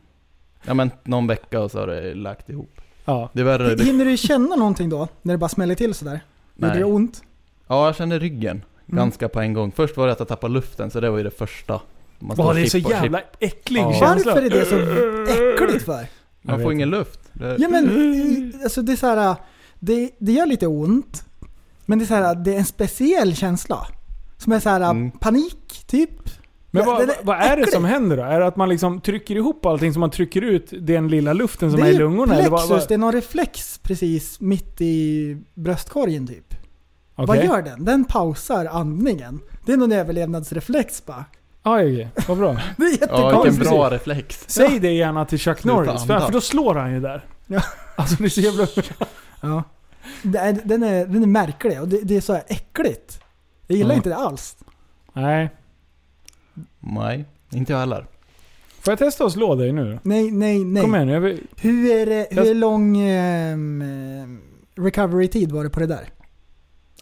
Ja men någon vecka och så har det läkt ihop. Ja. Det är värre. Det, Hinner du känna någonting då? När det bara smäller till sådär? Gjorde det nej. ont? Ja jag kände ryggen. Mm. Ganska på en gång. Först var det att jag tappade luften så det var ju det första. Man står Åh, det är och så kippar, kippar. jävla äcklig Ja. känsla. Varför är det så äckligt för? Jag Man vet får ingen luft. Det, Ja men, i- alltså det är så här, det, det gör lite ont. Men det är så här, det är en speciell känsla. Som är så här Mm. panik, typ. Men Ja, vad, den är vad är det äcklig. som händer då? Är det att man liksom trycker ihop allting så man trycker ut den lilla luften som det är i ju lungorna? eller vad- plexus, vad- det är någon reflex precis mitt i bröstkorgen typ. Okej. Vad gör den? Den pausar andningen. Det är någon överlevnadsreflex bara. Ja, okej. Vad bra. Det är ja vilken jättekonstigt. bra reflex. Säg det gärna till Chuck Sluta Norris, för, andas. för då slår han ju där. Ja. Alltså det är så jävla... Ja. Det är- Den, är, den är märklig och det, det är så här äckligt. Jag gillar Mm. inte det alls. Nej. Nej, inte jag heller. Får jag testa att slå dig nu? Nej, nej, nej. Kom igen nu. jag vill- Hur, eh, hur Jag- lång ehm, ehm, recovery-tid var det på det där?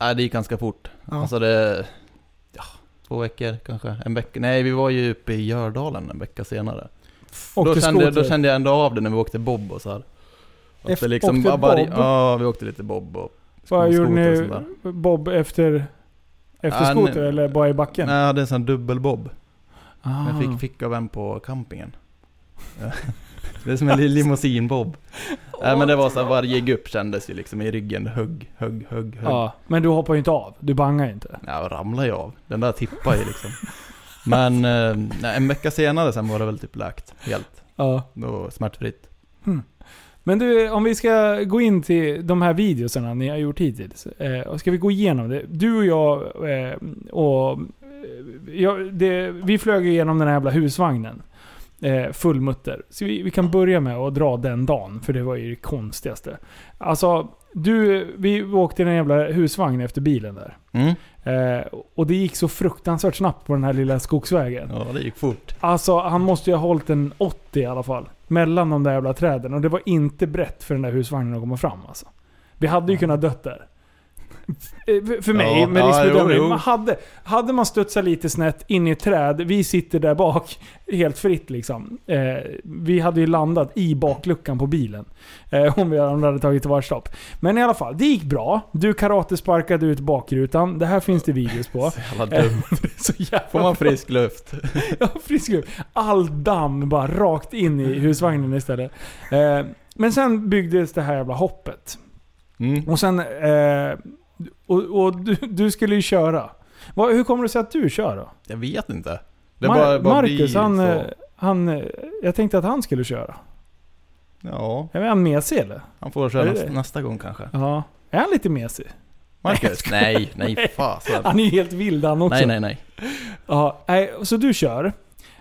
Nej det gick ganska fort. Ja. Alltså det... Ja, två veckor kanske. En vecka. Nej, vi var ju uppe i Gördalen en vecka senare. Och Då till kände, skoter. då kände jag ändå av det när vi åkte bob och så här. Att Efter- det liksom åkte var varje- bob? Ja, vi åkte lite bob och Vad gjorde skoter och ni sånt där. Bob efter, efter Ah, skoter nu- eller bara i backen? Nej, jag hade en sån här dubbelbob. Ah. Jag fick, fick av en på campingen. det är som en li- limousinbob. Nej men det var så här, varje gupp kändes ju liksom i ryggen. Hugg, hugg, hugg, hugg. Ja, men du hoppar ju inte av. Du bangar ju inte. Ja, jag ramlade ju av. Den där tippade ju liksom. Men eh, nej, en vecka senare sen var det väl typ läkt helt. Ja. Då smärtfritt. Men du, om vi ska gå in till de här videoserna ni har gjort hittills. Eh, och ska vi gå igenom det? Du och jag eh, och... Eh, jag, det, vi flög igenom den här jävla husvagnen. Eh, full mutter. Så vi, vi kan börja med att dra den dagen, för det var ju det konstigaste. Alltså, du, vi åkte i den jävla husvagnen efter bilen där. Mm. Eh, och det gick så fruktansvärt snabbt på den här lilla skogsvägen. Ja, det gick fort. Alltså han måste ju ha hållit en 80 i alla fall. Mellan de där jävla träden. Och det var inte brett för den där husvagnen att komma fram alltså. Vi hade ju kunnat dött där. Eh, för- För mig, Ja, med ja, riskbedömning. jo, jo. Man hade, hade man studsat lite snett in i ett träd, vi sitter där bak helt fritt liksom. Eh, vi hade ju landat i bakluckan på bilen. Eh, om vi om det hade tagit tillvarastopp. Men i alla fall, det gick bra. Du karatesparkade ut bakrutan. Det här finns det videos på. Jävla dumt. Det är så jävla Får man frisk luft? Ja, frisk luft. All damm bara rakt in i husvagnen istället. Eh, men sen byggdes det här jävla hoppet. Mm. Och sen... Eh, och och du, du skulle ju köra. Vad- hur kommer det sig att du kör då? Jag vet inte. Det Mar- bara, bara blir Marcus, han, så. eh, han... eh, Jag tänkte att han skulle köra. Ja, Är han mesig eller? han får köra Är det nästa, det? nästa gång kanske. Ja. Är han lite mesig? Marcus? Nej, nej fasen. Han är ju helt vild han också. Nej, nej, nej. Ja, nej, så du kör.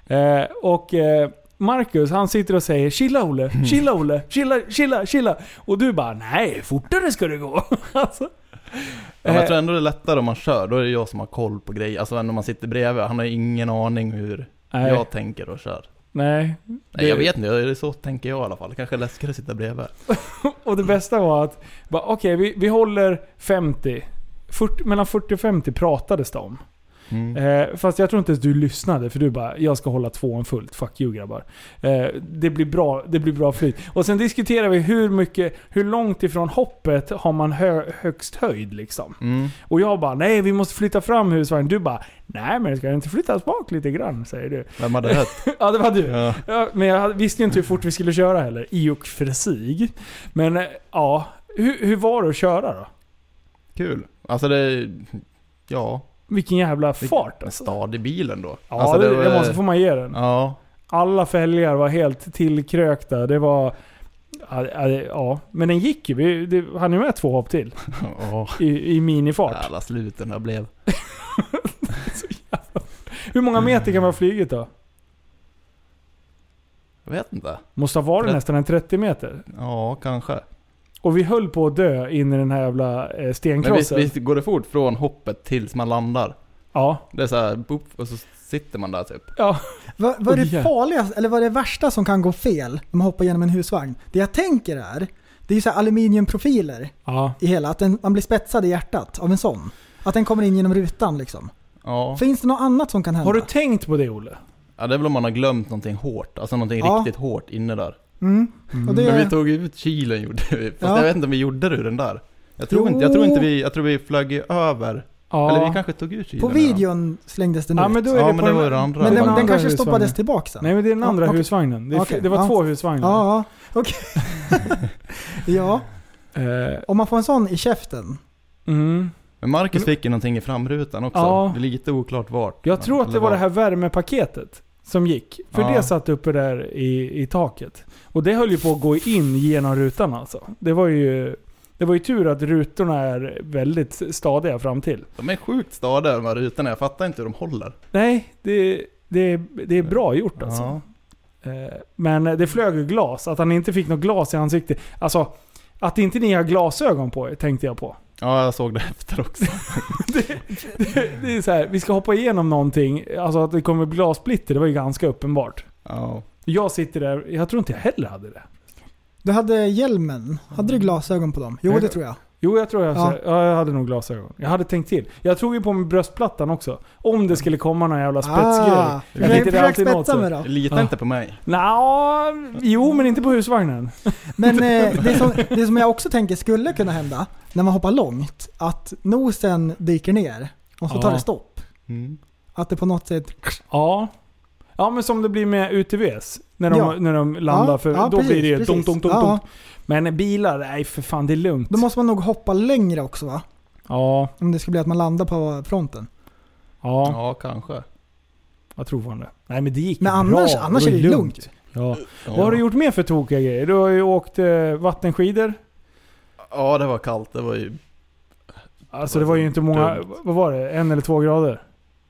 Eh, och eh, Marcus han sitter och säger 'Chilla Olle, chilla Olle, chilla, chilla, chilla' Och du bara 'Nej, fortare ska det gå' alltså, Ja, men Eh. jag tror ändå det är lättare om man kör, då är det jag som har koll på grejer. Alltså när man sitter bredvid, han har ingen aning hur nej, jag tänker och kör. nej. Nej, jag vet inte, det är så tänker jag i alla fall. Kanske är läskigare att sitta bredvid. Och det bästa var att, bara, okej Eh, vi, vi håller 50. 40, mellan 40 och 50 pratades det om. Mm. Eh, fast jag tror inte ens du lyssnade för du bara 'Jag ska hålla tvåan fullt, fuck you grabbar' eh, det, blir bra, det blir bra flyt. Och sen diskuterar vi hur mycket, hur långt ifrån hoppet har man hö, högst höjd liksom. Mm. Och jag bara 'Nej vi måste flytta fram husvagnen' Du bara 'Nej men ska den inte flyttas bak lite grann?' säger du. Vem hade rätt? ja det var du. Ja. Ja, men jag hade- visste ju inte hur fort vi skulle köra heller, i och för sig. Men eh, ja, hur, hur var det att köra då? Kul. Alltså det... Ja. Vilken jävla Vilken- fart En alltså. stad i bilen då. Ja, alltså, det, var- det måste, får man ge den. Ja. Alla fälgar var helt tillkrökta. Det var... Ja, det- ja, det- ja. men den gick ju. Vi det, hann ju med två hopp till Åh, i, i minifart. jävla sluten jag blev. Hur många meter kan man ha flugit då? Jag vet inte. Måste ha varit Trett- nästan en 30 meter. Ja, kanske. Och vi höll på att dö in i den här jävla eh, Men visst, stenkrossen. visst går det fort från hoppet tills man landar? Ja. Det är så här, boop, och så sitter man där typ. ja. Vad, vad är Oj, ja. det farligaste, eller vad är det värsta som kan gå fel när man hoppar genom en husvagn? Det jag tänker är, det är ju så här aluminiumprofiler ja. i hela, att den, man blir spetsad i hjärtat av en sån. Att den kommer in genom rutan liksom. Ja. Finns det något annat som kan hända? Har du tänkt på det Olle? ja, det är väl om man har glömt någonting hårt. Alltså någonting Ja. riktigt hårt inne där. mm. Och det, Men vi tog ut kilen gjorde vi. Fast Ja. jag vet inte om vi gjorde det ur den där. Jag tror, inte, jag Jo. tror inte vi, jag tror vi flög ju över. Ja. Eller vi kanske tog ut kilen. på videon slängdes den Ja ut. men då är Ja, det men på det den, var ju det andra. Men det var den, den den andra kanske stoppades husvagnen. tillbaka sen? Nej men det är den Ja, andra okej. husvagnen. Det, är f- Okej, det var ja. två husvagnar. Ja, okej. ja, Eh, om man får en sån i käften. mm. Men Marcus fick ju någonting i framrutan också. Ja. Det är lite oklart vart. Jag tror att Eller det var vad. det här värmepaketet som gick. För Ja. det satt uppe där i, i taket. Och det höll ju på att gå in genom rutan alltså. Det var ju, det var ju tur att rutorna är väldigt stadiga fram till. De är sjukt stadiga de här rutorna. Jag fattar inte hur de håller. Nej, det, det, det är bra gjort alltså. Ja. Eh, Men det flög ju glas. Att han inte fick något glas i ansiktet. Alltså, att inte ni har glasögon på er tänkte jag på. ja, jag såg det efter också. Det är så här, vi ska hoppa igenom någonting. Alltså att det kommer glassplitter, det var ju ganska uppenbart. Ja. Jag sitter där, jag tror inte jag heller hade det. Du hade hjälmen, hade du glasögon på dem? Jo Nej, det tror jag. Jo, jag tror jag, Ja. ja, jag hade nog glasögon. Jag hade tänkt till. Jag tog ju på mig bröstplattan också. Om det skulle komma någon jävla spetsgrej. Ah, Jag försök- hittar försök alltid något spetsa så. mig då. Lita Ja. inte på mig. Nja, jo men inte på husvagnen. Men eh, det, som, det som jag också tänker skulle kunna hända när man hoppar långt, att nosen dyker ner och så tar Ja. det stopp. Mm. Att det på något sätt... Ja. Ja men som det blir med UTVs. När de, Ja. när de landar, Ja, för ja, då precis, blir det ju precis. dunk, dunk, dunk, Ja. dunk. Men bilar, nej för fan det är lugnt. Då måste man nog hoppa längre också va? ja, Om det ska bli att man landar på fronten. ja, Ja, kanske. jag tror fan det. Nej men det gick Men bra. annars, annars är var det lugnt. Ja. Ja. Vad har du gjort mer för tokiga grejer? Du har ju åkt eh, vattenskidor. Ja, det var kallt. Det var ju, Alltså det var ju inte många... Dumt. Vad var det? En eller två grader?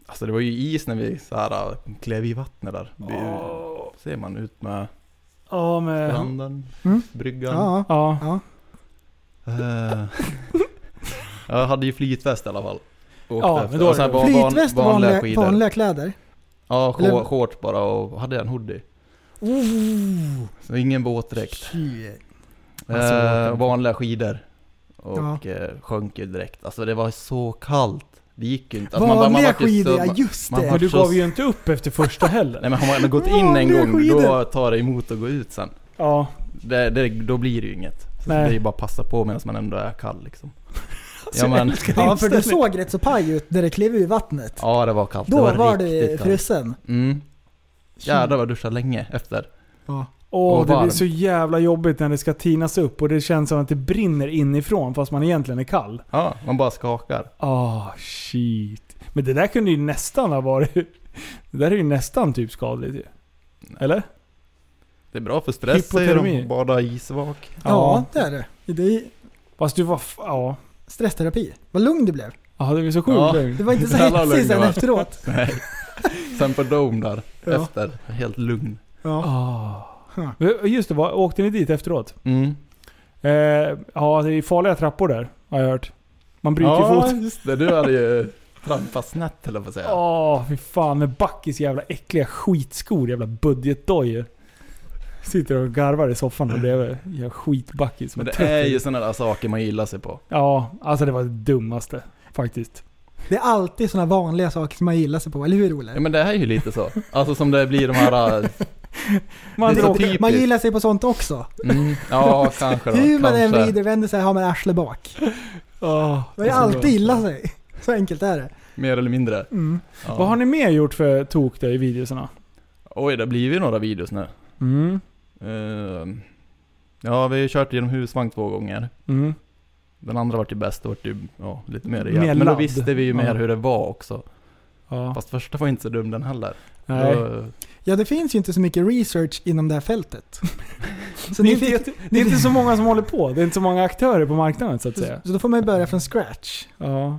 alltså, det var ju is när vi så här, äh, klev i vattnet där. Vi, ser man ut med Ja, med... stranden, Mm. bryggan. Ja, Ja. ja. Eh, jag hade ju flytväst i alla fall. Åkte Ja, men efter. då är Och sen det- var van- Flytväst, vanliga, vanliga, kläder. Ja, Eller- shor- shorts bara och hade en hoodie. Oh. Så ingen båtdräkt. Alltså, Eh, vanliga skidor. Och Ja. eh, sjönk ju direkt. Alltså det var så kallt. Det gick ju inte. Alltså, Vanliga vart ju skidor, så- ja just man det. var- Men du så- gav ju inte upp efter första heller. Nej men har man gått in en Vanliga gång, skidor. då tar det emot att gå ut sen. Ja. Det, det, då blir det ju inget. Så Nej. Det är ju bara att passa på medan man ändå är kall liksom. ja, men, Ja, för du Inställning. såg rätt så paj ut när det klev ur vattnet. ja det var kallt. Då det var, var, du riktigt kallt. frusen. Mm. Jävlar vad jag duschade länge efter. Åh, Och det blir varm. så jävla jobbigt när det ska tinas upp och det känns som att det brinner inifrån fast man egentligen är kall. Ja, man bara skakar. Ah, shit. Men det där kunde ju nästan ha varit... Det där är ju nästan typ skadligt ju. Eller? Det är bra för stress säger Hypotermi. de. Bada isvak. Ja, det är det. det är Fast du var... f- Ja. stressterapi. Vad lugn du blev. Ja, det var så sjukt Ja. Det lugnt. var inte så Jävla lugn hetsig du sen var. efteråt. Nej. Sen på Dome där Ja. efter. Helt lugn. Ja. Ah. Huh. Just det, var, åkte ni dit efteråt? Mm. Eh, ja, det är farliga trappor där, har jag hört. Man bryter ja, foten. just det. Du hade ju trampat snett eller vad säga. Ja. Åh, fy fan. Med Backis jävla äckliga skitskor. Jävla budgetdojor. Sitter och garvar i soffan där bredvid. Jävla skitbackis. Men med det trött är i. ju sådana där saker man gillar sig på. Ja, alltså det var det dummaste. Faktiskt. Det är alltid sådana vanliga saker som man gillar sig på, eller hur Olle? Ja men det här är ju lite så. Alltså som det blir de här... äh, Man Det är drar så åker- typiskt. Man gillar sig på sånt också. Mm, ja kanske då. Hur man än kanske. vrider och vänder sig har man arslet bak. Åh, Man är så bra. alltid illa sig. Så enkelt är det. Mer eller mindre. Mm. Ja. Vad har ni mer gjort för tok där i videoserna? Oj, det blir ju några videos nu. Mm. Ehm, ja, vi har ju kört genom husvagn två gånger. Mm. Den andra vart ju bäst, det vart ju ja, lite mer Mer rejält. Men då ladd. visste vi ju mer Ja. hur det var också. Ja. Fast första var inte så dum den heller. Nej. Då, Ja, det finns ju inte så mycket research inom det här fältet. det, är Så ni inte, fick, jätte- det är inte så många som håller på. Det är inte så många aktörer på marknaden så att säga. så då får man ju börja från scratch. Ja.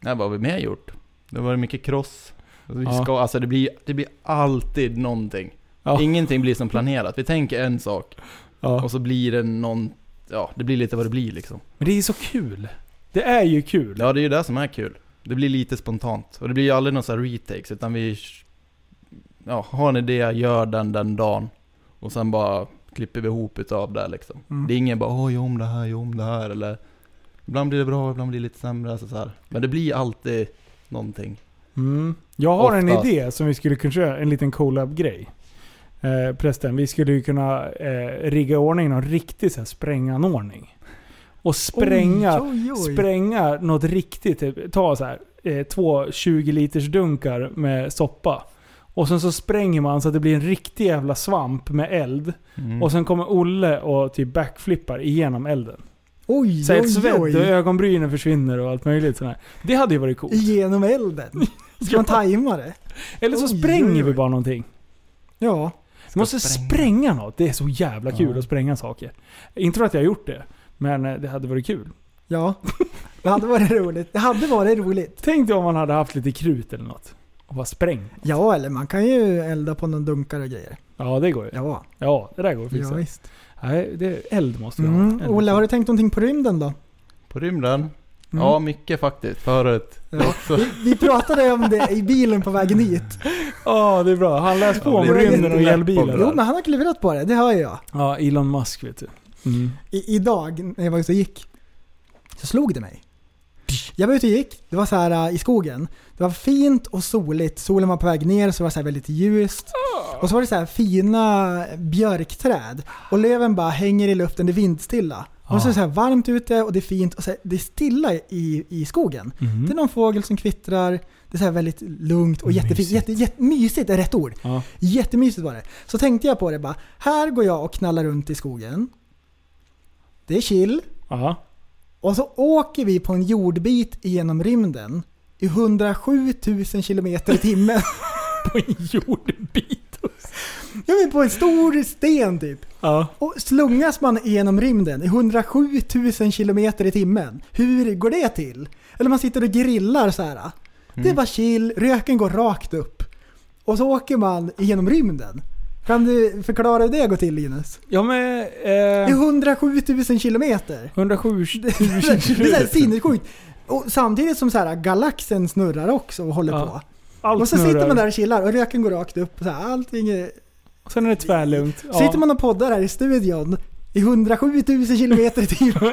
nej, vad har vi mer gjort? Det var ju mycket cross. Vi Ja. ska, alltså det blir, det blir alltid någonting. Ja. Ingenting blir som planerat. Vi tänker en sak Ja. och så blir det någon... Ja, det blir lite vad det blir liksom. Men det är så kul. Det är ju kul. Ja, det är ju det som är kul. Det blir lite spontant. Och det blir ju aldrig några så här retakes, utan vi... Ja, har en idé, gör den den dagen. Och sen bara klipper vi ihop utav det liksom. Mm. Det är ingen bara åh, gör om det här, gör om det här, eller... Ibland blir det bra, ibland blir det lite sämre, alltså så här. Men det blir alltid någonting. Mm. Jag har en Oftast. idé som vi skulle kunna köra, en liten collab-grej. Eh, prästen, vi skulle ju kunna eh, rigga i ordning någon riktig så här, spränganordning. Och spränga, Oj, oj, oj. spränga något riktigt. Typ, ta så här, eh, två 20 liters dunkar med soppa. Och sen så spränger man så att det blir en riktig jävla svamp med eld. Mm. Och sen kommer Olle och typ backflippar igenom elden. Oj, Så ett oj, svett och oj. ögonbrynen försvinner och allt möjligt sådär. Det hade ju varit coolt. Genom elden. Ska man tajma det? Eller så Oj, spränger oj, oj. vi bara någonting. Ja. Vi måste spränga. spränga. något. Det är så jävla kul Ja. att spränga saker. Inte för att jag har gjort det, men eh, det hade varit kul. Ja. Det hade varit roligt. Det hade varit roligt. Tänk dig om man hade haft lite krut eller något. Och bara sprängt. Ja, eller man kan ju elda på någon dunkar och grejer. Ja, det går ju. Ja, Ja, det där går att ja fixa. visst. Nej, det, eld måste vi ha. Mm. Eld. Olle, har du tänkt någonting på rymden då? På rymden? Mm. Ja, mycket faktiskt. Förut. Ja. Vi, vi pratade om det i bilen på vägen hit. Ja, det är bra. Han läste på Ja, om det är rymden inte och lätt elbilen. på det Jo, där. men han har klurat på det, det hör jag. Ja, Elon Musk vet du. Mm. I, idag när jag var ute och gick så slog det mig. Jag var ute och gick, det var så här äh, i skogen. Det var fint och soligt, solen var på väg ner så det var så här väldigt ljust. Och så var det så här fina björkträd och löven bara hänger i luften, det är vindstilla. Och så är det så här varmt ute och det är fint och så här, det är stilla i, i skogen. Mhm. Det är någon fågel som kvittrar, det är så här väldigt lugnt och jättefint. Mysigt. Jätte, jätte, mysigt är rätt ord. Ja. Jättemysigt var det. Så tänkte jag på det bara, här går jag och knallar runt i skogen. Det är chill. Aha. Och så åker vi på en jordbit genom rymden i 107 000 kilometer i timmen. På en jordbit. Jag vill på en stor sten typ. Ja. Och slungas man genom rymden i 107 000 kilometer i timmen. Hur går det till? Eller man sitter och grillar så här. Det är bara chill, röken går rakt upp. Och så åker man genom rymden. Kan du förklara hur det går till Linus? Ja men... Det är Eh, 107 000 kilometer. 107 Det är så här sinnessjukt. Och samtidigt som så här, galaxen snurrar också och håller Ja. på. Allt Och så snurrar. sitter man där och chillar och röken går rakt upp. Och så här, allting är... Sen är det tvärlugnt. Ja. Sitter man och poddar här i studion i 107 000 kilometer i timmen.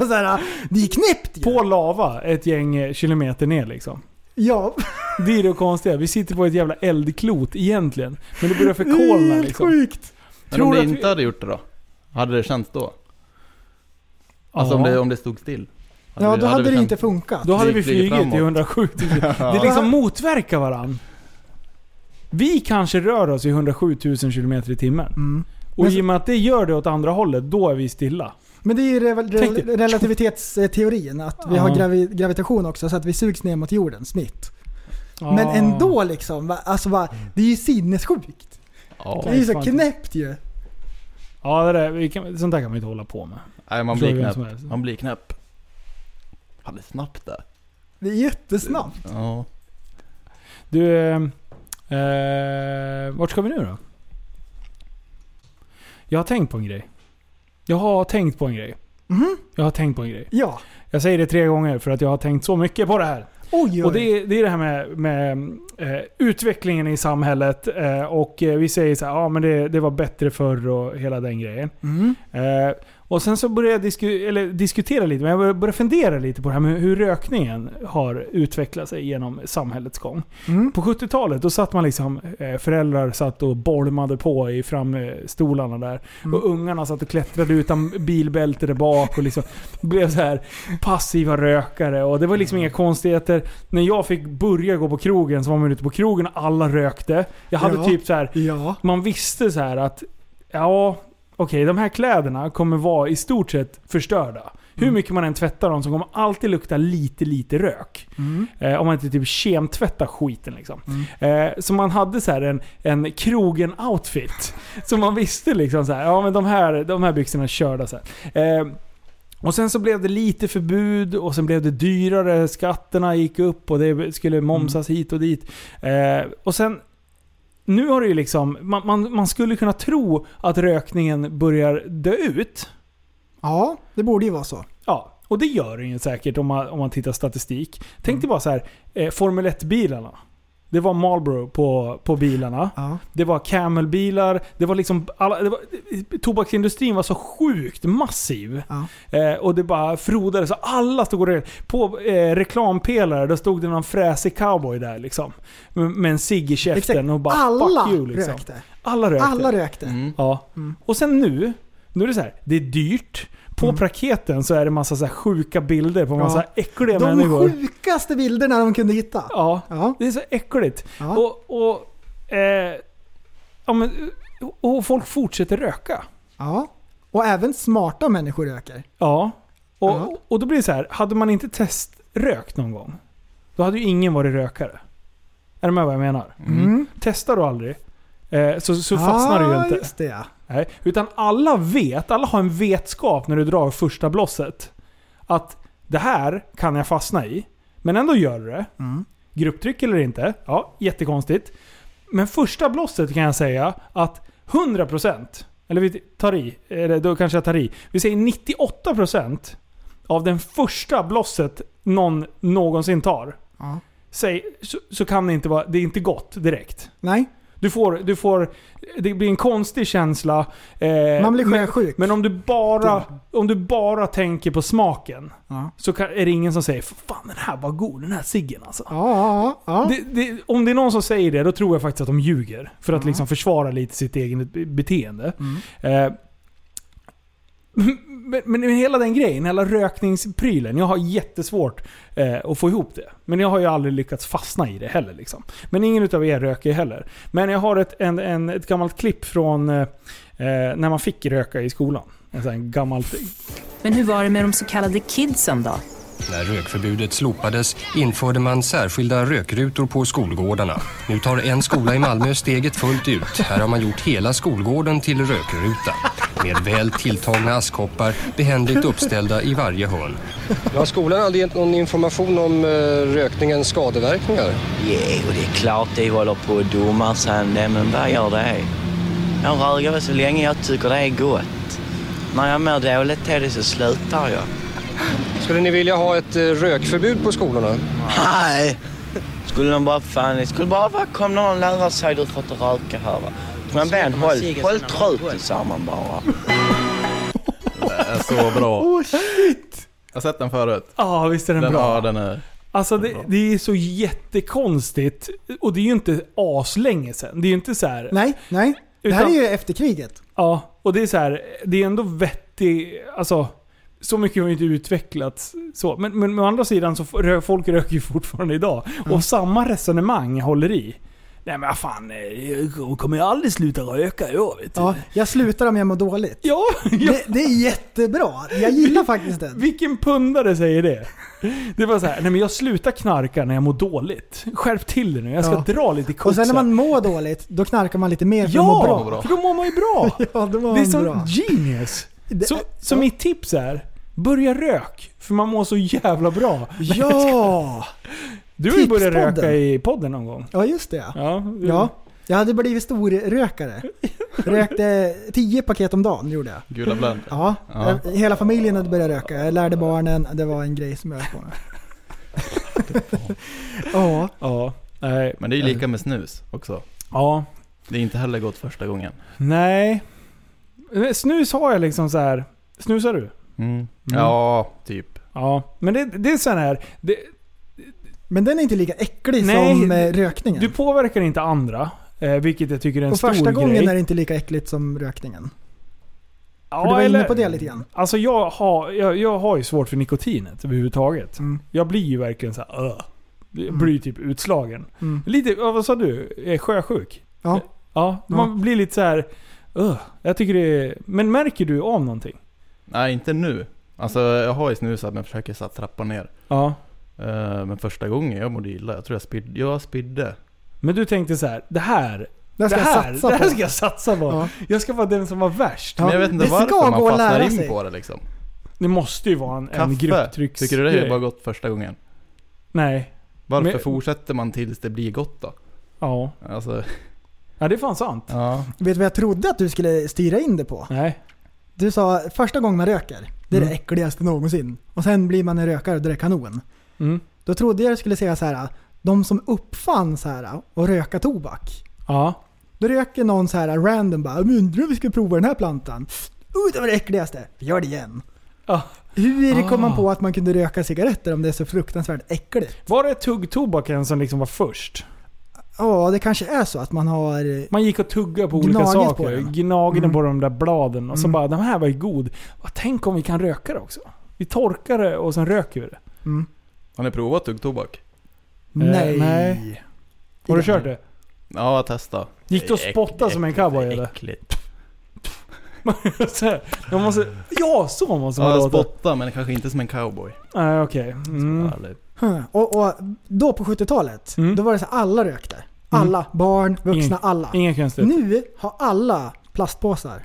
Och så här, det är knäppt ju. på lava ett gäng eh, kilometer ner liksom. Ja, Det är det konstiga. Vi sitter på ett jävla eldklot egentligen. Men det börjar det är förkolna helt liksom. sjukt. Men om Tror det att vi- inte hade gjort det då? Hade det känts då? Alltså om, Ja. det, om det stod still? Ja, vi- då hade vi det känt- inte funkat. Då hade Vi vi flyger flugit i framåt. 107 000. Det liksom motverkar varann. Vi kanske rör oss i 107 000 km i timmen. Mm. Och Men så- i och med att det gör det åt andra hållet, då är vi stilla. Men det är ju rel- Tänk dig- rel- relativitetsteorin, att vi har Ja. gravi gravitation också så att vi sugs ner mot jorden, snitt. Men Ah. ändå liksom, va- alltså va, det är ju sinnessjukt. Det Ja, är ju så fan. knäppt ju. Ja, det där, vi kan, sånt där kan man inte hålla på med. nej man Förstår blir vem som knäpp. helst. Man blir knäpp. Fan det är snabbt där. Det är jättesnabbt. Ja. Du, eh, eh, vart ska vi nu då? Jag har tänkt på en grej. Jag har tänkt på en grej. Jag har tänkt på en grej. Ja. Jag säger det tre gånger för att jag har tänkt så mycket på det här. Oj, Och oj. det är, det är det här med, med eh, utvecklingen i samhället. Eh, och eh, vi säger så här, ja men det, det var bättre förr och hela den grejen. Mm. Eh, och sen så började jag disku eller diskutera lite, men jag började- började fundera lite på det här med hur rökningen har utvecklat sig genom samhällets gång. Mm. På 70-talet då satt man liksom, eh, föräldrar satt och bolmade på i framstolarna där. Mm. Och ungarna satt och klättrade utan bilbälte där bak och liksom blev så här passiva rökare. Och det var Mm. liksom inga konstigheter. När jag fick börja gå på krogen så var man ute på krogen och alla rökte. Jag hade Ja. typ så här Ja. man visste så här att ja, okej, de här kläderna kommer vara i stort sett förstörda. Hur mycket man än tvättar dem så kommer alltid lukta lite, lite rök. Mm. Eh, om man inte typ kemtvättar skiten liksom. Eh, så man hade så här en, en krogen-outfit. Så man visste liksom så här, ja men de här, de här byxorna är körda så här. Eh, och sen så blev det lite förbud och sen blev det dyrare. Skatterna gick upp och det skulle momsas hit och dit. Eh, och sen... Nu har det ju liksom... Man, man, man skulle kunna tro att rökningen börjar dö ut. ja, det borde ju vara så. Ja, och det gör den ju säkert om man, om man tittar statistik. Mm. Tänk dig bara så här, eh, Formel 1-bilarna. Det var Marlboro på, på bilarna. Ja. Det var camelbilar. Det var liksom alla, det var, tobaksindustrin var så sjukt massiv. Ja. Eh, och det bara frodades. Och Alla stod och rökte. På eh, reklampelare då stod det någon fräsig cowboy där liksom. Med, med en cigg i käften Exakt. och bara Alla fuck you liksom. rökte. Alla rökte. Alla rökte. Mm. Ja. Och sen nu, nu är det så här, det är dyrt. På Mm. praketen så är det massa så här sjuka bilder på massa äckliga De människor. sjukaste bilderna de kunde hitta. Ja. Ja. Det är så äckligt. Ja. Och, och, eh, ja, men, och folk fortsätter röka. ja. Och även smarta människor röker. Ja. Och, Ja. och då blir det så här, hade man inte teströkt någon gång, då hade ju ingen varit rökare. Är du med vad jag menar? Mm. Testar du aldrig, eh, så, så fastnar du ju Ja, inte. Ah, just det ja. Nej, utan alla vet, alla har en vetskap när du drar första blosset. Att det här kan jag fastna i. Men ändå gör du det. Grupptryck eller inte. Ja, jättekonstigt. Men första blosset kan jag säga att 100%, eller vi tar i, eller då kanske jag tar i. Vi säger 98% av den första blosset någon någonsin tar. Ja. Säg, så, så kan det inte vara, det är inte gott direkt. Nej, Du får, du får, det blir en konstig känsla. eh, man blir men, sjösjuk. men om du bara, om du bara tänker på smaken Ja. så kan, är det ingen som säger Fan den här var god, den här ciggen alltså. Ja, ja, ja. Det, det, om det är någon som säger det, då tror jag faktiskt att de ljuger. För att liksom försvara lite sitt eget be- beteende. Eh, men, men hela den grejen, hela rökningsprylen. Jag har jättesvårt eh, att få ihop det. Men jag har ju aldrig lyckats fastna i det heller. Liksom. Men ingen utav er röker heller. Men jag har ett, en, en, ett gammalt klipp från eh, eh, när man fick röka i skolan. En sån här gammalt... Men hur var det med de så kallade kidsen då? När rökförbudet slopades införde man särskilda rökrutor på skolgårdarna. Nu tar en skola i Malmö steget fullt ut. Här har man gjort hela skolgården till rökruta. Med väl tilltagna askkoppar behändigt uppställda i varje hörn. Har skolan aldrig gett någon information om eh, rökningens skadeverkningar? Jo, det är klart de håller på och domar sen det, men vad gör det? Jag röker så länge jag tycker det är gott. När jag mår dåligt till det så slutar jag. Skulle ni vilja ha ett eh, rökförbud på skolorna? Nej! Skulle de bara fan, det skulle bara vara kom någon lärare och säga du får inte röka här va. Men Ben, håll, håll truten samman bara. är så bra. Oh, shit! Jag har sett den förut. Ja, visst är den, bra. Ja, den är... Alltså det, det är så jättekonstigt. Och det är ju inte aslänge sen. Det är ju inte så här. Nej, nej. Det här är Utan- ju efter kriget. Ja, och det är så här. Det är ändå vettig... Alltså, så mycket har ju inte utvecklats. Så. Men, men å andra sidan så f- rö- folk röker ju fortfarande idag. Mm. Och samma resonemang håller i. Nej men vad fan, eh, jag kommer ju aldrig sluta röka i år vet du. Ja, jag slutar om jag mår dåligt. Ja, Det, det är jättebra. Jag gillar faktiskt den. Vilken pundare säger det? Det var så här, nej men jag slutar knarka när jag mår dåligt. Skärp till dig nu, jag ska Ja. dra lite koks Och sen när här. man mår dåligt, då knarkar man lite mer för att må Ja! bra. För då mår man ju bra. Ja, då mår det är man som bra. genius. Så, så ja. mitt tips är, börja rök. För man mår så jävla bra. Ja! Du har ju börjat Tipspodden. röka i podden någon gång. Ja, just det. Ja. du- Ja, jag hade blivit stor rökare. Rökte 10 paket om dagen gjorde jag. Gula Blend. Ja, Ja. jag- hela familjen hade börjat röka. Jag lärde barnen, det var en grej som jag höll på med. ja, Ja. Nej. Men det är ju lika med snus också. Ja. Det är inte heller gott första gången. Nej. Eh, Snus har jag liksom så här. Snusar du? Mm. Mm. Ja, typ. Ja. Men det, det är sån här. Det, men den är inte lika äcklig Nej, som eh, rökningen. Du påverkar inte andra, eh, vilket jag tycker är en och stor första gången grej. är det inte lika äckligt som rökningen. Ja, för du var eller- inne på det lite grann. Alltså jag har, jag, jag har ju svårt för nikotinet överhuvudtaget. Jag blir ju verkligen så här. "Ugh." Jag blir ju typ utslagen. Mm. Lite, ja, vad sa du? Eh, Sjösjuk? Ja. Ja, man blir lite så här. "Ugh." Jag tycker det är, Men märker du av någonting? Nej, inte nu. Alltså jag har ju snusat men försöker så här, trappa ner. Ja. Eh, Men första gången jag mådde illa. Jag tror jag spydde. Jag spydde. Men du tänkte så här, det här... Det här ska jag här, satsa det här på." ska jag satsa på. Ja. Jag ska vara den som var värst. Men jag vet inte det ska varför man gå att fastnar lära in sig. på det liksom. Det måste ju vara en, en Kaffe. grupptrycks... Tycker du det är grej. bara gott första gången? Nej. Varför Men- fortsätter man tills det blir gott då? Ja. Alltså, Ja, det är fan sant. ja. Vet du vad jag trodde att du skulle styra in det på? Nej. Du sa första gången man röker, det är det Mm. äckligaste någonsin. Och sen blir man en rökare och det är kanon. Mm. Då trodde jag du skulle säga så här, de som uppfann så här och röka tobak. Ja. Då röker någon så här random bara "Men undrar om vi ska prova den här plantan. Uh, det var det äckligaste. Vi gör det igen. Ja. Hur kom Ah. man på att man kunde röka cigaretter om det är så fruktansvärt äckligt? Var det tuggtobaken som liksom var först? Ja, det kanske är så att man har... eh, Man gick och tuggade på olika Gnagit på saker. den. Gnagde Mm. på de där bladen och så Mm. bara de här var ju god. Vad, Tänk om vi kan röka det också? Vi torkar det och sen röker vi det. Har ni provat tuggtobak? Nej. Eh, nej. Har du kört det? Ja, testa. Gick du och spottade som en cowboy eller? Äckligt. Så här, Jag måste... Ja, så måste man Ja, låta. spotta men kanske inte som en cowboy. Nej, okej. Mm. Ärligt. Huh. Och, och då på 70-talet, då var det så här, alla rökte. Alla. Barn, vuxna, Mm. Ingen- alla. Inga konstigt. Nu har alla plastpåsar.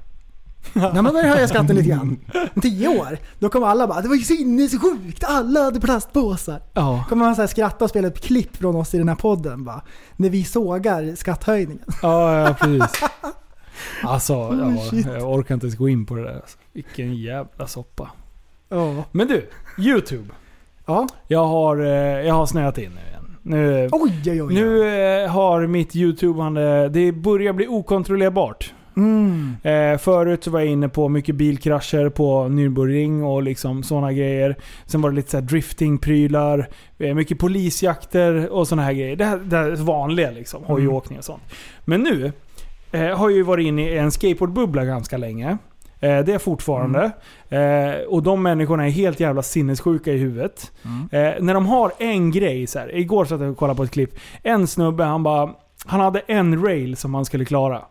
När man börjar höja skatten lite grann, om tio år, då kommer alla bara “Det var ju sinnessjukt, alla hade plastpåsar”. Ja. kommer man så här skratta och spela ett klipp från oss i den här podden bara, när vi sågar skatthöjningen. Ja, ja precis. Alltså, Oh, shit. ja, jag orkar inte ens gå in på det där. Alltså. Vilken jävla soppa. Ja. Men du, YouTube. Ja. Jag har, eh, jag har snöat in nu igen. Nu, Oj, oj, oj. nu eh, har mitt YouTubande, det börjar bli okontrollerbart. Mm. Eh, förut så var jag inne på mycket bilkrascher på Nürburgring och liksom sådana grejer. Sen var det lite så här driftingprylar, eh, mycket polisjakter och sådana här grejer. Det här, det här är vanliga liksom, hojåkning och sånt. Men nu eh, har jag ju varit inne i en skateboardbubbla ganska länge. Eh, det är jag fortfarande. Eh, och de människorna är helt jävla sinnessjuka i huvudet. Eh, när de har en grej så här. Igår satt jag och kollade på ett klipp. En snubbe, han bara... Han hade en rail som han skulle klara.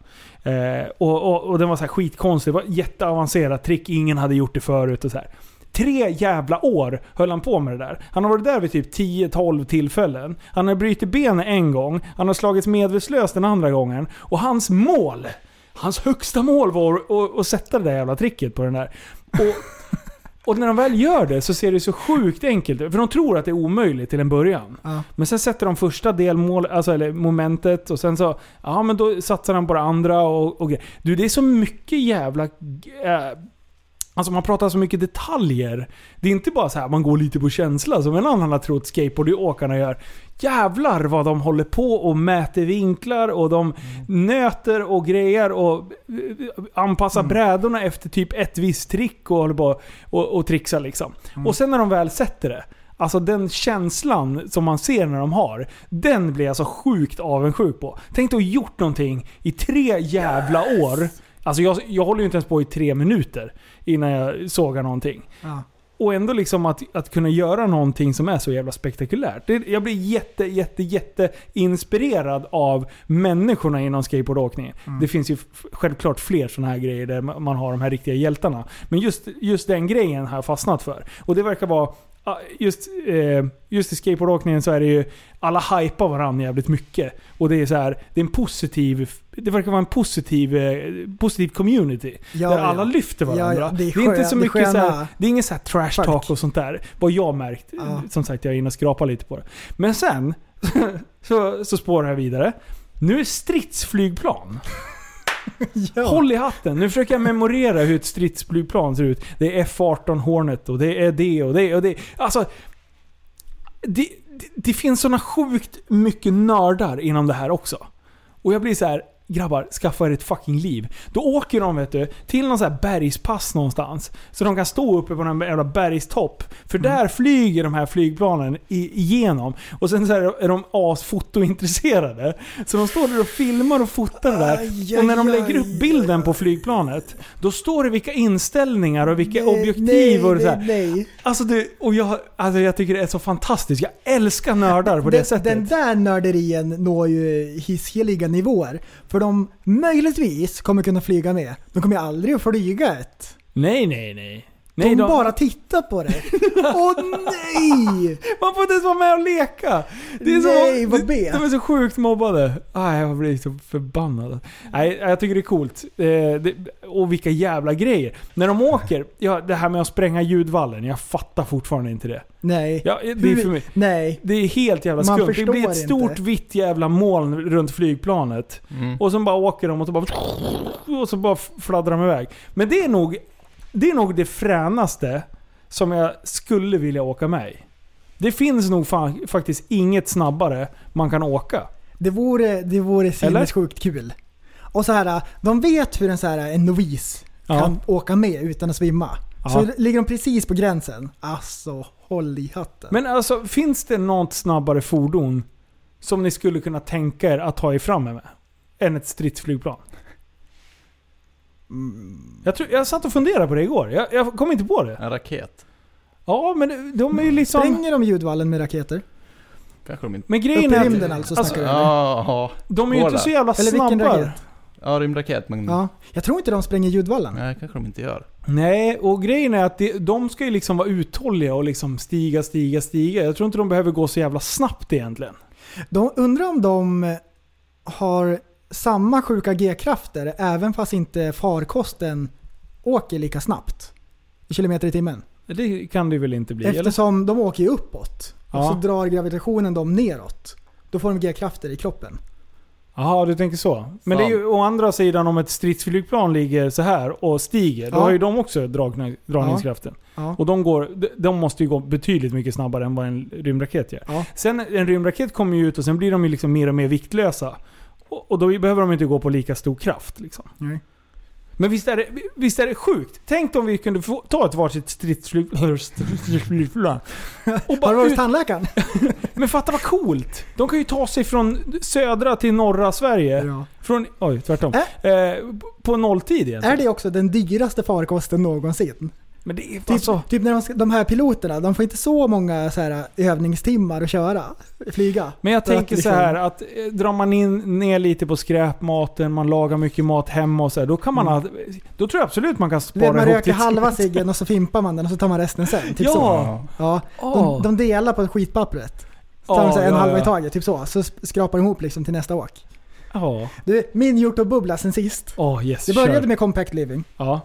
Eh, och, och, och den var så här skitkonstig. Det var ett jätteavancerat trick. Ingen hade gjort det förut och så här. Tre jävla år höll han på med det där. Han har varit där vid typ 10-12 tillfällen. Han har brutit benet en gång. Han har slagits medvetslös den andra gången. Och hans mål, hans högsta mål var att, att, att sätta det där jävla tricket på den där. Och Och när de väl gör det så ser det så sjukt enkelt ut. För de tror att det är omöjligt till en början. Ja. Men sen sätter de första delmål, alltså, eller momentet och sen så... Ja men då satsar han på det andra och, och grejer. Du det är så mycket jävla... eh, Alltså man pratar så mycket detaljer. Det är inte bara så här man går lite på känsla som en annan har trott skateboardåkarna gör. Jävlar vad de håller på och mäter vinklar och de nöter och grejer och eh, anpassar brädorna efter typ ett visst trick och håller på och, och trixar liksom. Och sen när de väl sätter det. Alltså den känslan som man ser när de har, den blir jag så sjukt avundsjuk på. Tänk dig att ha gjort någonting i tre jävla år. Alltså jag, jag håller ju inte ens på i tre minuter innan jag sågar någonting. Ja. Och ändå liksom att, att kunna göra någonting som är så jävla spektakulärt. Det, jag blir jätte, jätte, jätte inspirerad av människorna inom skateboardåkningen. Mm. Det finns ju f- självklart fler sådana här grejer där ma- man har de här riktiga hjältarna. Men just, just den grejen har jag fastnat för. Och det verkar vara... ah, Just, eh, just i skateboardåkningen så är det ju... Alla hypar varandra jävligt mycket. Och det är så här, det är en positiv... Det verkar vara en positiv, eh, positiv community. Ja, där ja. alla lyfter Ja, varandra. ja, det det, är är skö- inte så det är mycket så här, sköna- det är ingen så här trash talk och sånt där. Vad jag märkt. Som sagt, jag är inne och skrapar lite på det. Men sen så, så spårar jag vidare. Nu är stridsflygplan. Håll i hatten. Nu försöker jag memorera hur ett stridsflygplan ser ut. Det är F-18 Hornet och det är det och det och det. Alltså, det, det, det finns såna sjukt mycket nördar inom det här också. Och jag blir så här. Grabbar, skaffa er ett fucking liv. Då åker de vet du, till någon så här bergspass någonstans. Så de kan stå uppe på någon jävla bergstopp. För Mm. där flyger de här flygplanen i, igenom. Och sen så här är de asfotointresserade. Så de står där och filmar och fotar det där. Aj, och när de aj, lägger upp bilden på flygplanet, då står det vilka inställningar och vilka objektiv och så här. nej. Alltså, du, och jag, alltså jag tycker det är så fantastiskt. Jag älskar nördar på det den, sättet. Den där nörderien når ju hiskeliga nivåer. För de möjligtvis kommer kunna flyga med. De kommer ju aldrig att flyga ett. Nej, nej, nej. De nej bara tittar på det. Åh nej! Man får inte ens vara med och leka! Det är nej, så, vad de, B. de är så sjukt mobbade. Aj, jag blir så förbannad. Nej, jag tycker det är coolt. Eh, det, och vilka jävla grejer. När de åker, ja, det här med att spränga ljudvallen, jag fattar fortfarande inte det. Nej. Ja, det är för mig. Nej. Det är helt jävla Man skumt. Det förstår blir ett stort inte. vitt jävla moln runt flygplanet. Mm. Och sen bara åker de och så bara... Och så bara fladdrar de iväg. Men det är nog det, är nog det fränaste som jag skulle vilja åka med i. Det finns nog fan, faktiskt inget snabbare man kan åka. Det vore, det vore Eller? sinnessjukt kul. Och så här, de vet hur en, så här, en novis Ja. kan åka med utan att svimma. Ja. Så ligger de precis på gränsen. Alltså, håll i hatten. Men alltså, finns det något snabbare fordon som ni skulle kunna tänka er att ta er fram med? Än ett stridsflygplan? Mm. Jag, tror, jag satt och funderade på det igår. Jag, jag kom inte på det. En raket. Ja, men de är ju liksom... Spränger de ljudvallen med raketer? Kanske de inte... Men grejen Upp i är att- rymden alltså, alltså, snackar du om? Ja, ja. De är ju inte Båda. så jävla Eller vilken snabba. raket? Ja, rymdraket. Men... Mm. Ja. Jag tror inte de spränger ljudvallen. Nej, kanske de inte gör. Nej, och grejen är att det, de ska ju liksom vara uthålliga och liksom stiga, stiga, stiga. Jag tror inte de behöver gå så jävla snabbt egentligen. De undrar om de har samma sjuka G-krafter även fast inte farkosten åker lika snabbt i kilometer i timmen. Det kan det väl inte bli? eller? Eftersom de åker ju uppåt och Ja. så drar gravitationen dem neråt. Då får de G-krafter i kroppen. Jaha, du tänker så. Men det är ju å andra sidan om ett stridsflygplan ligger så här och stiger, då Ja. har ju de också dragna, dragningskraften. Ja. Och de, går, de- de måste ju gå betydligt mycket snabbare än vad en rymdraket gör. Sen en rymdraket kommer ju ut och sen blir de ju liksom mer och mer viktlösa. Och, och då behöver de inte gå på lika stor kraft. Liksom. Nej. Men visst är, det, visst är det sjukt? Tänk om vi kunde få ta ett varsitt stridsflyg- stridsflygplan. Och bara Har du varit ut- hos tandläkaren? men fatta vad coolt! De kan ju ta sig från södra till norra Sverige. Från, oj, tvärtom. Eh, på nolltid egentligen. Är det också den dyraste farkosten någonsin? Men det är alltså- typ, typ när de, ska, de här piloterna, de får inte så många så här, övningstimmar att köra, flyga. Men jag För att tänker så liksom- här att eh, drar man in, ner lite på skräpmaten, man lagar mycket mat hemma och så här, då kan man Mm. ha- Då tror jag absolut man kan Du vet, spara man ihop röker till- halva ciggen och så fimpar man den och så tar man resten sen. Typ Ja. så. Ja. Åh. De, de delar på skitpappret. Så tar Ja, de så här en ja, halva ja. i taget, typ så. Så sp- skrapar de ihop liksom till nästa åk. Ja. Du, min hjortronbubbla sen sist. Åh yes, det började kör. med Compact Living. Ja.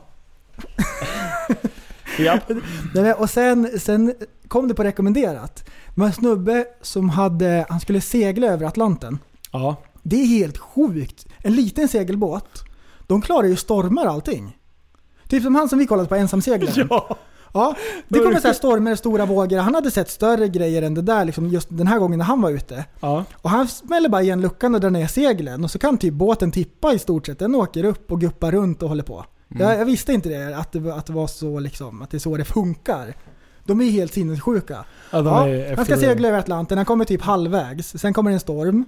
Ja. Nej, men, och sen, sen kom det på rekommenderat. Det var en snubbe som hade, han skulle segla över Atlanten. Ja. Det är helt sjukt. En liten segelbåt, de klarar ju stormar och allting. Typ som han som vi kollade på, ensamseglaren. Ja. Ja, det kommer så här stormar, stora vågor. Han hade sett större grejer än det där liksom, just den här gången när han var ute. Ja. Och han smäller bara igen luckan och drar ner seglen och så kan typ båten tippa i stort sett. Den åker upp och guppar runt och håller på. Mm. Jag, jag visste inte det, att det, att det var så liksom, att det är så det funkar. De är ju helt sinnessjuka. Ja, de är efter- han ska segla över Atlanten, han kommer typ halvvägs. Sen kommer det en storm.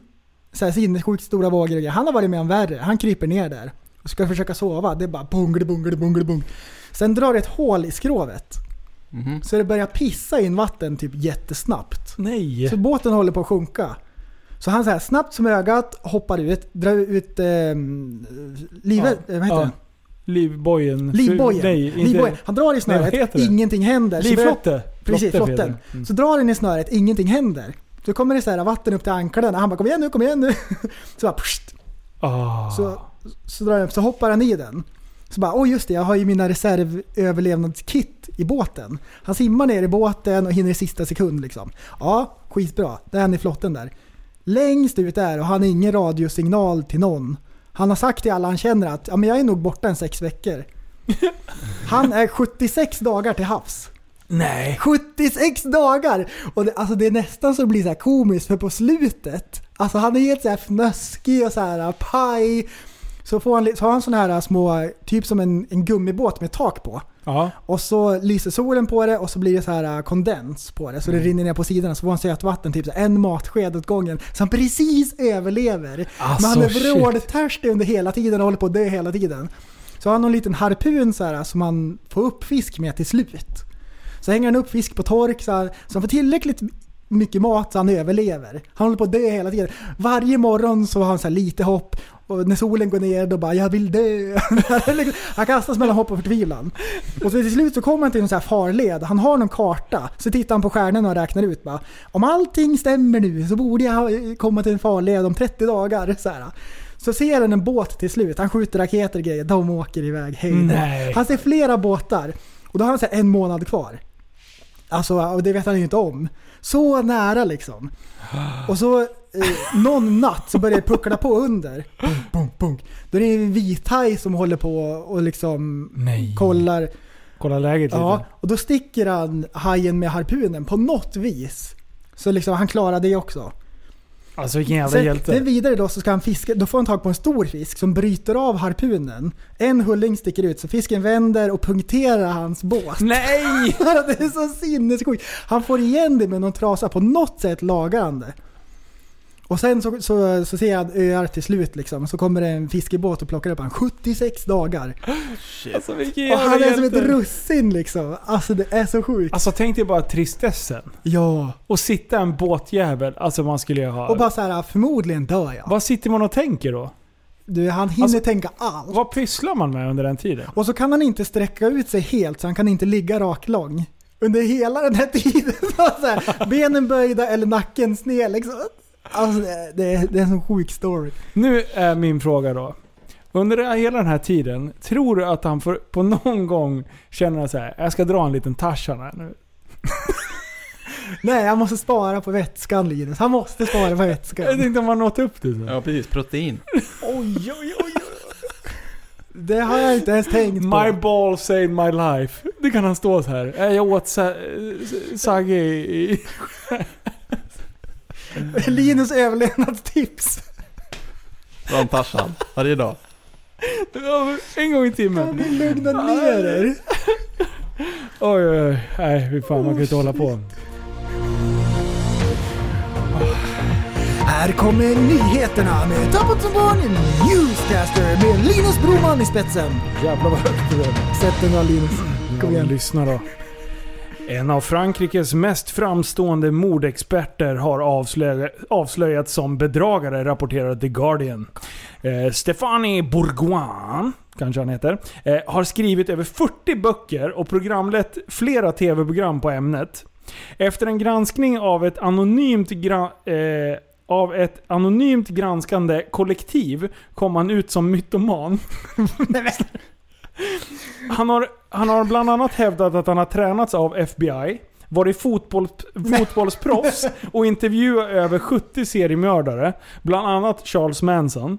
Så här sinnessjukt stora vågor och grejer. Han har varit med om värre. Han kryper ner där och ska försöka sova. Det är bara bung, bung, bung, bung. Sen drar det ett hål i skrovet. Mhm. Så det börjar pissa in vatten typ jättesnabbt. Nej. Så båten håller på att sjunka. Så han så här snabbt som ögat hoppar ut, drar ut eh, livet, eh, vad heter den? Livbojen. Livbojen. Nej, inte... Livbojen. Han drar i Nej, snöret, vad heter det? ingenting händer. Så Livflotte. börjar- Precis, Flotte flotten. heter det. Mm. Så drar den i snöret, ingenting händer. Så kommer det så här vatten upp till anklarna. Han bara kom igen nu, kom igen nu. Så bara pssst. Ah. Så, så, drar han upp, så hoppar han i den. Så bara, åh just det, jag har ju mina reservöverlevnadskit i båten. Han simmar ner i båten och hinner i sista sekund liksom. Ja, skitbra. Där är han i flotten där. Längst ut där och han har ingen radiosignal till någon. Han har sagt till alla han känner att, ja men jag är nog borta en sex veckor. Han är 76 dagar till havs. Nej. 76 dagar! Och det, alltså det är nästan så det blir så här komiskt för på slutet, alltså han är helt så här fnöskig och så här äh, paj. Så, får han, li- så har han sådana här små, typ som en, en gummibåt med tak på. Ja. Och så lyser solen på det och så blir det så här äh, kondens på det så Mm. det rinner ner på sidorna så får han sötvatten, typ så här en matsked åt gången. Så han precis överlever. Alltså, Men han shit. är vråltörstig under hela tiden och håller på att dö hela tiden. Så har han någon liten harpun så här, äh, som han får upp fisk med till slut. Så hänger han upp fisk på tork så, här, så han får tillräckligt mycket mat så han överlever. Han håller på att dö hela tiden. Varje morgon så har han så här lite hopp och när solen går ner då bara “jag vill dö”. han kastas mellan hopp och förtvivlan. Och så till slut så kommer han till en så här farled. Han har någon karta. Så tittar han på stjärnorna och räknar ut bara “om allting stämmer nu så borde jag ha- eh, komma till en farled om 30 dagar”. Så, här. så ser han en båt till slut. Han skjuter raketer och grejer. De åker iväg. Hej då. Nej. Han ser flera båtar. Och då har han så här en månad kvar. Alltså, och det vet han ju inte om. Så nära liksom. Och så eh, någon natt så börjar det puckla på under. Bunk, bunk, bunk. Då är det en vithaj som håller på och liksom Nej. kollar. Kolla läget lite. Ja, och då sticker han hajen med harpunen på något vis. Så liksom han klarar det också. Alltså vilken jävla Sen, hjälte. sen vidare då så ska han fiska, då får han tag på en stor fisk som bryter av harpunen. En hulling sticker ut så fisken vänder och punkterar hans båt. Nej! det är så sinnessjukt. Han får igen det med någon trasa, på något sätt lagar han det. Och sen så, så, så ser han öar till slut liksom, så kommer det en fiskebåt och plockar upp han 76 dagar. Alltså, vilken Och han jävla är som ett hjälte. russin liksom. Alltså det är så sjukt. Alltså tänk dig bara tristessen. Ja. Och sitta i en båtjävel. Alltså man skulle ju ha... Och bara så här, förmodligen dör jag. Vad sitter man och tänker då? Du, han hinner Alltså, tänka allt. Vad pysslar man med under den tiden? Och så kan han inte sträcka ut sig helt, så han kan inte ligga raklång. Under hela den här tiden. Så här, benen böjda eller nacken sned liksom. Alltså det, det, är, det är en sån sjuk story. Nu är min fråga då. Under hela den här tiden, tror du att han får på någon gång känna så här, jag ska dra en liten Tarzan här nu? Nej, han måste spara på vätskan Linus. Han måste spara på Jag vätskan. tänkte om han åt upp det. Så. Ja, precis. Protein. Oj, oj, oj. Det har jag inte ens tänkt på. My ball saved my life. Det kan han stå så här. "Eh, Jag åt sa- s- Sagge i... i- Linus överlevnadstips. Från Tarzan. Varje dag. en gång i timmen. Ni lugna ner er. Oj, oj, oj. Nej, fy fan man kan ju inte hålla på. Här kommer nyheterna med Tappat som barn Newscaster med Linus Broman i spetsen. Jävlar vad högt det blev. Sätt den då Linus. Kom Ja, men igen. lyssna då. En av Frankrikes mest framstående mordexperter har avslöja- avslöjats som bedragare, rapporterar The Guardian. Eh, Stéphane Bourgoin, kanske han heter, eh, har skrivit över 40 böcker och programlett flera tv-program på ämnet. Efter en granskning av ett anonymt gra- eh, av ett anonymt granskande kollektiv kom han ut som mytoman. Han har, han har bland annat hävdat att han har tränats av FBI, varit fotboll, fotbollsproffs och intervjuat över 70 seriemördare. Bland annat Charles Manson.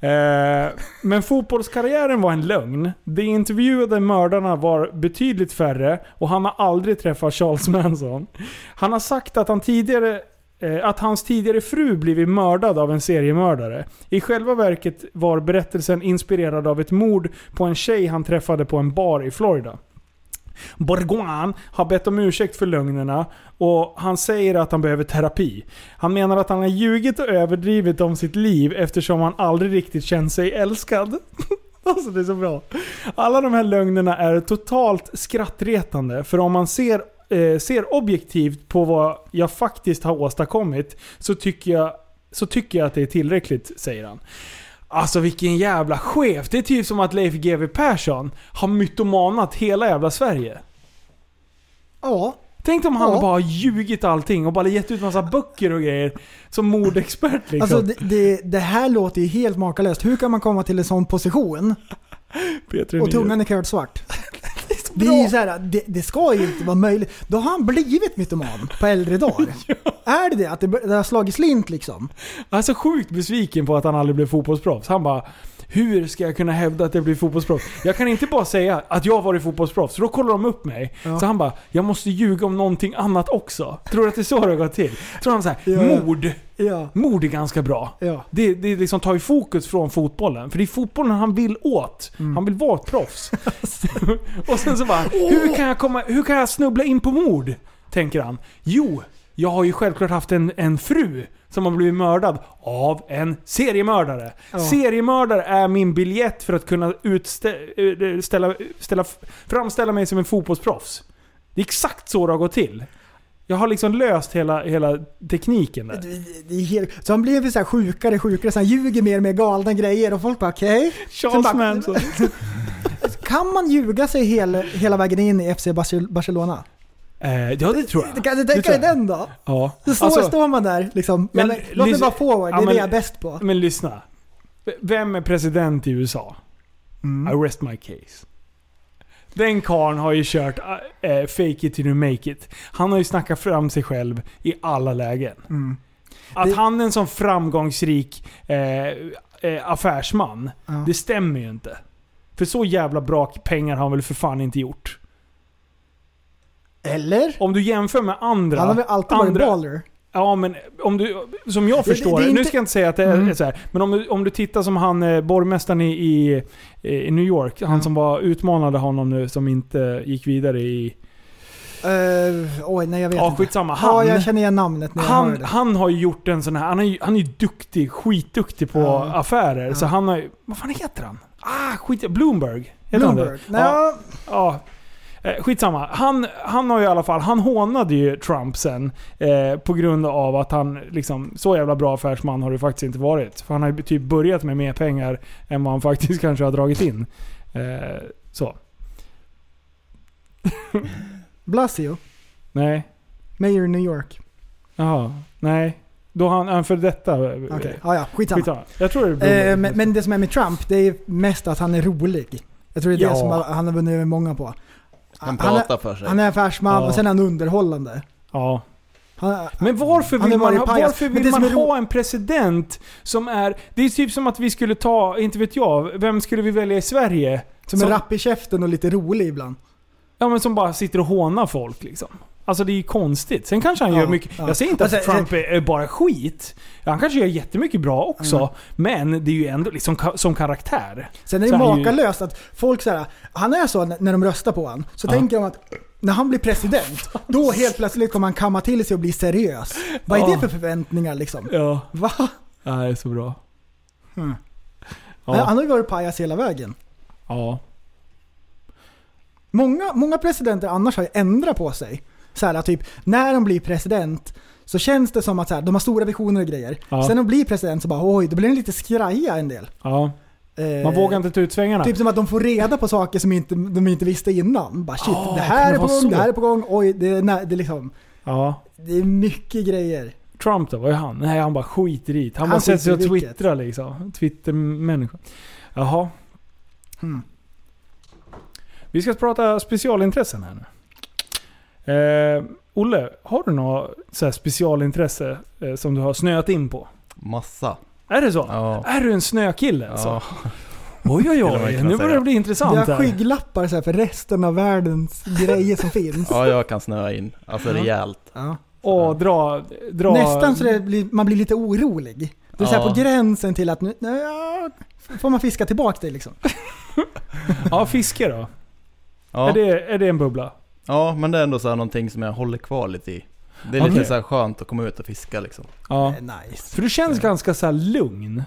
Eh, men fotbollskarriären var en lögn. De intervjuade mördarna var betydligt färre och han har aldrig träffat Charles Manson. Han har sagt att han tidigare eh, att hans tidigare fru blivit mördad av en seriemördare. I själva verket var berättelsen inspirerad av ett mord på en tjej han träffade på en bar i Florida. Borgoan har bett om ursäkt för lögnerna och han säger att han behöver terapi. Han menar att han har ljugit och överdrivit om sitt liv eftersom han aldrig riktigt känt sig älskad. Alltså det är så bra. Alla de här lögnerna är totalt skrattretande för om man ser, eh, ser objektivt på vad jag faktiskt har åstadkommit så tycker, jag, så tycker jag att det är tillräckligt, säger han. Alltså vilken jävla chef. Det är typ som att Leif GW Persson har mytomanat hela jävla Sverige. Ja. Tänk om han Ja. bara har ljugit allting och bara gett ut massa böcker och grejer. Som mordexpert liksom. Alltså det, det, det här låter ju helt makalöst. Hur kan man komma till en sån position? Peter Och Nyhus. tungan är curd svart. Det, är ju så här, det, det ska ju inte vara möjligt. Då har han blivit mytoman på äldre dagar. Är det det? Att det, det har slagit slint liksom? Jag är så sjukt besviken på att han aldrig blev fotbollsproffs. Han bara hur ska jag kunna hävda att jag blir fotbollsproffs? Jag kan inte bara säga att jag har varit fotbollsproffs, för då kollar de upp mig. Så han bara, jag måste ljuga om någonting annat också. Tror du att det är så det har gått till? Tror han såhär, Ja. mord. Ja. Mord är ganska bra. Ja. Det, det liksom tar ju fokus från fotbollen. För det är fotbollen han vill åt. Han vill vara ett proffs. och sen så bara, hur kan, jag komma, hur kan jag snubbla in på mord? Tänker han. Jo, jag har ju självklart haft en, en fru som har blivit mördad av en seriemördare. Ja. Seriemördare är min biljett för att kunna utstä- eh, ställa, ställa, framställa mig som en fotbollsproffs. Det är exakt så det har gått till. Jag har liksom löst hela, hela tekniken där. Det är helt, så han blev ju så här sjukare och sjukare, så han ljuger mer och mer galna grejer och folk bara okej. Sen Charles bara- Manson. Kan man ljuga sig hela, hela vägen in i FC Barcel- Barcelona? Eh, ja, det tror jag. Du kan du Det tänka tror dig jag. den då? Ja. Så står, Alltså- står man där liksom. Men, Men låt mig lys- vara forward, det ja, är det men- jag är bäst på. Men lyssna. V- Vem är president i USA? Mm. I rest my case. Den karln har ju kört eh, fake it till you make it. Han har ju snackat fram sig själv i alla lägen. Mm. Att han är en sån framgångsrik eh, eh, affärsman, det stämmer ju inte. För så jävla bra pengar har han väl för fan inte gjort. Eller? Om du jämför med andra... Han har väl alltid varit andra- baller? Ja, men om du, som jag Det- det- förstår det är det, nu inte- Mm. ska jag inte säga att det är så här, men om du, om du tittar som han, eh, borgmästaren i, i, i New York, Mm. han som var, utmanade honom nu, som inte gick vidare i... Eh, oj, nej jag vet Ja, inte. skitsamma. ja, Han- jag känner igen namnet när jag hör Han, det. han har ju gjort en sån här, han är ju, han är ju duktig, skitduktig på affärer, så han har ju... Vad fan heter han? Ah, skit Bloomberg? Heter han det? Bloomberg. Ja. ja. Eh, Skitsamma. Han, han har ju i alla fall, han hånade ju Trump sen eh, på grund av att han liksom, så jävla bra affärsman har det faktiskt inte varit. För han har ju typ börjat med mer pengar än vad han faktiskt kanske har dragit in. Eh, så. Blasio, Nej. mayor i New York. Jaha. Nej. Då han, han för detta. eh, Okej. Okej, ja, ja, skitsamma. Jag tror det är Bloomberg. Eh, men, men det som är med Trump, det är mest att han är rolig. Jag tror det är Ja. det som han har vunnit över många på. Han är- pratar för sig. Han är affärsman Ja. och sen är han underhållande. Ja. Han, Men varför Han vill har man, varit ha- pajas. varför Men vill det man som är ro- ha en president som är... Det är typ som att vi skulle ta, inte vet jag, vem skulle vi välja i Sverige? som är rapp i käften och lite rolig ibland. Ja men som bara sitter och hånar folk liksom. Alltså det är ju konstigt. Sen kanske han gör Ja, mycket... ja. Jag säger inte att Alltså, Trump är är bara skit. Han kanske gör jättemycket bra också. Mm. Men det är ju ändå liksom ka- som karaktär. Sen är det Så han ju- makalöst att folk så här, han är så när de röstar på han så Ja. tänker de att när han blir president, då helt plötsligt kommer han kamma till sig och bli seriös. Vad är Ja. det för förväntningar liksom? Ja. Va? Ja, det är så bra. Hmm. Ja. Han har ju varit pajas hela vägen. Ja. Många, många presidenter annars har ju ändrat på sig. Så här, typ, när de blir president så känns det som att så här, de har stora visioner och grejer. Ja. Sen när de blir president så bara oj, då blir de lite skraja en del. Ja. Eh, Man vågar inte ta ut svängarna. Typ som att de får reda på saker som inte, de inte visste innan. Bara shit, Ah, det kan här det är på vara gång, så? det här är på gång. Oj, det, är nä, det, är liksom, Ja. det är mycket grejer. Trump då, vad är han? Nej, han bara skiter i det. Han, Han bara sätter sig och skiter i vilket. twittrar liksom. Twittermänniska. Jaha. Mm. Vi ska prata specialintressen här nu. Eh, Olle, har du något så här specialintresse eh, som du har snöat in på? Massa. Är det så? Är du en snökille alltså? Ja. Oj oj Skulle man oj, kunna nu börjar det säga. bli Vi intressant har här. skygglappar så här för resten av världens grejer som finns. Ja, jag kan snöa in. Alltså rejält. Ja. Och dra, dra... Nästan så det blir, man blir lite orolig. Det är så här Ja. på gränsen till att nu, nej, ja, får man fiska tillbaka det liksom. Ja, fiske då. Ja. Är, det, är det en bubbla? Ja, men det är ändå så här någonting som jag håller kvar lite i. Det är Okej. lite så här skönt att komma ut och fiska liksom. Ja. Eh, Nice. För du Eh. känns ganska så här lugn.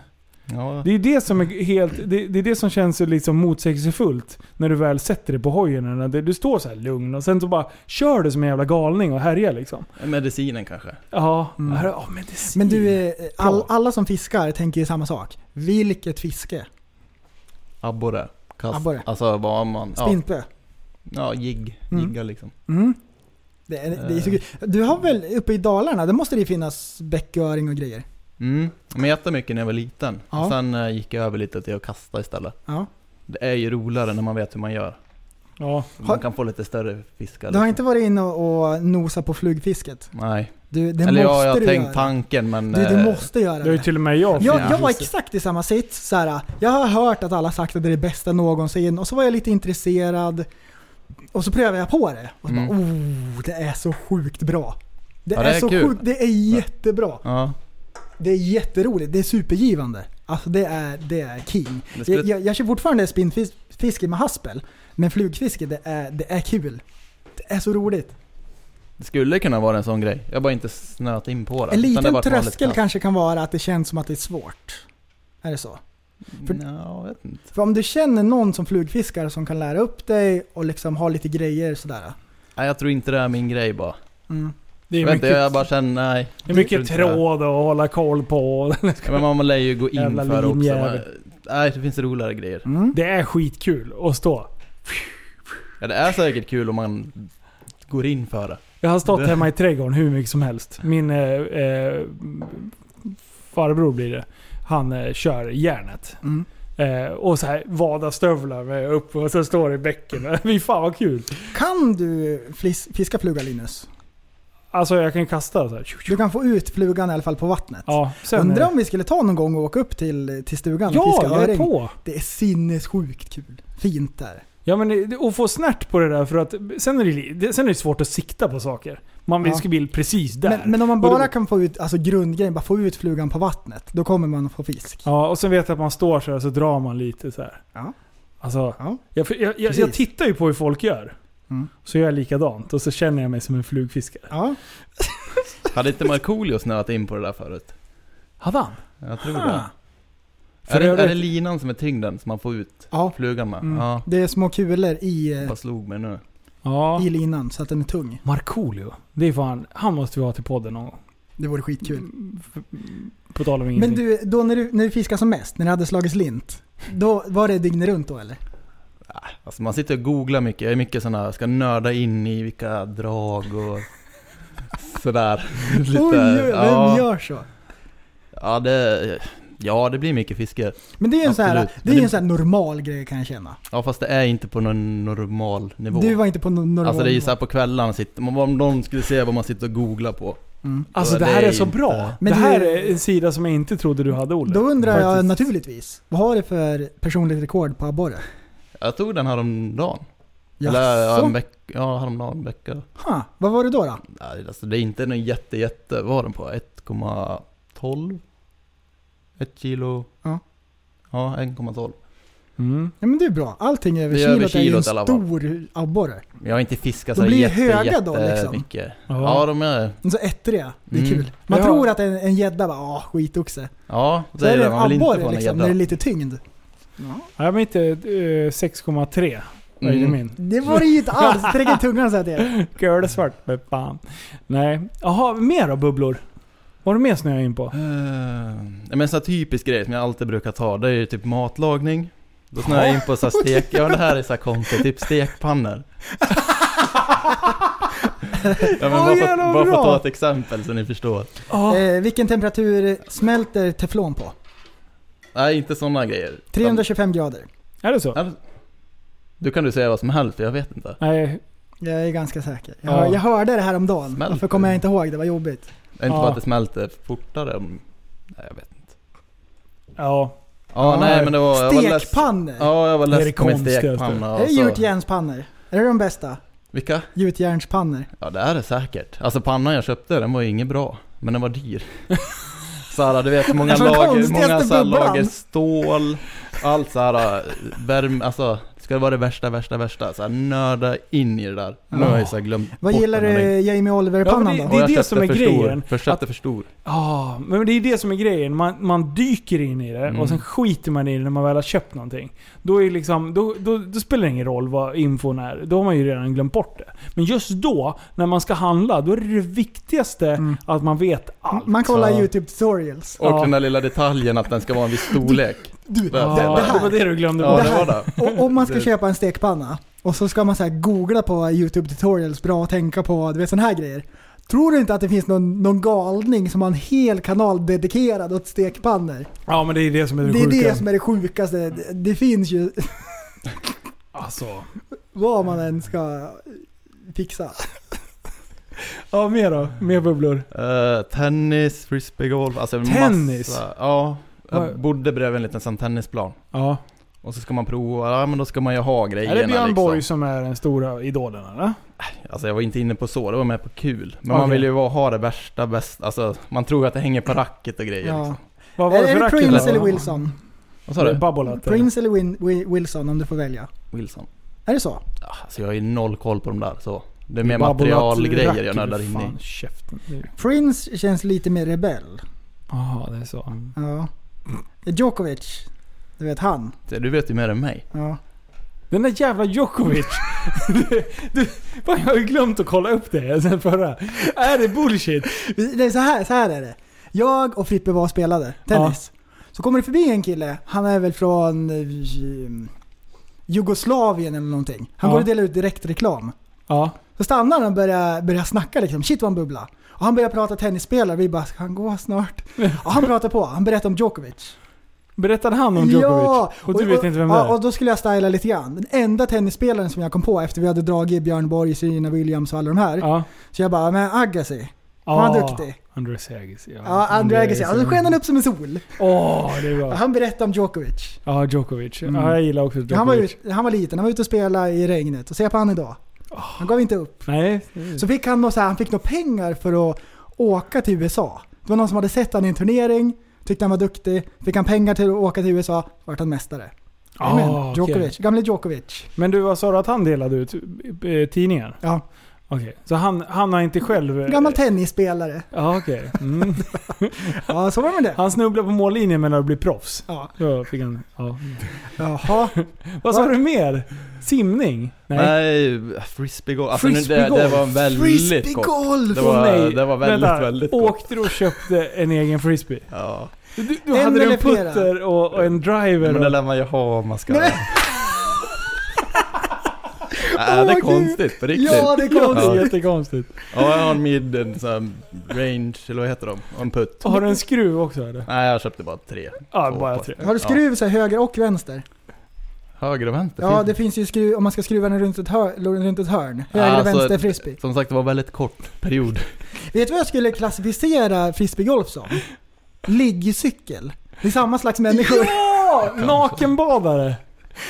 Ja. Det är det som är helt... Det, det är det som känns så liksom motsägelsefullt när du väl sätter dig på hojen. När det- Du står så här lugn och sen så bara kör du som en jävla galning och härjar liksom. Mm. Medicinen kanske? Ja, här- ja, medicin. Men du, eh, all, alla som fiskar tänker ju samma sak. Vilket fiske? Abborre. Kast. Abborre. Alltså vad man... Ja. Spinnpö. Ja, jigg. Mm. Jigga liksom. Mm. Det, är- det är Eh. så kul. Du har väl uppe i Dalarna, där måste det ju finnas bäcköring och grejer? Mm. Men jag äter mycket när jag var liten. Ja. Och sen eh, gick jag över lite till att kasta istället. Ja. Det är ju roligare när man vet hur man gör. Ja. Man kan få lite större fiskar. Du har liksom. inte varit inne och, och nosat på flugfisket? Nej. Du, det Eller måste jag, jag har du tänkt göra. tanken men... Du, du eh, måste göra Det är ju till och med jag. Jag, jag var exakt i samma sits. Så här, jag har hört att alla sagt att det är det bästa någonsin och så var jag lite intresserad. Och så prövade jag på det. Och så bara, oh, det är så sjukt bra. Det, Mm. Ja, är, det är så kul. sjukt, det är jättebra. Ja. Det är jätteroligt, det är supergivande. Alltså det är, det är king. Det skulle- Jag, jag, jag kör fortfarande spinnfiske med haspel, men flugfiske det är, det är kul. Det är så roligt. Det skulle kunna vara en sån grej. Jag har bara inte snöat in på det. Utan En det har liten varit vanligt tröskel kast. kanske kan vara att det känns som att det är svårt. Är det så? För- Nja, jag vet inte. För om du känner någon som flugfiskar som kan lära upp dig och liksom ha lite grejer sådär. Nej, jag tror inte det är min grej bara. Mm. Det är jag, vet inte, mycket- jag bara känner, nej. Det är jag mycket tror inte det. tråd och hålla koll på. Ja, men man lär ju gå in Jävla för också. linjär. Man- Nej, det finns roligare grejer. Det är skitkul att stå. Ja, det är säkert kul om man går in för det. Jag har stått Det- hemma i trädgården hur mycket som helst. Min eh, eh, farbror blir det. Han eh, kör järnet. Mm. Eh, och så här vadastövlar med upp och så står det i bäcken. Fy fan vad kul. Kan du flis, fiska fluga Linus? Alltså jag kan kasta så här. Du kan få ut flugan i alla fall på vattnet. Ja, sen eh, Undrar om vi skulle ta någon gång och åka upp till, till stugan och Ja, fiska jag är öring. på. Det är sinnessjukt kul. Fint där. Ja men eh, och få snärt på det där för att sen är det, li- det- sen är det svårt att sikta på saker. Man vill Ja. ska bli precis där. Men, men om Och man det- bara kan få ut alltså grundgrejen, bara få ut flugan på vattnet, då kommer man att få fisk. Ja, och sen vet jag att man står så här så drar man lite så här. Ja. Alltså, ja. Jag, för jag, jag, jag Precis. tittar ju på hur folk gör. Mm. Så gör jag likadant och så känner jag mig som en flugfiskare. Ja. Hade inte Markoolio snöat in på det där förut? Hade han? Jag tror Ah. det. För är, det, övrigt- är det linan som är tyngden som man får ut Ja. flugan med? Mm. Ja. Det är små kulor i, eh, Bara slog mig nu. Ja. i linan så att den är tung. Markoolio. Det är fan, han måste vi ha till podden någon gång. Det vore skitkul. På tal om ingenting. Men du, då när du, när du fiskade som mest, när det hade slagits lint, då var det dygnet runt då eller? Alltså man sitter och googlar mycket. Jag är mycket sån här, ska nörda in i vilka drag och sådär. Oj, oj, vem gör så? Ja det, ja, det blir mycket fiske. Men det är ju en, så här, Absolut. det är ju en så här normal grej kan jag känna. Ja fast det är inte på någon normal nivå. Du var inte på någon normal Alltså det är ju nivå. såhär på kvällarna, sitter, man- om någon skulle se vad man sitter och googlar på. Mm. alltså Då det här är så inte- bra. Men det du- här är en sida som jag inte trodde du hade Olle. Då undrar jag Faktiskt. naturligtvis, vad har du för personligt rekord på abborre? Jag tog den häromdagen. Jaså? Eller ja, en vecka, ja häromdagen, en vecka. Ha, vad var det då? då? Nej, alltså det är inte någon jätte jätte, vad var den på? 1,12? Ett kilo? Ja. Ja, 1,12. Mm. Ja, men det är bra, allting över Det är över kilot är ju en kilot i alla fall. stor abborre. Jag har inte fiskat De så blir ju jätte, höga jätte då, liksom. mycket. Ja. Ja, de är De är Så ettriga, det är Mm. kul. Man Ja. tror att en en gädda bara ah skitoxe. Ja, Så är det en Man vill inte abborre få liksom, liksom, när det är lite tyngd. Ja, men inte eh, 6,3. Vad är det Mm. min? Det var det ju inte alls, sträcker tungan så här till er. Girl är svart. Men fan. Nej. Jaha, mer då bubblor? Vad har du mer snöat in på? Eh, Men en sån här typisk grej som jag alltid brukar ta, det är ju typ matlagning. Då snöar jag in på så här stek, ja men det här är så här konstigt, typ stekpannor. ja men Ja, bara, för, jävlar, vad bara för bra. att ta ett exempel så ni förstår. Eh, vilken temperatur smälter teflon på? Nej, inte såna grejer. 325 grader. Är det så? Utan- Du kan du säga vad som helst, jag vet inte. Nej. Jag är ganska säker. Jag, Ja. jag hörde det här om dagen. Ah. Smälter. Varför kommer jag inte ihåg? Det var jobbigt. Är det inte bara att det smälter fortare? om- Nej, jag vet inte. Ja. Ja, nej men det var... jag var less- Stekpannor! Ja, alltså. jag var Det är less det på min konstigaste. stekpanna. Är och det så- gjutjärnspannor? Är det de bästa? Vilka? Gjutjärnspannor. Ja det är det säkert. Alltså pannan jag köpte den var ju inget bra. Men den var dyr. Såhär du vet hur många Alltså, Det är den lager, konstigaste många såhär bubblan. lager stål. Allt såhär värme, alltså. Ska det vara det värsta, värsta, värsta? Såhär nörda in i det där. Nu har jag ju så här glömt Vad bort gillar den och du eh, den- Jamie Ja, Oliver-pannan men då? det är Och jag det som köpte är för stor. grejen. För jag köpte för stor. Ja, men det är det som är grejen. Man, man dyker in i det Mm. och sen skiter man i det när man väl har köpt någonting. Då, är liksom, då, då, då spelar det ingen roll vad infon är. Då har man ju redan glömt bort det. Men just då, när man ska handla, då är det, det viktigaste att man vet allt. Man kollar Ja. YouTube-tutorials. Och den där lilla detaljen att den ska vara en viss storlek. Du, Där. Ja, det, var det du glömde Ja bort. det var det. Och om man ska Det- köpa en stekpanna och så ska man så här googla på YouTube tutorials, bra att tänka på, du vet sådana här grejer. Tror du inte att det finns någon, någon galning som har en hel kanal dedikerad åt stekpannor? Ja, men det är det som är det, Det är sjuka. det som är det sjukaste. Det, det finns ju Alltså. vad man än ska fixa. Ja, mer då? Mer bubblor? Eh, tennis, frisbeegolf, alltså Tennis? massa. Ja, jag Vad- bodde bredvid en liten sån tennisplan. Ja. Och så ska man prova, ja men då ska man ju ha grejerna Är det Björn liksom. Borg som är den stora idolen eller? Alltså jag var inte inne på så, det var mer på kul. Men man Okej. vill ju vara- ha det värsta, bästa, alltså man tror ju att det hänger på racket och grejer liksom. Vad var Är det för det racket? Prince eller Wilson? Vad sa du? Babolat? eller? Prince eller Win, Wi- Wilson om du får välja. Wilson. Är det så? Ja, Alltså jag har ju noll koll på de där så. Det är mer Babolat materialgrejer jag racket, nördar in i. fan, käften. Prince känns lite mer rebell. Jaha, det är så. Mm. Ja. Djokovic, du vet han. Så Du vet ju mer än mig. Ja. Den där jävla Djokovic. du, du, fan, jag har ju glömt att kolla upp det sen förra. Är det bullshit? Det är så här, så här är det. Jag och Frippe var och spelade tennis. Så kommer det förbi en kille, han är väl från eh, Jugoslavien eller någonting. Han Ja. går och delar ut direktreklam. Ja. Så stannar han och börjar, börjar snacka liksom. Shit vad han bubblar. Och han börjar prata tennisspelare vi bara, ska han gå snart? Och han pratar på, han berättar om Djokovic. Berättade han om Djokovic? Och du vet inte vem det ja, är? och då skulle jag styla lite grann. Den enda tennisspelaren som jag kom på efter vi hade dragit Björn Borg, Serena Williams och alla de här. Ja. Så jag bara, men Agassi, han var Ah, duktig. Andreas Agassi. Ja, Andrew Agassi. Ja, då sken han upp som en sol. Åh, det är bra. Han berättade om Djokovic. Ja, Djokovic. Ja, jag gillar också Djokovic. Han var, ut, han var liten, han var ute och spelade i regnet. Och se på han idag. Han gav inte upp. Nej. Så fick han något så här, han fick några pengar för att åka till USA. Det var någon som hade sett han i en turnering, tyckte han var duktig. Fick han pengar till att åka till USA, vart han mästare. Ah, Jajamän, okej. Djokovic. Gamle Djokovic. Men du, vad sa du att han delade ut? eh, Tidningar? Ja. Okej, så han, han har inte själv... eh, Gammal tennisspelare. Ja, okej. Mm. Ja, så var det med det. Han snubblade på mållinjen men det blev proffs. Ja. Då fick han... Ja. Jaha. Vad sa du mer? Simning? Nej, frisbeegolf. Alltså nu, det, det Frisbeegolf. var väldigt kort. Frisbeegolf! Det var, Åh, nej. det var väldigt, Vänta, väldigt kort. Åkte du och köpte en egen frisbee? Ja. Du, du En hade eller en flera? putter och, och en driver. Men det Och, lär man ju ha om man ska... Nej, men- Är det Åh, konstigt på riktigt? Ja, det är ja, det är konstigt. jättekonstigt. Ja, jag har en mid, en sån här range, eller vad heter de? Och en putt. Och har du en skruv också eller? Nej, jag köpte bara tre. Ja, Två bara på- tre. Har du skruv så här, höger och vänster? Höger och vänster? Ja, finns det finns ju skruv, om man ska skruva den runt ett hörn. Runt ett hörn. Höger och Alltså, vänster frisbee. Som sagt, det var väldigt kort period. Vet du vad jag skulle klassificera frisbeegolf som? Liggcykel. Det är samma slags människor. Ja! Nakenbadare!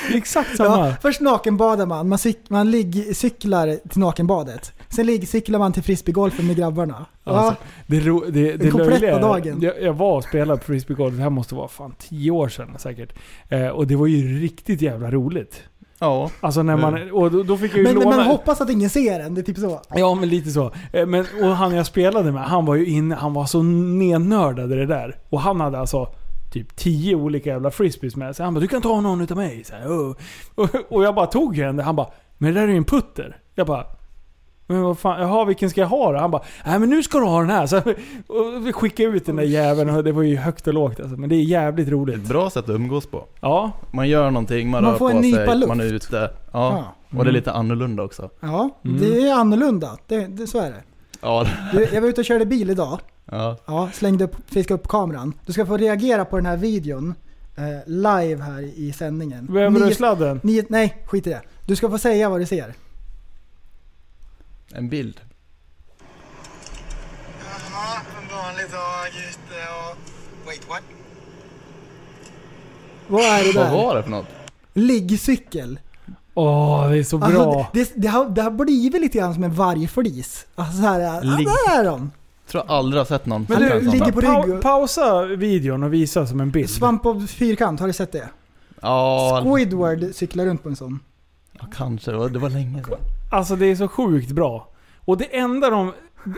Det är exakt samma. Ja, först nakenbadar man, man, cyk- man liggcyklar till nakenbadet. Sen liggcyklar man till frisbeegolfen med grabbarna. Ja, Alltså, det ro, det, det Den kompletta löjliga är- dagen. Jag, jag var och spelade på frisbeegolf, det här måste vara fan 10 år sedan säkert. Eh, och det var ju riktigt jävla roligt. Ja. Alltså när man, och då, då fick jag ju men, men låna... man hoppas att ingen ser en, det är typ så. Ja men lite så. Eh, Men, och han jag spelade med, han var ju inne, han var så nernördad i det där. Och han hade alltså typ 10 olika jävla frisbees med sig. Han bara 'Du kan ta någon utav mig' så här, "Åh." och, och jag bara tog en, han bara 'Men det där är ju en putter' Jag bara men vad fan, jaha vilken ska jag ha då? Han bara, nej men nu ska du ha den här. Så, och vi skickade ut den där jäveln och det var ju högt och lågt alltså. Men det är jävligt Det är roligt. ett bra sätt att umgås på. Ja, Man gör någonting, man, Man rör får på en sig, nypa luft. man är ute. Ja. Och det är lite annorlunda också. Ja, det är annorlunda. Det, det, så är det. Ja. Du, Jag var ute och körde bil idag. ja. Ja, slängde upp, fiskade upp kameran. Du ska få reagera på den här videon. Eh, eh, live här i sändningen. Behöver du Nio- sladden? nio- Nej, skit i det. Du ska få säga vad du ser. En bild. Wait, what? Vad är det där? Vad var det för något? Liggcykel. Åh, det är så bra. Alltså, det, det, har, det har blivit lite grann som en vargflis. Alltså så här, ja, Ligg- där är de. Tror jag aldrig har sett någon Men som du, kan sånt. ligger på rygg. pausa videon och visa som en bild. Svamp av fyrkant, har du sett det? Ja, Squidward cyklar runt på en sån. ja, kanske. Det var, det var länge sedan. Alltså det är så sjukt bra. Och det enda de,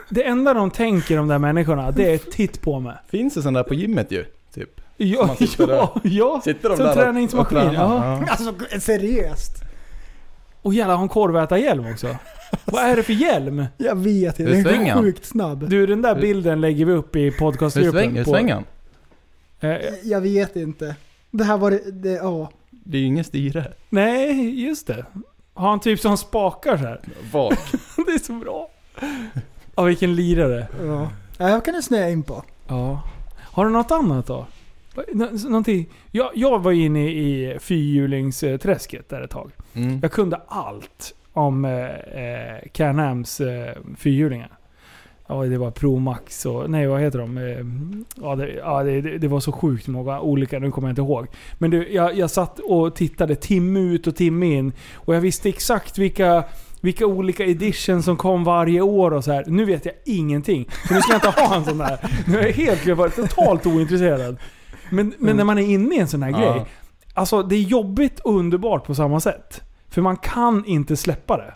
det enda de tänker de där människorna, det är titt på mig. Finns det sån där på gymmet ju? Typ. Som Ja, man sitter ja, där. ja. Sitter de som där och- träningsmaskin. och tränar, ja. ja. Alltså seriöst. Och jävlar, har han korvätarhjälm också? Vad är det för hjälm? Jag vet inte. Hur Den är svänger han? sjukt snabb. Du, den där bilden lägger vi upp i podcastgruppen. Hur sväng- hur på- svänger han? Eh, Jag vet inte. Det här var det, det ja. Det är ju ingen styre. nej, just det. Har han typ som spakar så här? Bak. det är så bra. Ja, vilken lirare. ja. Ja, Jag kan du snöa in på. Ja. Har du något annat då? Nå- Någonting. Jag, jag var inne i fyrhjulingsträsket där ett tag. Mm. Jag kunde allt om eh, eh, Can-Ams eh, fyrhjulingar. Ja, det var Pro Max och... Nej, vad heter de? Eh, Ja, det, ja, det, det det var så sjukt många olika. Nu kommer jag inte ihåg. Men du, jag, jag satt och tittade timme ut och timme in. Och jag visste exakt vilka, vilka olika edition som kom varje år och så här. Nu vet jag ingenting. Så nu ska jag inte ha en sån där. Nu är jag helt jag var totalt ointresserad. Men, men när man är inne i en sån här Mm. Ja. grej. Alltså det är jobbigt och underbart på samma sätt. För man kan inte släppa det.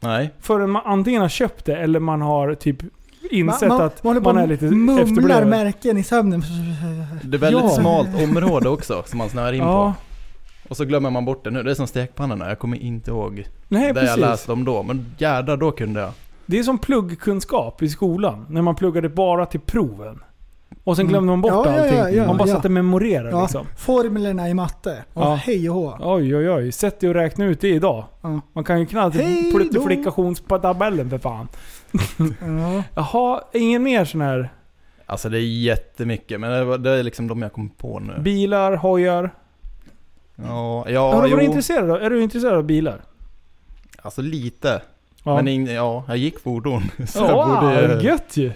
Nej. Förrän man antingen har köpt det eller man har typ insett man, att håller man, på och är lite mumlar efterbliven. märken i sömnen. Det är väldigt Ja. smalt område också som man snöar in Ja. på. Och så glömmer man bort det nu. Det är som stekpannorna. Jag kommer inte ihåg Nej, det precis. jag läste om då. Men jädrar, då kunde jag. Det är som pluggkunskap i skolan. När man pluggade bara till proven. Och sen Mm. glömde man bort Ja, ja, allting. ja, ja, man bara ja. satt och memorerade Ja, liksom. formlerna i matte. Och Ja. hej och hå. Oj, oj, oj. Sätt dig och räkna ut det idag. Man kan ju knappt Hej då. pluttiflikationstabellen för fan. Ja. Jaha, ingen mer sån här Alltså det är jättemycket. Men det, var, det är liksom de jag kom på nu. bilar, hojar? ja, har ja du varit jo. intresserad av, är du intresserad av bilar? Alltså lite. Ja. Men ing, ja, jag gick fordon. Så jag Ja, borde, gött ju.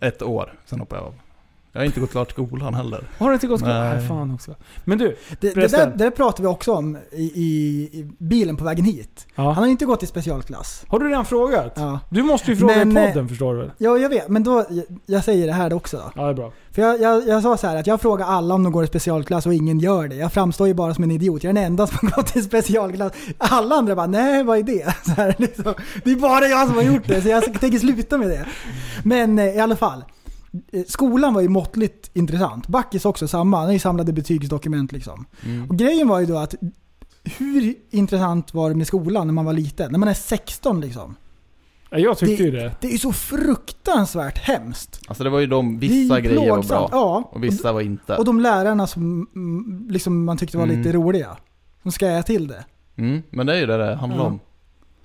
Ett år, sen hoppade jag av. Jag har inte gått klart skolan heller. Har du inte gått skolan? Nej. Nej, fan också. Men du, Det, det, där, förresten. det där pratade vi också om i, i, i bilen på vägen hit. Ja. Han har ju inte gått i specialklass. Har du redan frågat? Ja. Du måste ju fråga Men, i podden eh, förstår du väl? Ja, jag vet. Men då, jag säger det här också då. Ja, det är bra. För jag, jag, jag sa så här att jag frågar alla om de går i specialklass och ingen gör det. Jag framstår ju bara som en idiot. Jag är den enda som har gått i specialklass. Alla andra bara nej, vad är det? Så här, liksom. Det är bara jag som har gjort det så jag tänker sluta med det. Men eh, i alla fall. Eh, Skolan var ju måttligt intressant. Backis också samma. Han har ju samlade betygsdokument liksom. Mm. Och grejen var ju då att hur intressant var det med skolan när man var liten? När man är 16 liksom. Ja, jag tyckte ju det. Det är ju så fruktansvärt hemskt. Alltså det var ju de, vissa Det är ju grejer var bra. plågsamt, ja. Och vissa var inte. Och de lärarna som mm, liksom man tyckte var Mm. lite roliga. Som skajade till det. Mm, men det är ju det det handlar Ja. om.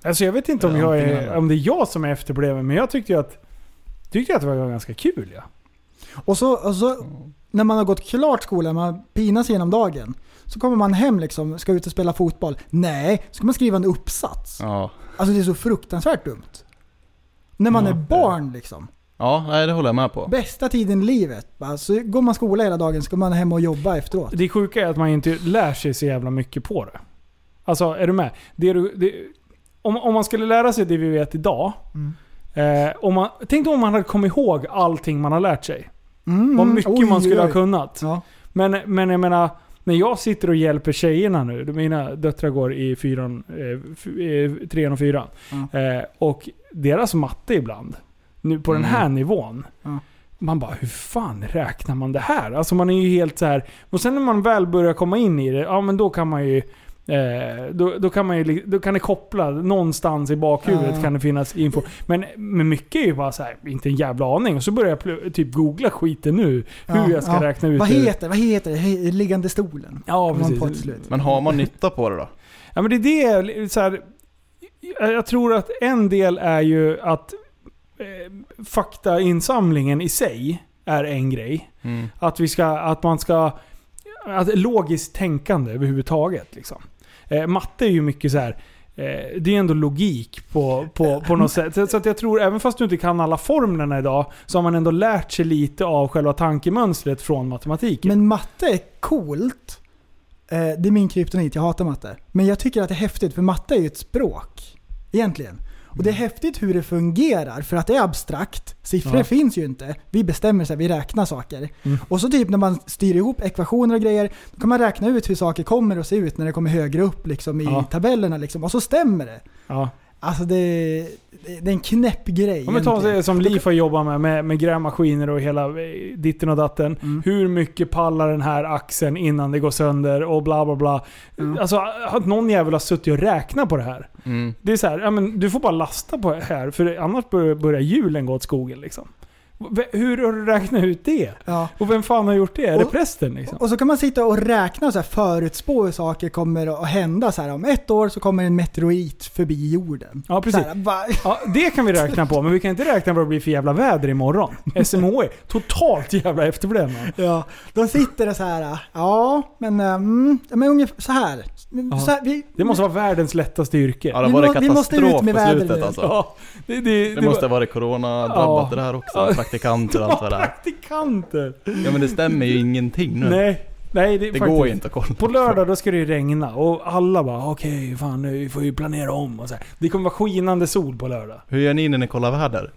Alltså jag vet inte om, Ja, jag antingen är, eller. om det är jag som är efterbliven, men jag tyckte ju att, tyckte jag att det var ganska kul. Ja. Och så, och så när man har gått klart skolan, man pinas genom dagen. Så kommer man hem liksom, ska ut och spela fotboll. Nej, ska man skriva en uppsats. Ja. Alltså det är så fruktansvärt dumt. När man Ja. är barn liksom. Ja, nej, det håller jag med på. Bästa tiden i livet. va? Så går man skola hela dagen, ska man hem och jobba efteråt. Det sjuka är att man inte lär sig så jävla mycket på det. Alltså, är du med? Det du, det, om, om man skulle lära sig det vi vet idag. Mm. Eh, om man, tänk då om man hade kommit ihåg allting man har lärt sig. Vad mycket Mm. oj, man skulle oj. ha kunnat. Men, men jag menar, när jag sitter och hjälper tjejerna nu. Mina döttrar går i fyran, eh, f- eh, trean och fyran. Eh, och deras matte ibland, nu på Mm. den här nivån. Man bara, hur fan räknar man det här? Alltså man är ju helt så här. Och sen när man väl börjar komma in i det, ja men då kan man ju... Eh, då, då, kan man ju li- då kan det koppla någonstans i bakhuvudet Ja. kan det finnas info. Men, men mycket är ju bara så här, inte en jävla aning. Och så börjar jag pl- typ googla skiten nu. Hur Ja, jag ska ja. räkna ut Vad det. heter, vad heter det? He- Liggande stolen. Ja, Om man får ett precis. slut. Men har man nytta på det då? Ja, men det är det, så här, jag jag tror att en del är ju att eh, Mm. faktainsamlingen i sig är en grej. Att, vi ska, att man ska alltså, logiskt tänkande överhuvudtaget. Liksom. Eh, matte är ju mycket så här. eh, Det är ändå logik på, på, på något sätt. Så- Så att jag tror, även fast du inte kan alla formlerna idag, så har man ändå lärt sig lite av själva tankemönstret från matematiken. Men matte är coolt. Eh, det är min kryptonit, jag hatar matte. Men jag tycker att det är häftigt, för matte är ju ett språk. Egentligen. Och det är häftigt hur det fungerar, för att det är abstrakt. Siffror Mm. Ja. finns ju inte. Vi bestämmer sig, vi räknar saker. Mm. Och så typ när man styr ihop ekvationer och grejer, då kan man räkna ut hur saker kommer att se ut när det kommer högre upp liksom, i Ja. tabellerna. Liksom. Och så stämmer det. Ja. Alltså det, det, det är en knäpp grej. Om vi tar egentligen. det som Leif har jobbat med, med, med grävmaskiner och hela eh, ditten och datten. Mm. Hur mycket pallar den här axeln innan det går sönder och bla bla bla. Alltså, har inte någon jävel har suttit och räknat på det här? Mm. Det är så här, ja, men du får bara lasta på det här, för annars börjar, börjar hjulen gå åt skogen. Liksom. V- Hur har du räknat ut det? Och vem fan har gjort det? Är det prästen? Liksom? Och så kan man sitta och räkna och så här, förutspå hur saker kommer att hända. Så här, om ett år så kommer en meteorit förbi jorden. Ja, precis. Så här, va- Ja, det kan vi räkna på, men vi kan inte räkna vad det blir för jävla väder imorgon. SMHI, E, totalt jävla efterblivna. Ja, de sitter och så här. Ja, men, eh, mm, ja, men ungefär så här. Ja. Så här vi, Det måste vara världens lättaste yrke. Ja, det var det katastrof på slutet alltså. Ja, det, det, det, måste ha varit corona-drabbat det där också. Ja. Praktikanter och allt vad det där. Praktikanter! Ja men det stämmer ju ingenting nu. Nej. Nej, det, är Det faktiskt- går ju inte att kolla. På lördag då ska det ju regna och alla bara okej, fan nu får vi planera om och så här. Det kommer vara skinande sol på lördag. Eh, Hur gör ni när ni kollar väder?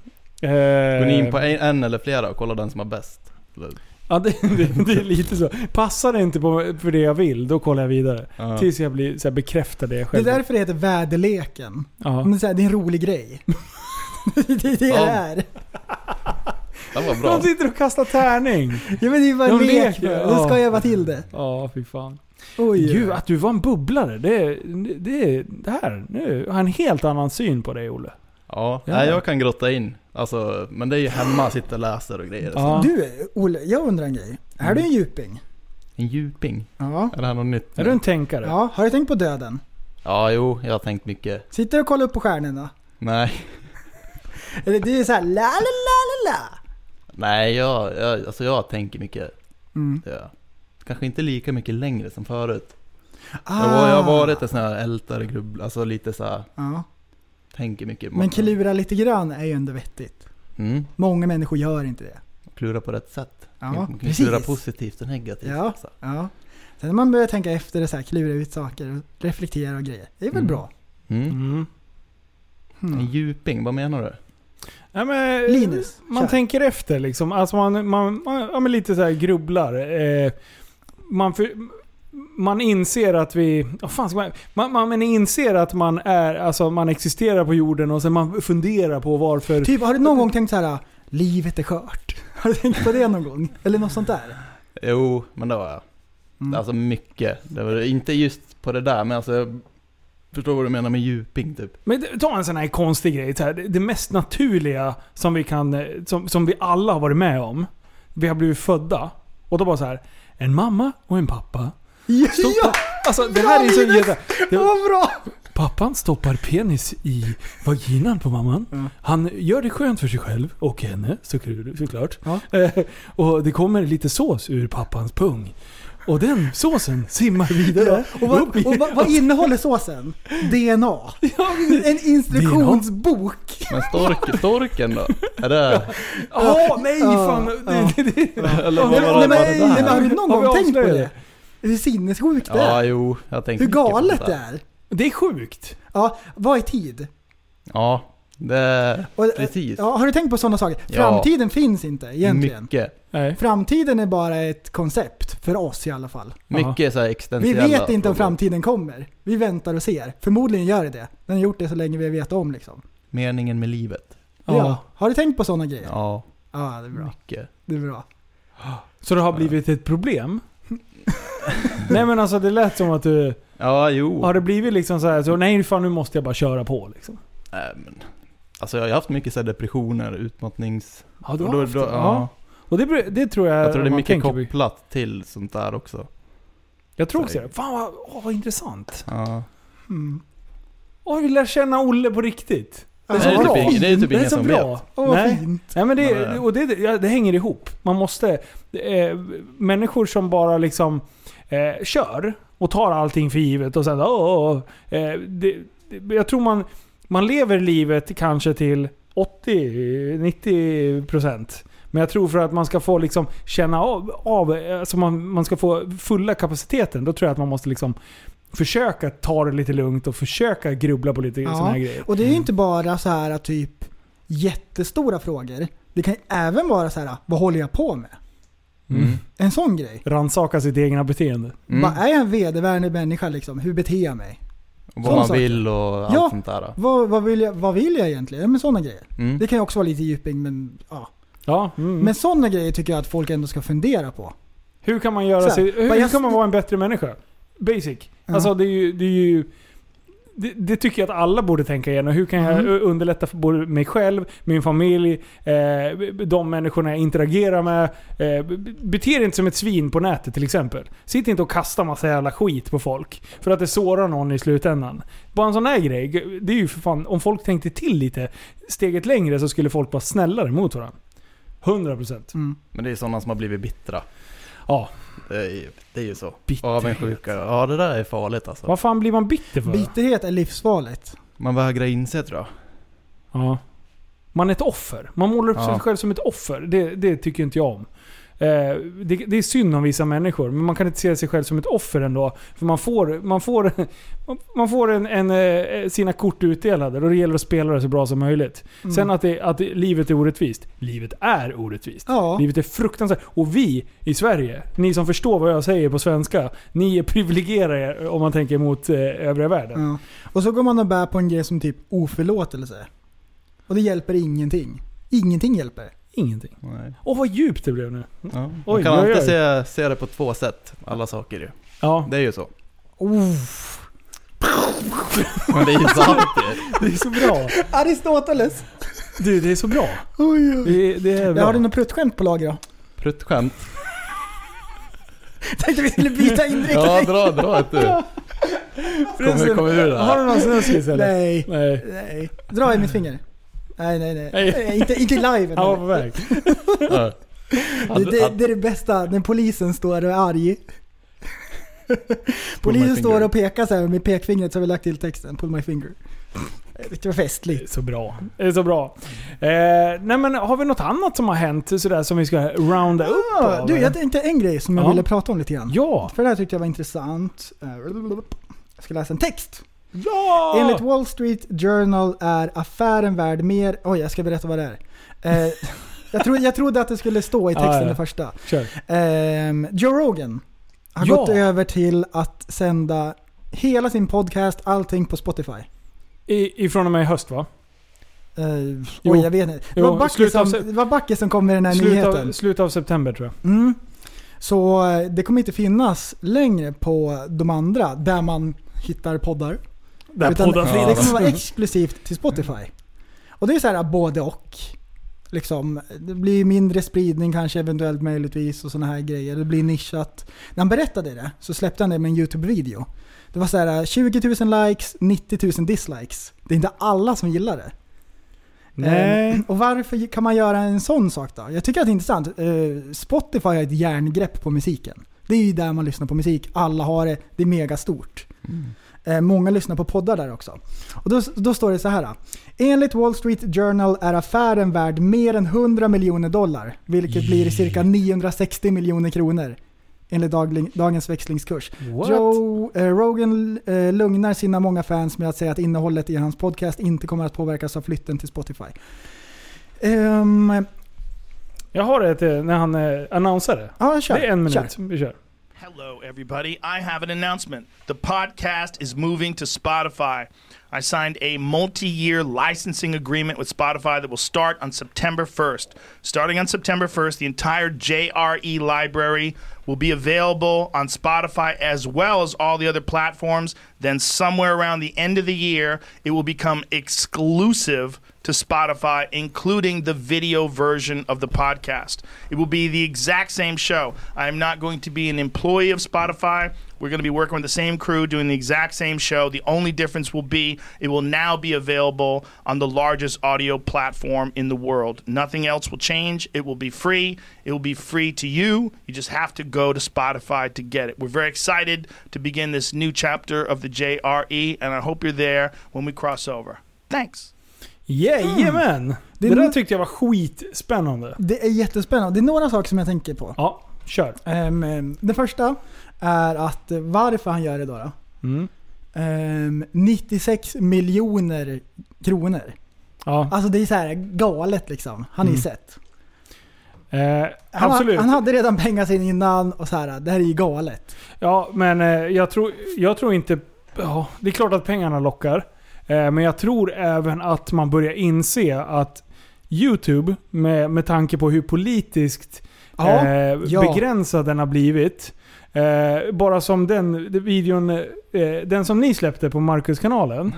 Går ni in på en, en eller flera och kollar den som har bäst? Eller? Ja, det, det, det är lite så. Passar det inte på, för det jag vill, då kollar jag vidare. Ja. Tills jag blir så här, bekräftad det jag det Mm. är själv därför det heter väderleken. Ja. Men så här, det är en rolig grej. det är det Ja. det är. Den var De sitter och kastar tärning. Ja men det är ju bara De en lek leker, nu. ja. Då ska jag vara till det. Ja, fy fan. Oj. Gud, att du var en bubblare. Det, det, det här. Nu har jag en helt annan syn på dig, Olle. Ja, Ja. Nej, jag kan grotta in. Alltså, men det är ju hemma, sitta och läser och grejer. Ja. Du, Olle, jag undrar en grej. Är Mm. du en djuping? En djuping? Ja. Är det här något nytt? nu? en tänkare? Ja, har du tänkt på döden? Ja, jo, jag har tänkt mycket. Sitter du och kollar upp på stjärnorna? Nej, Eller det är såhär la la la la la. nej jag, jag, alltså jag tänker mycket. Mm. Ja. Kanske inte lika mycket längre som förut. Ah. Jag, var, jag har varit en sån här ältare, grubb, alltså lite så här, Ja. tänker mycket. Men klura lite grann är ju ändå vettigt. Mm. Många människor gör inte det. klura på rätt sätt. Ja, man kan ju precis. klura positivt och negativt. Ja, Så. ja. Sen när man börjar tänka efter och så här, klura ut saker och reflektera och grejer. Det är väl Mm. bra? Mm. En Hmm. djuping, vad menar du? Nej, men, Linus, Eh, Man kör. tänker efter liksom. Alltså man, man, man ja, men lite så här grubblar. Eh, man, för, man inser att vi... Oh, fan ska man, man, man, man inser att man, är, alltså, man existerar på jorden och sen man funderar på varför... Typ, har du någon gång tänkt så här, livet är skört? Har du tänkt på det någon gång? Eller något sånt där? Jo, men det var jag. Mm. Alltså mycket. Det var, inte just på det där, men alltså jag förstår vad du menar med djuping typ. Men ta en sån här konstig grej. Så här, det- det mest naturliga som vi, kan, eh, som, som vi alla har varit med om. Vi har blivit födda. Och då bara så här. En mamma och en pappa. Ja, ja! Alltså det här är så jävla... Det var bra! Pappan stoppar penis i vaginan på mamman. Han gör det skönt för sig själv och henne så- såklart. Eh, och det kommer lite sås ur pappans pung. Och den såsen simmar vidare. Och vad, upp i- och vad, vad innehåller såsen? DNA? En instruktionsbok? Men stork, storken då? Är det... Åh nej fan! Det, det, det. Eller vad var det- Nej, men- var det nej, där? men har du någon Har vi gång tänkt på avslöjat det? Hur sinnessjukt det Ja, är? jo. Jag har tänkt Hur mycket på galet det där. är? Det är sjukt. Ja, vad är tid? Ja, det... Och, precis. Ja, har du tänkt på sådana saker? Ja. Framtiden finns inte egentligen. Mycket. Framtiden är bara ett koncept, för oss i alla fall. Mycket så här Vi existentiella vet inte om frågor. framtiden kommer. Vi väntar och ser. Förmodligen gör det det. Den har gjort det så länge vi vet om liksom. Meningen med livet. Ja. Har du tänkt på sådana grejer? Ja, Ja, det är bra. mycket. Det är bra. Så det har blivit ett problem? nej men alltså det lät som att du... Ja, jo. Har det blivit liksom så här, så nej fan nu måste jag bara köra på liksom. Nej, men, alltså jag har ju haft mycket så här depressioner, utmattnings... Ja, du och har då- haft då- det. Ja. Och det, bru- det tror jag... Jag tror det är man mycket tänker på. kopplat till sånt där också. Jag tror också Så- det. Fan vad, åh, vad intressant. Ja. Oj, vi lär känna Olle på riktigt. Det är så typ bra. ing- det är typ Den ingen så som bra. vet. Åh, vad Nej. fint. Nej, men det, och det, ja, det hänger ihop. Man måste... Eh, människor som bara liksom eh, kör och tar allting för givet och sen... Åh, åh, åh, eh, det, det, jag tror man, man lever livet kanske till 80-90 procent. Men jag tror för att man ska få liksom känna av, av alltså man, man ska få fulla kapaciteten, då tror jag att man måste liksom försöka ta det lite lugnt och försöka grubbla på lite sådana här grejer. Och det är ju inte bara så här typ jättestora frågor. Det kan ju även vara så här, vad håller jag på med? Mm. En sån grej. Rannsaka sitt egna beteende. Mm. Vad är jag en vedervärdig människa liksom? Hur beter jag mig? Vad Sån man saker. vill och allt ja, sånt där. Vad, vad, vill jag, vad vill jag egentligen? Ja, men sådana grejer. Mm. Det kan ju också vara lite djuping men ja. Ja, mm. Men sådana grejer tycker jag att folk ändå ska fundera på. Hur kan man göra Så här, sig, hur, bara hur jag- kan man vara en bättre människa? Basic. Alltså det är ju... Det, är ju det, det tycker jag att alla borde tänka igenom. Hur kan jag Mm. ö- underlätta för både mig själv, min familj, eh, de människorna jag interagerar med. Eh, be- bete er inte som ett svin på nätet till exempel. Sitt inte och kasta massa jävla skit på folk. För att det sårar någon i slutändan. Bara en sån här grej. Det är ju för fan, om folk tänkte till lite steget längre så skulle folk vara snällare mot varandra. 100%. Mm. Men det är sådana som har blivit bittra. Ja. Det är ju, det är ju så. Avundsjuka. Ja det där är farligt alltså. Vad fan blir man bitter för? Bitterhet är livsfarligt. Man vägrar inse tror jag. Ja. Man är ett offer. Man målar upp sig Ja. själv som ett offer. Det, det tycker inte jag om. Eh, det, det är synd om vissa människor, men man kan inte se sig själv som ett offer ändå. För man får, man får, man får en, en, eh, sina kort utdelade och det gäller att spela det så bra som möjligt. Mm. Sen att, det, att det, livet är orättvist. Livet är orättvist. Ja. Livet är fruktansvärt. Och vi i Sverige, ni som förstår vad jag säger på svenska, ni är privilegierade om man tänker mot eh, övriga världen. Ja. Och så går man och bär på en grej som typ oförlåtelse. Och det hjälper ingenting. Ingenting hjälper. Ingenting. Nej. Åh vad djupt det blev nu. Ja. man Oj, kan oj, alltid oj. se, se det på två sätt. Alla saker ju. Ja. Det är ju så. Uff. Men det är ju sant ju. Det är så bra. Aristoteles. Du, det är så bra. Oj, oj. Det, det är Jag bra. har du något pruttskämt på lager då? Pruttskämt. Tänkte vi skulle byta inriktning. Ja, dra, dra ett du. Kommer, kommer ur det här. Har du någon snuskis eller? Nej. Nej. Nej. Dra i mitt finger. Nej, nej, nej. Nej. nej. Inte, inte live. Han var eller? på väg. Ja. Det, det, det är det bästa, när polisen står och är arg. polisen står och pekar så här med pekfingret så har vi lagt till texten. Pull my finger. Det var festligt. Så bra. Det är så bra. Eh, nej men har vi något annat som har hänt sådär som vi ska rounda upp Ah, av, du, eller? jag tänkte en grej som jag Ja. ville prata om lite grann. Ja! För det här tyckte jag var intressant. Eh, Jag ska läsa en text. Ja! Enligt Wall Street Journal är affären värd mer... Oj, jag ska berätta vad det är. Eh, jag, tro, jag trodde att det skulle stå i texten Ja, ja. det första. Kör. Ehm, Joe Rogan har Ja. gått över till att sända hela sin podcast, allting på Spotify. I, ifrån och med i höst va? Eh, Jo. oj, jag vet inte. Det Jo, var, Backe slutet av som, se- det var Backe som kom med den här Slutet av, nyheten. slutet av september tror jag. Mm. Så eh, det kommer inte finnas längre på de andra, där man hittar poddar. Där Utan poddar det finns. Mm. kommer vara exklusivt till Spotify. Och det är så här eh, både och. Liksom, det blir mindre spridning kanske eventuellt möjligtvis och sådana här grejer. Det blir nischat. När han berättade det så släppte han det med en YouTube-video. Det var så här 20 000 likes, 90 000 dislikes. Det är inte alla som gillar det. Nej. Eh, Och varför kan man göra en sån sak då? Jag tycker att det är intressant. Eh, Spotify har ett järngrepp på musiken. Det är ju där man lyssnar på musik. Alla har det. Det är megastort. Eh, Många lyssnar på poddar där också. Och då, då står det så här. Enligt Wall Street Journal är affären värd mer än 100 miljoner dollar. Vilket blir cirka 960 miljoner kronor. Enligt dagling, dagens växlingskurs. What? Joe eh, Rogan eh, lugnar sina många fans med att säga att innehållet i hans podcast inte kommer att påverkas av flytten till Spotify. Ehm, Jag har ett eh, när han eh, annonsade. ja, kör. Det är en Kör. minut. Vi kör. Hello, everybody. I have an announcement. The podcast is moving to Spotify. I signed a multi year licensing agreement with Spotify that will start on September 1st. Starting on September 1st, the entire JRE library will be available on Spotify as well as all the other platforms. Then, somewhere around the end of the year, it will become exclusive to Spotify, including the video version of the podcast. It will be the exact same show. I am not going to be an employee of Spotify We're going to be working with the same crew, doing the exact same show. The only difference will be it will now be available on the largest audio platform in the world. Nothing else will change. It will be free. It will be free to you. You just have to go to Spotify to get it. We're very excited to begin this new chapter of the JRE, and I hope you're there when we cross over. Thanks. Jajamän! Det, Mm. Det- där tyckte jag var skitspännande. Det är jättespännande. Det är några saker som jag tänker på. Ja, kör. den första är att eh, varför han gör det då. då? Mm. Ehm, 96 miljoner kronor. Ja. Alltså det är så här galet liksom. Han är Mm. ju sett. Eh, Han, ha- absolut. han hade redan pengar sen innan och så här, det här är ju galet. Ja, men eh, jag tror, jag tror inte... Ja, det är klart att pengarna lockar. Eh, men jag tror även att man börjar inse att YouTube, med, med tanke på hur politiskt Ja, eh, ja. begränsad den har blivit. Eh, bara som den den videon, eh, den som ni släppte på Marcus-kanalen.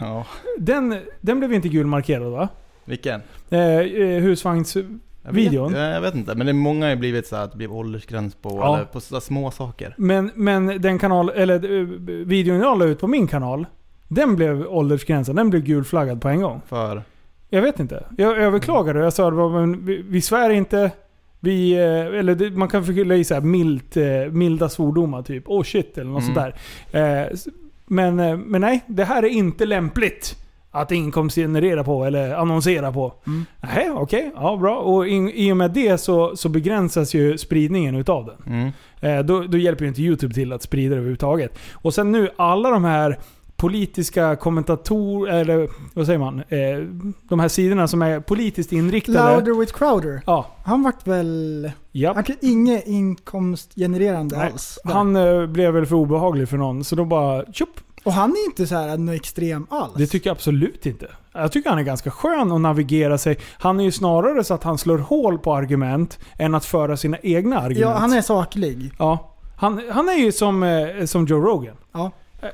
Den, den blev inte gulmarkerad va? Vilken? Eh, eh, Jag vet- eh, husvagnsvideon. Jag, jag vet inte, men det är många har ju blivit så här att det blir åldersgräns på, Ja. eller på så- små saker. Men, men den kanal, eller eh, videon jag la ut på min kanal, den blev åldersgränsen. Den blev gulflaggad på en gång. För? Jag vet inte. Jag överklagade och jag sa att men vi, vi svär inte. Vi, eh, eller det, man kan fylla i så här milt, eh, milda svordomar typ. Oh shit eller något Mm. sånt där. Eh, s- Men, eh, men nej, det här är inte lämpligt att inkomstgenerera på eller annonsera på. Nej, okej. Ja, bra. Och in, i och med det så, så begränsas ju spridningen utav den. Eh, Då, då hjälper ju inte YouTube till att sprida det överhuvudtaget. Och sen nu, alla de här politiska kommentatorer, eller vad säger man? Eh, De här sidorna som är politiskt inriktade. Louder with Crowder. Ja. Han vart väl... Japp. Han kunde inget inkomstgenererande Nej, alls. där. han eh, blev väl för obehaglig för någon, så då bara tjopp. Och han är inte så här något extrem alls. Det tycker jag absolut inte. Jag tycker han är ganska skön att navigera sig. Han är ju snarare så att han slår hål på argument än att föra sina egna argument. Ja, han är saklig. Ja. Han, han är ju som, eh, som Joe Rogan. Ja.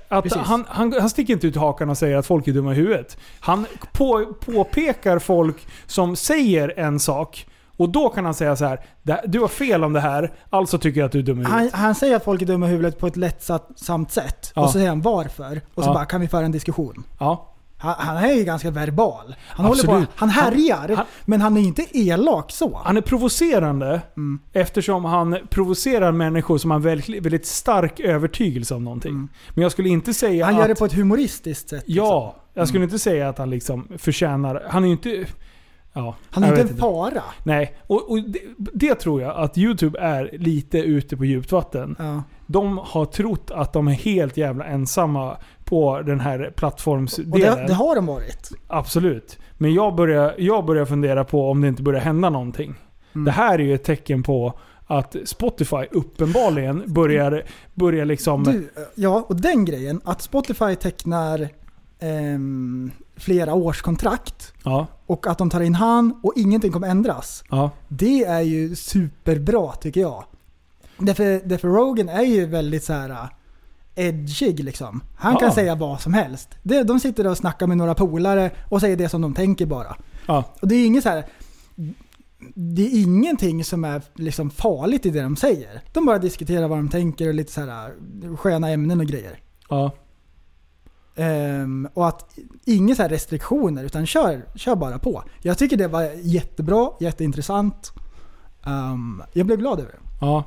Att Precis. han, han, han sticker inte ut hakan och säger att folk är dumma i huvudet. Han på, påpekar folk som säger en sak och då kan han säga så här. "Det- Du har fel om det här, alltså tycker jag att du är dum i Han, huvudet. han säger att folk är dumma i huvudet på ett lättsamt sätt. Ja. Och så säger han varför. Och så Ja. bara, kan vi föra en diskussion? Ja. Han, han är ju ganska verbal. Han håller Absolut. på, han härjar. Han- han- men han är ju inte elak så. Han är provocerande Mm. eftersom han provocerar människor som har en väldigt, väldigt stark övertygelse om någonting. Men jag skulle inte säga Mm. Han att... gör det på Mm. ett humoristiskt sätt. Ja, jag skulle inte säga att han liksom förtjänar... Han är ju inte... Ja, liksom. Han är jag inte vet en fara. Nej, och, och det, det tror jag att YouTube är lite ute på djupt vatten. De har trott att de är helt jävla ensamma på den här Och plattformsdelen. det, det har de varit. Absolut. Men jag börjar, jag börjar fundera på om det inte börjar hända någonting. Mm. Det här är ju ett tecken på att Spotify uppenbarligen börjar, börjar liksom... Du, eh, ja, och den grejen att Spotify tecknar ehm, flera årskontrakt Ja. och att de tar in han och ingenting kommer ändras. Ja. Det är ju superbra tycker jag. Därför, därför Rogan är ju väldigt så här äh, edgig liksom. Han kan Ja. säga vad som helst. Det- De sitter och snackar med några polare och säger det som de tänker bara. Ja. Och det är inget så här. Det är ingenting som är liksom farligt i det de säger. De bara diskuterar vad de tänker och lite så här äh, sköna ämnen och grejer. Ja. Ehm, och att inga så här restriktioner utan kör, kör bara på. Jag tycker det var jättebra, jätteintressant. Ehm, jag blev glad över det. Ja.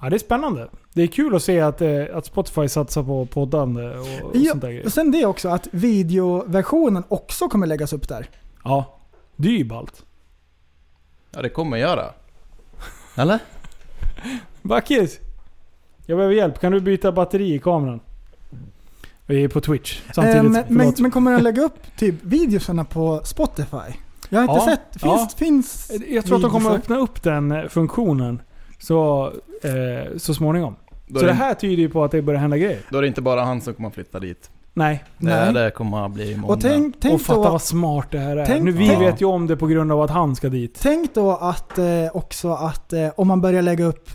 ja, det är spännande. Det är kul att se att, eh, att Spotify satsar på poddande och, och Ja, sånt där grejer. och sen det också att videoversionen också kommer läggas upp där. Ja, det är ju ballt. Ja, det kommer jag göra. Eller? Backis! Jag behöver hjälp. Kan du byta batteri i kameran? Vi är på Twitch samtidigt. Ehm, men, Förlåt. men kommer den lägga upp typ videosarna på Spotify? Jag har inte Ja, sett. Finns, ja. finns Eh, Jag tror att de kommer videosar? att öppna upp den eh, funktionen så, eh, så småningom. Då så är det det- här tyder ju på att det börjar hända grejer. Då är det inte bara han som kommer att flytta dit. Nej. Det, det kommer att bli imorgon. Och tänk, tänk och fatta då, vad smart det här är. tänk- nu, vi tänk- vet ju om det på grund av att han ska dit. Tänk då att eh, också att eh, om man börjar lägga upp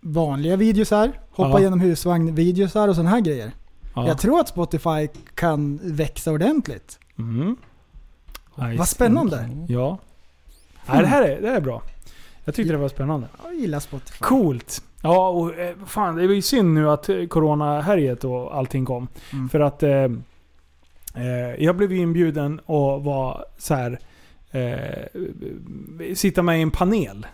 vanliga videosar, hoppa Ja. genom husvagn-videosar och sådana här grejer. Ja. Jag tror att Spotify kan växa ordentligt. Mm. Vad spännande. Ja. Nej, det, här är, det här är bra. Jag tyckte det var spännande. Jag gillar Spotify. Coolt. Ja, och eh, fan det var ju synd nu att eh, corona-härjet och allting kom. För att eh, eh, jag blev ju inbjuden och var så här eh, sitta med i en panel.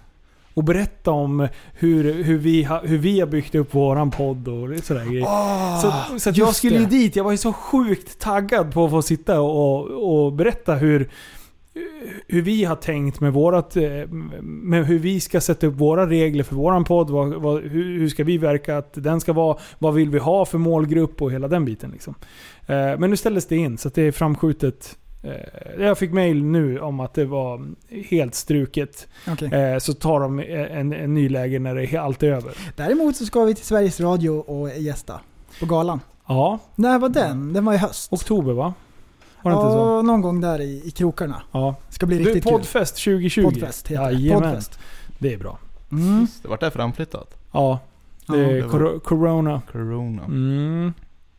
Och berätta om hur, hur, vi, ha, hur vi har byggt upp våran podd och sådär grejer. Ah, så så att just jag skulle ju det. dit, jag var ju så sjukt taggad på att få sitta och, och berätta hur, hur vi har tänkt med vårat, eh, med hur vi ska sätta upp våra regler för våran podd. Vad, vad, hur, hur ska vi verka att den ska vara? Vad vill vi ha för målgrupp och hela den biten. Liksom. Eh, Men nu ställdes det in så att det är framskjutet. Eh, Jag fick mail nu om att det var helt struket. Okej. Eh, Så tar de en, en ny läge när det är allt är över. Däremot så ska vi till Sveriges Radio och gästa på galan. Ja. När var den? Den var i höst. Oktober va? Var det inte så? Ja, någon gång där i, i krokarna. Ja. Ska bli du, riktigt kul. Poddfest 2020. Poddfest heter det. Jajamän. Poddfest. Mm. Det är bra. Just Det vart det framflyttat? Ja. Det är Ja. cor- corona. Corona. Mm.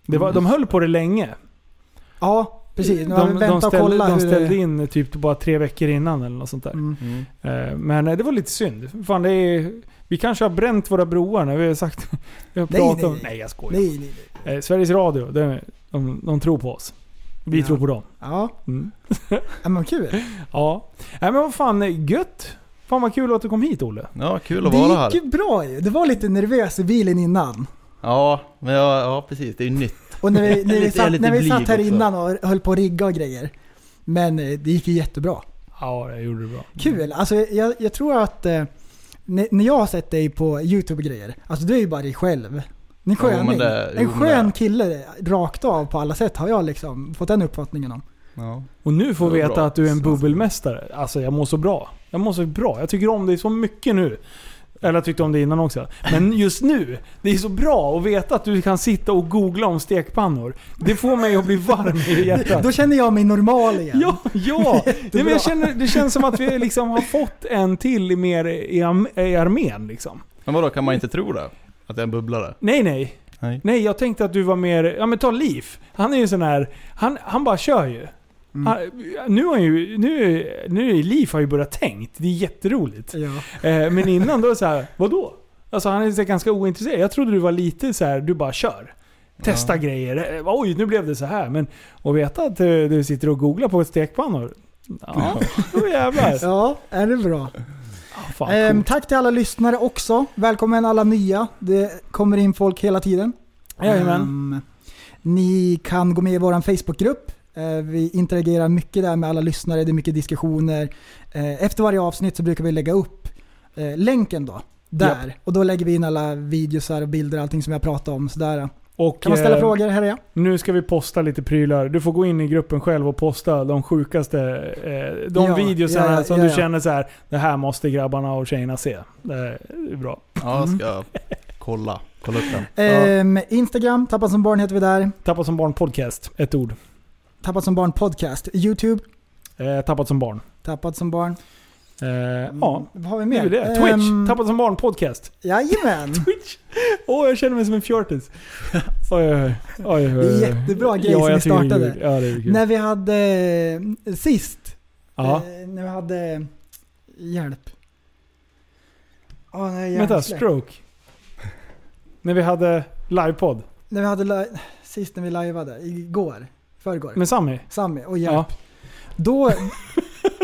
Det var, de höll på det länge. Ja, precis. Nu har vi De, väntat de och ställde, kollat de hur ställde det- Mm. in typ bara tre veckor innan eller något sånt där. Eh, Men eh, det var lite synd. Fan, det är, vi kanske har bränt våra broar när vi har sagt... Vi har Nej, pratat nej, om, nej. nej, jag skojar. Nej, nej, nej. Eh, Sveriges Radio, de, de, de tror på oss. Vi tror på dem. Ja. Mm. Ja, men kul. Ja. Nej men vad fan, eh, gött! Fan vad kul att du kom hit Olle. Ja, kul att Det vara gick här. ju bra ju. Det var lite nervös i bilen innan. Ja, men ja, ja, precis. Det är ju nytt. Och när vi, Jag är när vi, lite- jag är satt, lite när vi blyg satt här också. innan och höll på att rigga och grejer. Men eh, det gick ju jättebra. Ja, jag gjorde det bra. Mm. Kul! Alltså jag, jag tror att eh, när när jag har sett dig på YouTube och grejer, alltså du är ju bara dig själv. Ni är Jo, men sköning. det- jo, en men skön kille eh, rakt av på alla sätt har jag liksom fått den uppfattningen om. Ja. Och nu får Det vi var veta bra. att du är en bubbelmästare. Alltså jag mår så bra. Jag mår så bra. Jag tycker om dig så mycket nu. Eller jag tyckte om det innan också. Men just nu, det är så bra att veta att du kan sitta och googla om stekpannor. Det får mig att bli varm i hjärtat. Då känner jag mig normal igen. Ja, ja. Nej, men jag känner, det känns som att vi liksom har fått en till mer i, am- i armén. Liksom. Men vadå, kan man inte tro det? Att jag är en bubblare? Nej, nej. Nej. jag tänkte att du var mer... Ja men ta Liv. Han är ju sån här... Han, han bara kör ju. Mm. Han, nu har ju... Nu, nu är Liv har ju börjat tänkt. Det är jätteroligt. Eh, men innan då så här, vadå? Alltså han är så här ganska ointresserad. Jag trodde du var lite så här, du bara kör. Testa grejer. Eh, Oj, nu blev det så här. Men att veta att eh, du sitter och googlar på stekpannor. Ja, då jävlar. Ah, Ja, är det bra. fan, Ehm, coolt. tack till alla lyssnare också. Välkommen alla nya. Det kommer in folk hela tiden. Jajamän. Ehm, ni kan gå med i vår Facebookgrupp. Eh, vi interagerar mycket där med alla lyssnare. Det är mycket diskussioner. Eh, efter varje avsnitt så brukar vi lägga upp eh, länken då. Där. Japp. Och då lägger vi in alla videosar och bilder och allting som jag pratade om. Sådär. Och, Kan man ställa eh, frågor? Här är jag. Nu ska vi posta lite prylar. Du får gå in i gruppen själv och posta de sjukaste eh, de Ja, videosarna ja, ja, som ja, du ja. känner så här. Det här måste grabbarna och tjejerna se. Det är bra. Ja, jag ska kolla. Kolla upp den. Ehm, Instagram, Tappa som barn heter vi där. Tappat som barn podcast, ett ord. Tappat som barn podcast. YouTube, Eh, tappat som barn. Tappat som barn. Eh, Ja, Vad har vi det är mer? väl det. Twitch, Ehm, Tappat som barn podcast. Jajamän! Åh, jag känner mig som en fjortis. Oj, oj, oj, oj, Det är jättebra grej som jag ni tycker det är startade. kul. Ja, det är kul. När vi hade eh, sist, Ja. eh, när vi hade hjälp. Åh, nej, Vänta, jäklar. stroke. När vi hade livepodd. När vi hade li- sist när vi liveade, igår, förrgår. Med Sami. Sami och hjälp. Ja. Då,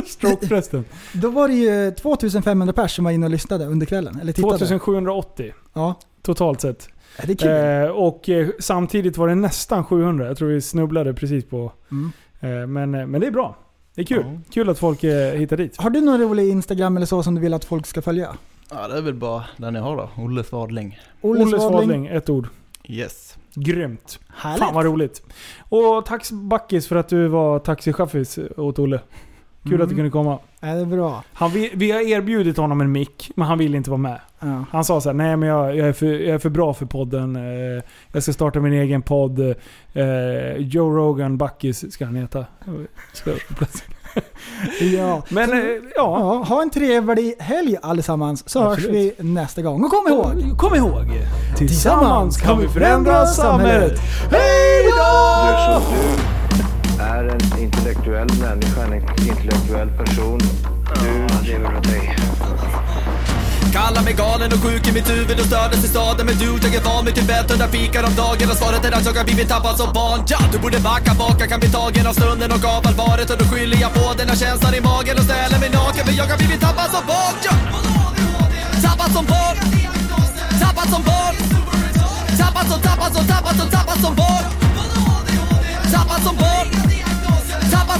Stroke förresten. då var det ju 2500 pers som var inne och lyssnade under kvällen. Eller tittade. 2780. Ja. Totalt sett. det är kul. Eh, och eh, samtidigt var det nästan 700. Jag tror vi snubblade precis på... Mm. Eh, men, eh, men det är bra. Det är kul. Kul att folk eh, hittar dit. Har du någon rolig Instagram eller så som du vill att folk ska följa? Ja, det är väl bara den jag har då. Olle Svadling. Olle Svadling. ett ord. Yes. Grymt. Fan vad roligt. Och tack Backis för att du var taxichaffis åt Olle. Kul att du Mm. kunde komma. Ja, det är bra. Han, vi, vi har erbjudit honom en mick, men han ville inte vara med. Ja. Han sa så här, nej men jag, jag, är för, jag är för bra för podden. Eh, Jag ska starta min egen podd. Eh, Joe Rogan Backis ska han heta. Ska jag på plats. Ja. Men eh, ja, Ja, ha en trevlig helg allesammans så hörs Absolut. vi nästa gång. Och kom ihåg! kom ihåg! Tillsammans kan vi förändra samhället. Hej då! Gör som du är en intellektuell människa, en intellektuell person. Du lever av dig. Kallar mig galen och sjuk i mitt huvud och stördes i staden Men du, jag är van vid Tibet och där fikar om dagen Och svaret är att jag har blivit tappad som barn ja, Du borde backa bak, jag kan bli tagen av stunden och av allvaret Och då skyller jag på den här känslan i magen och ställer mig naken För jag har blivit tappad som barn ja. Tappad som barn Tappad som barn Tappad som, tappad som, tappad som, tappad som barn Tappad som barn Tappad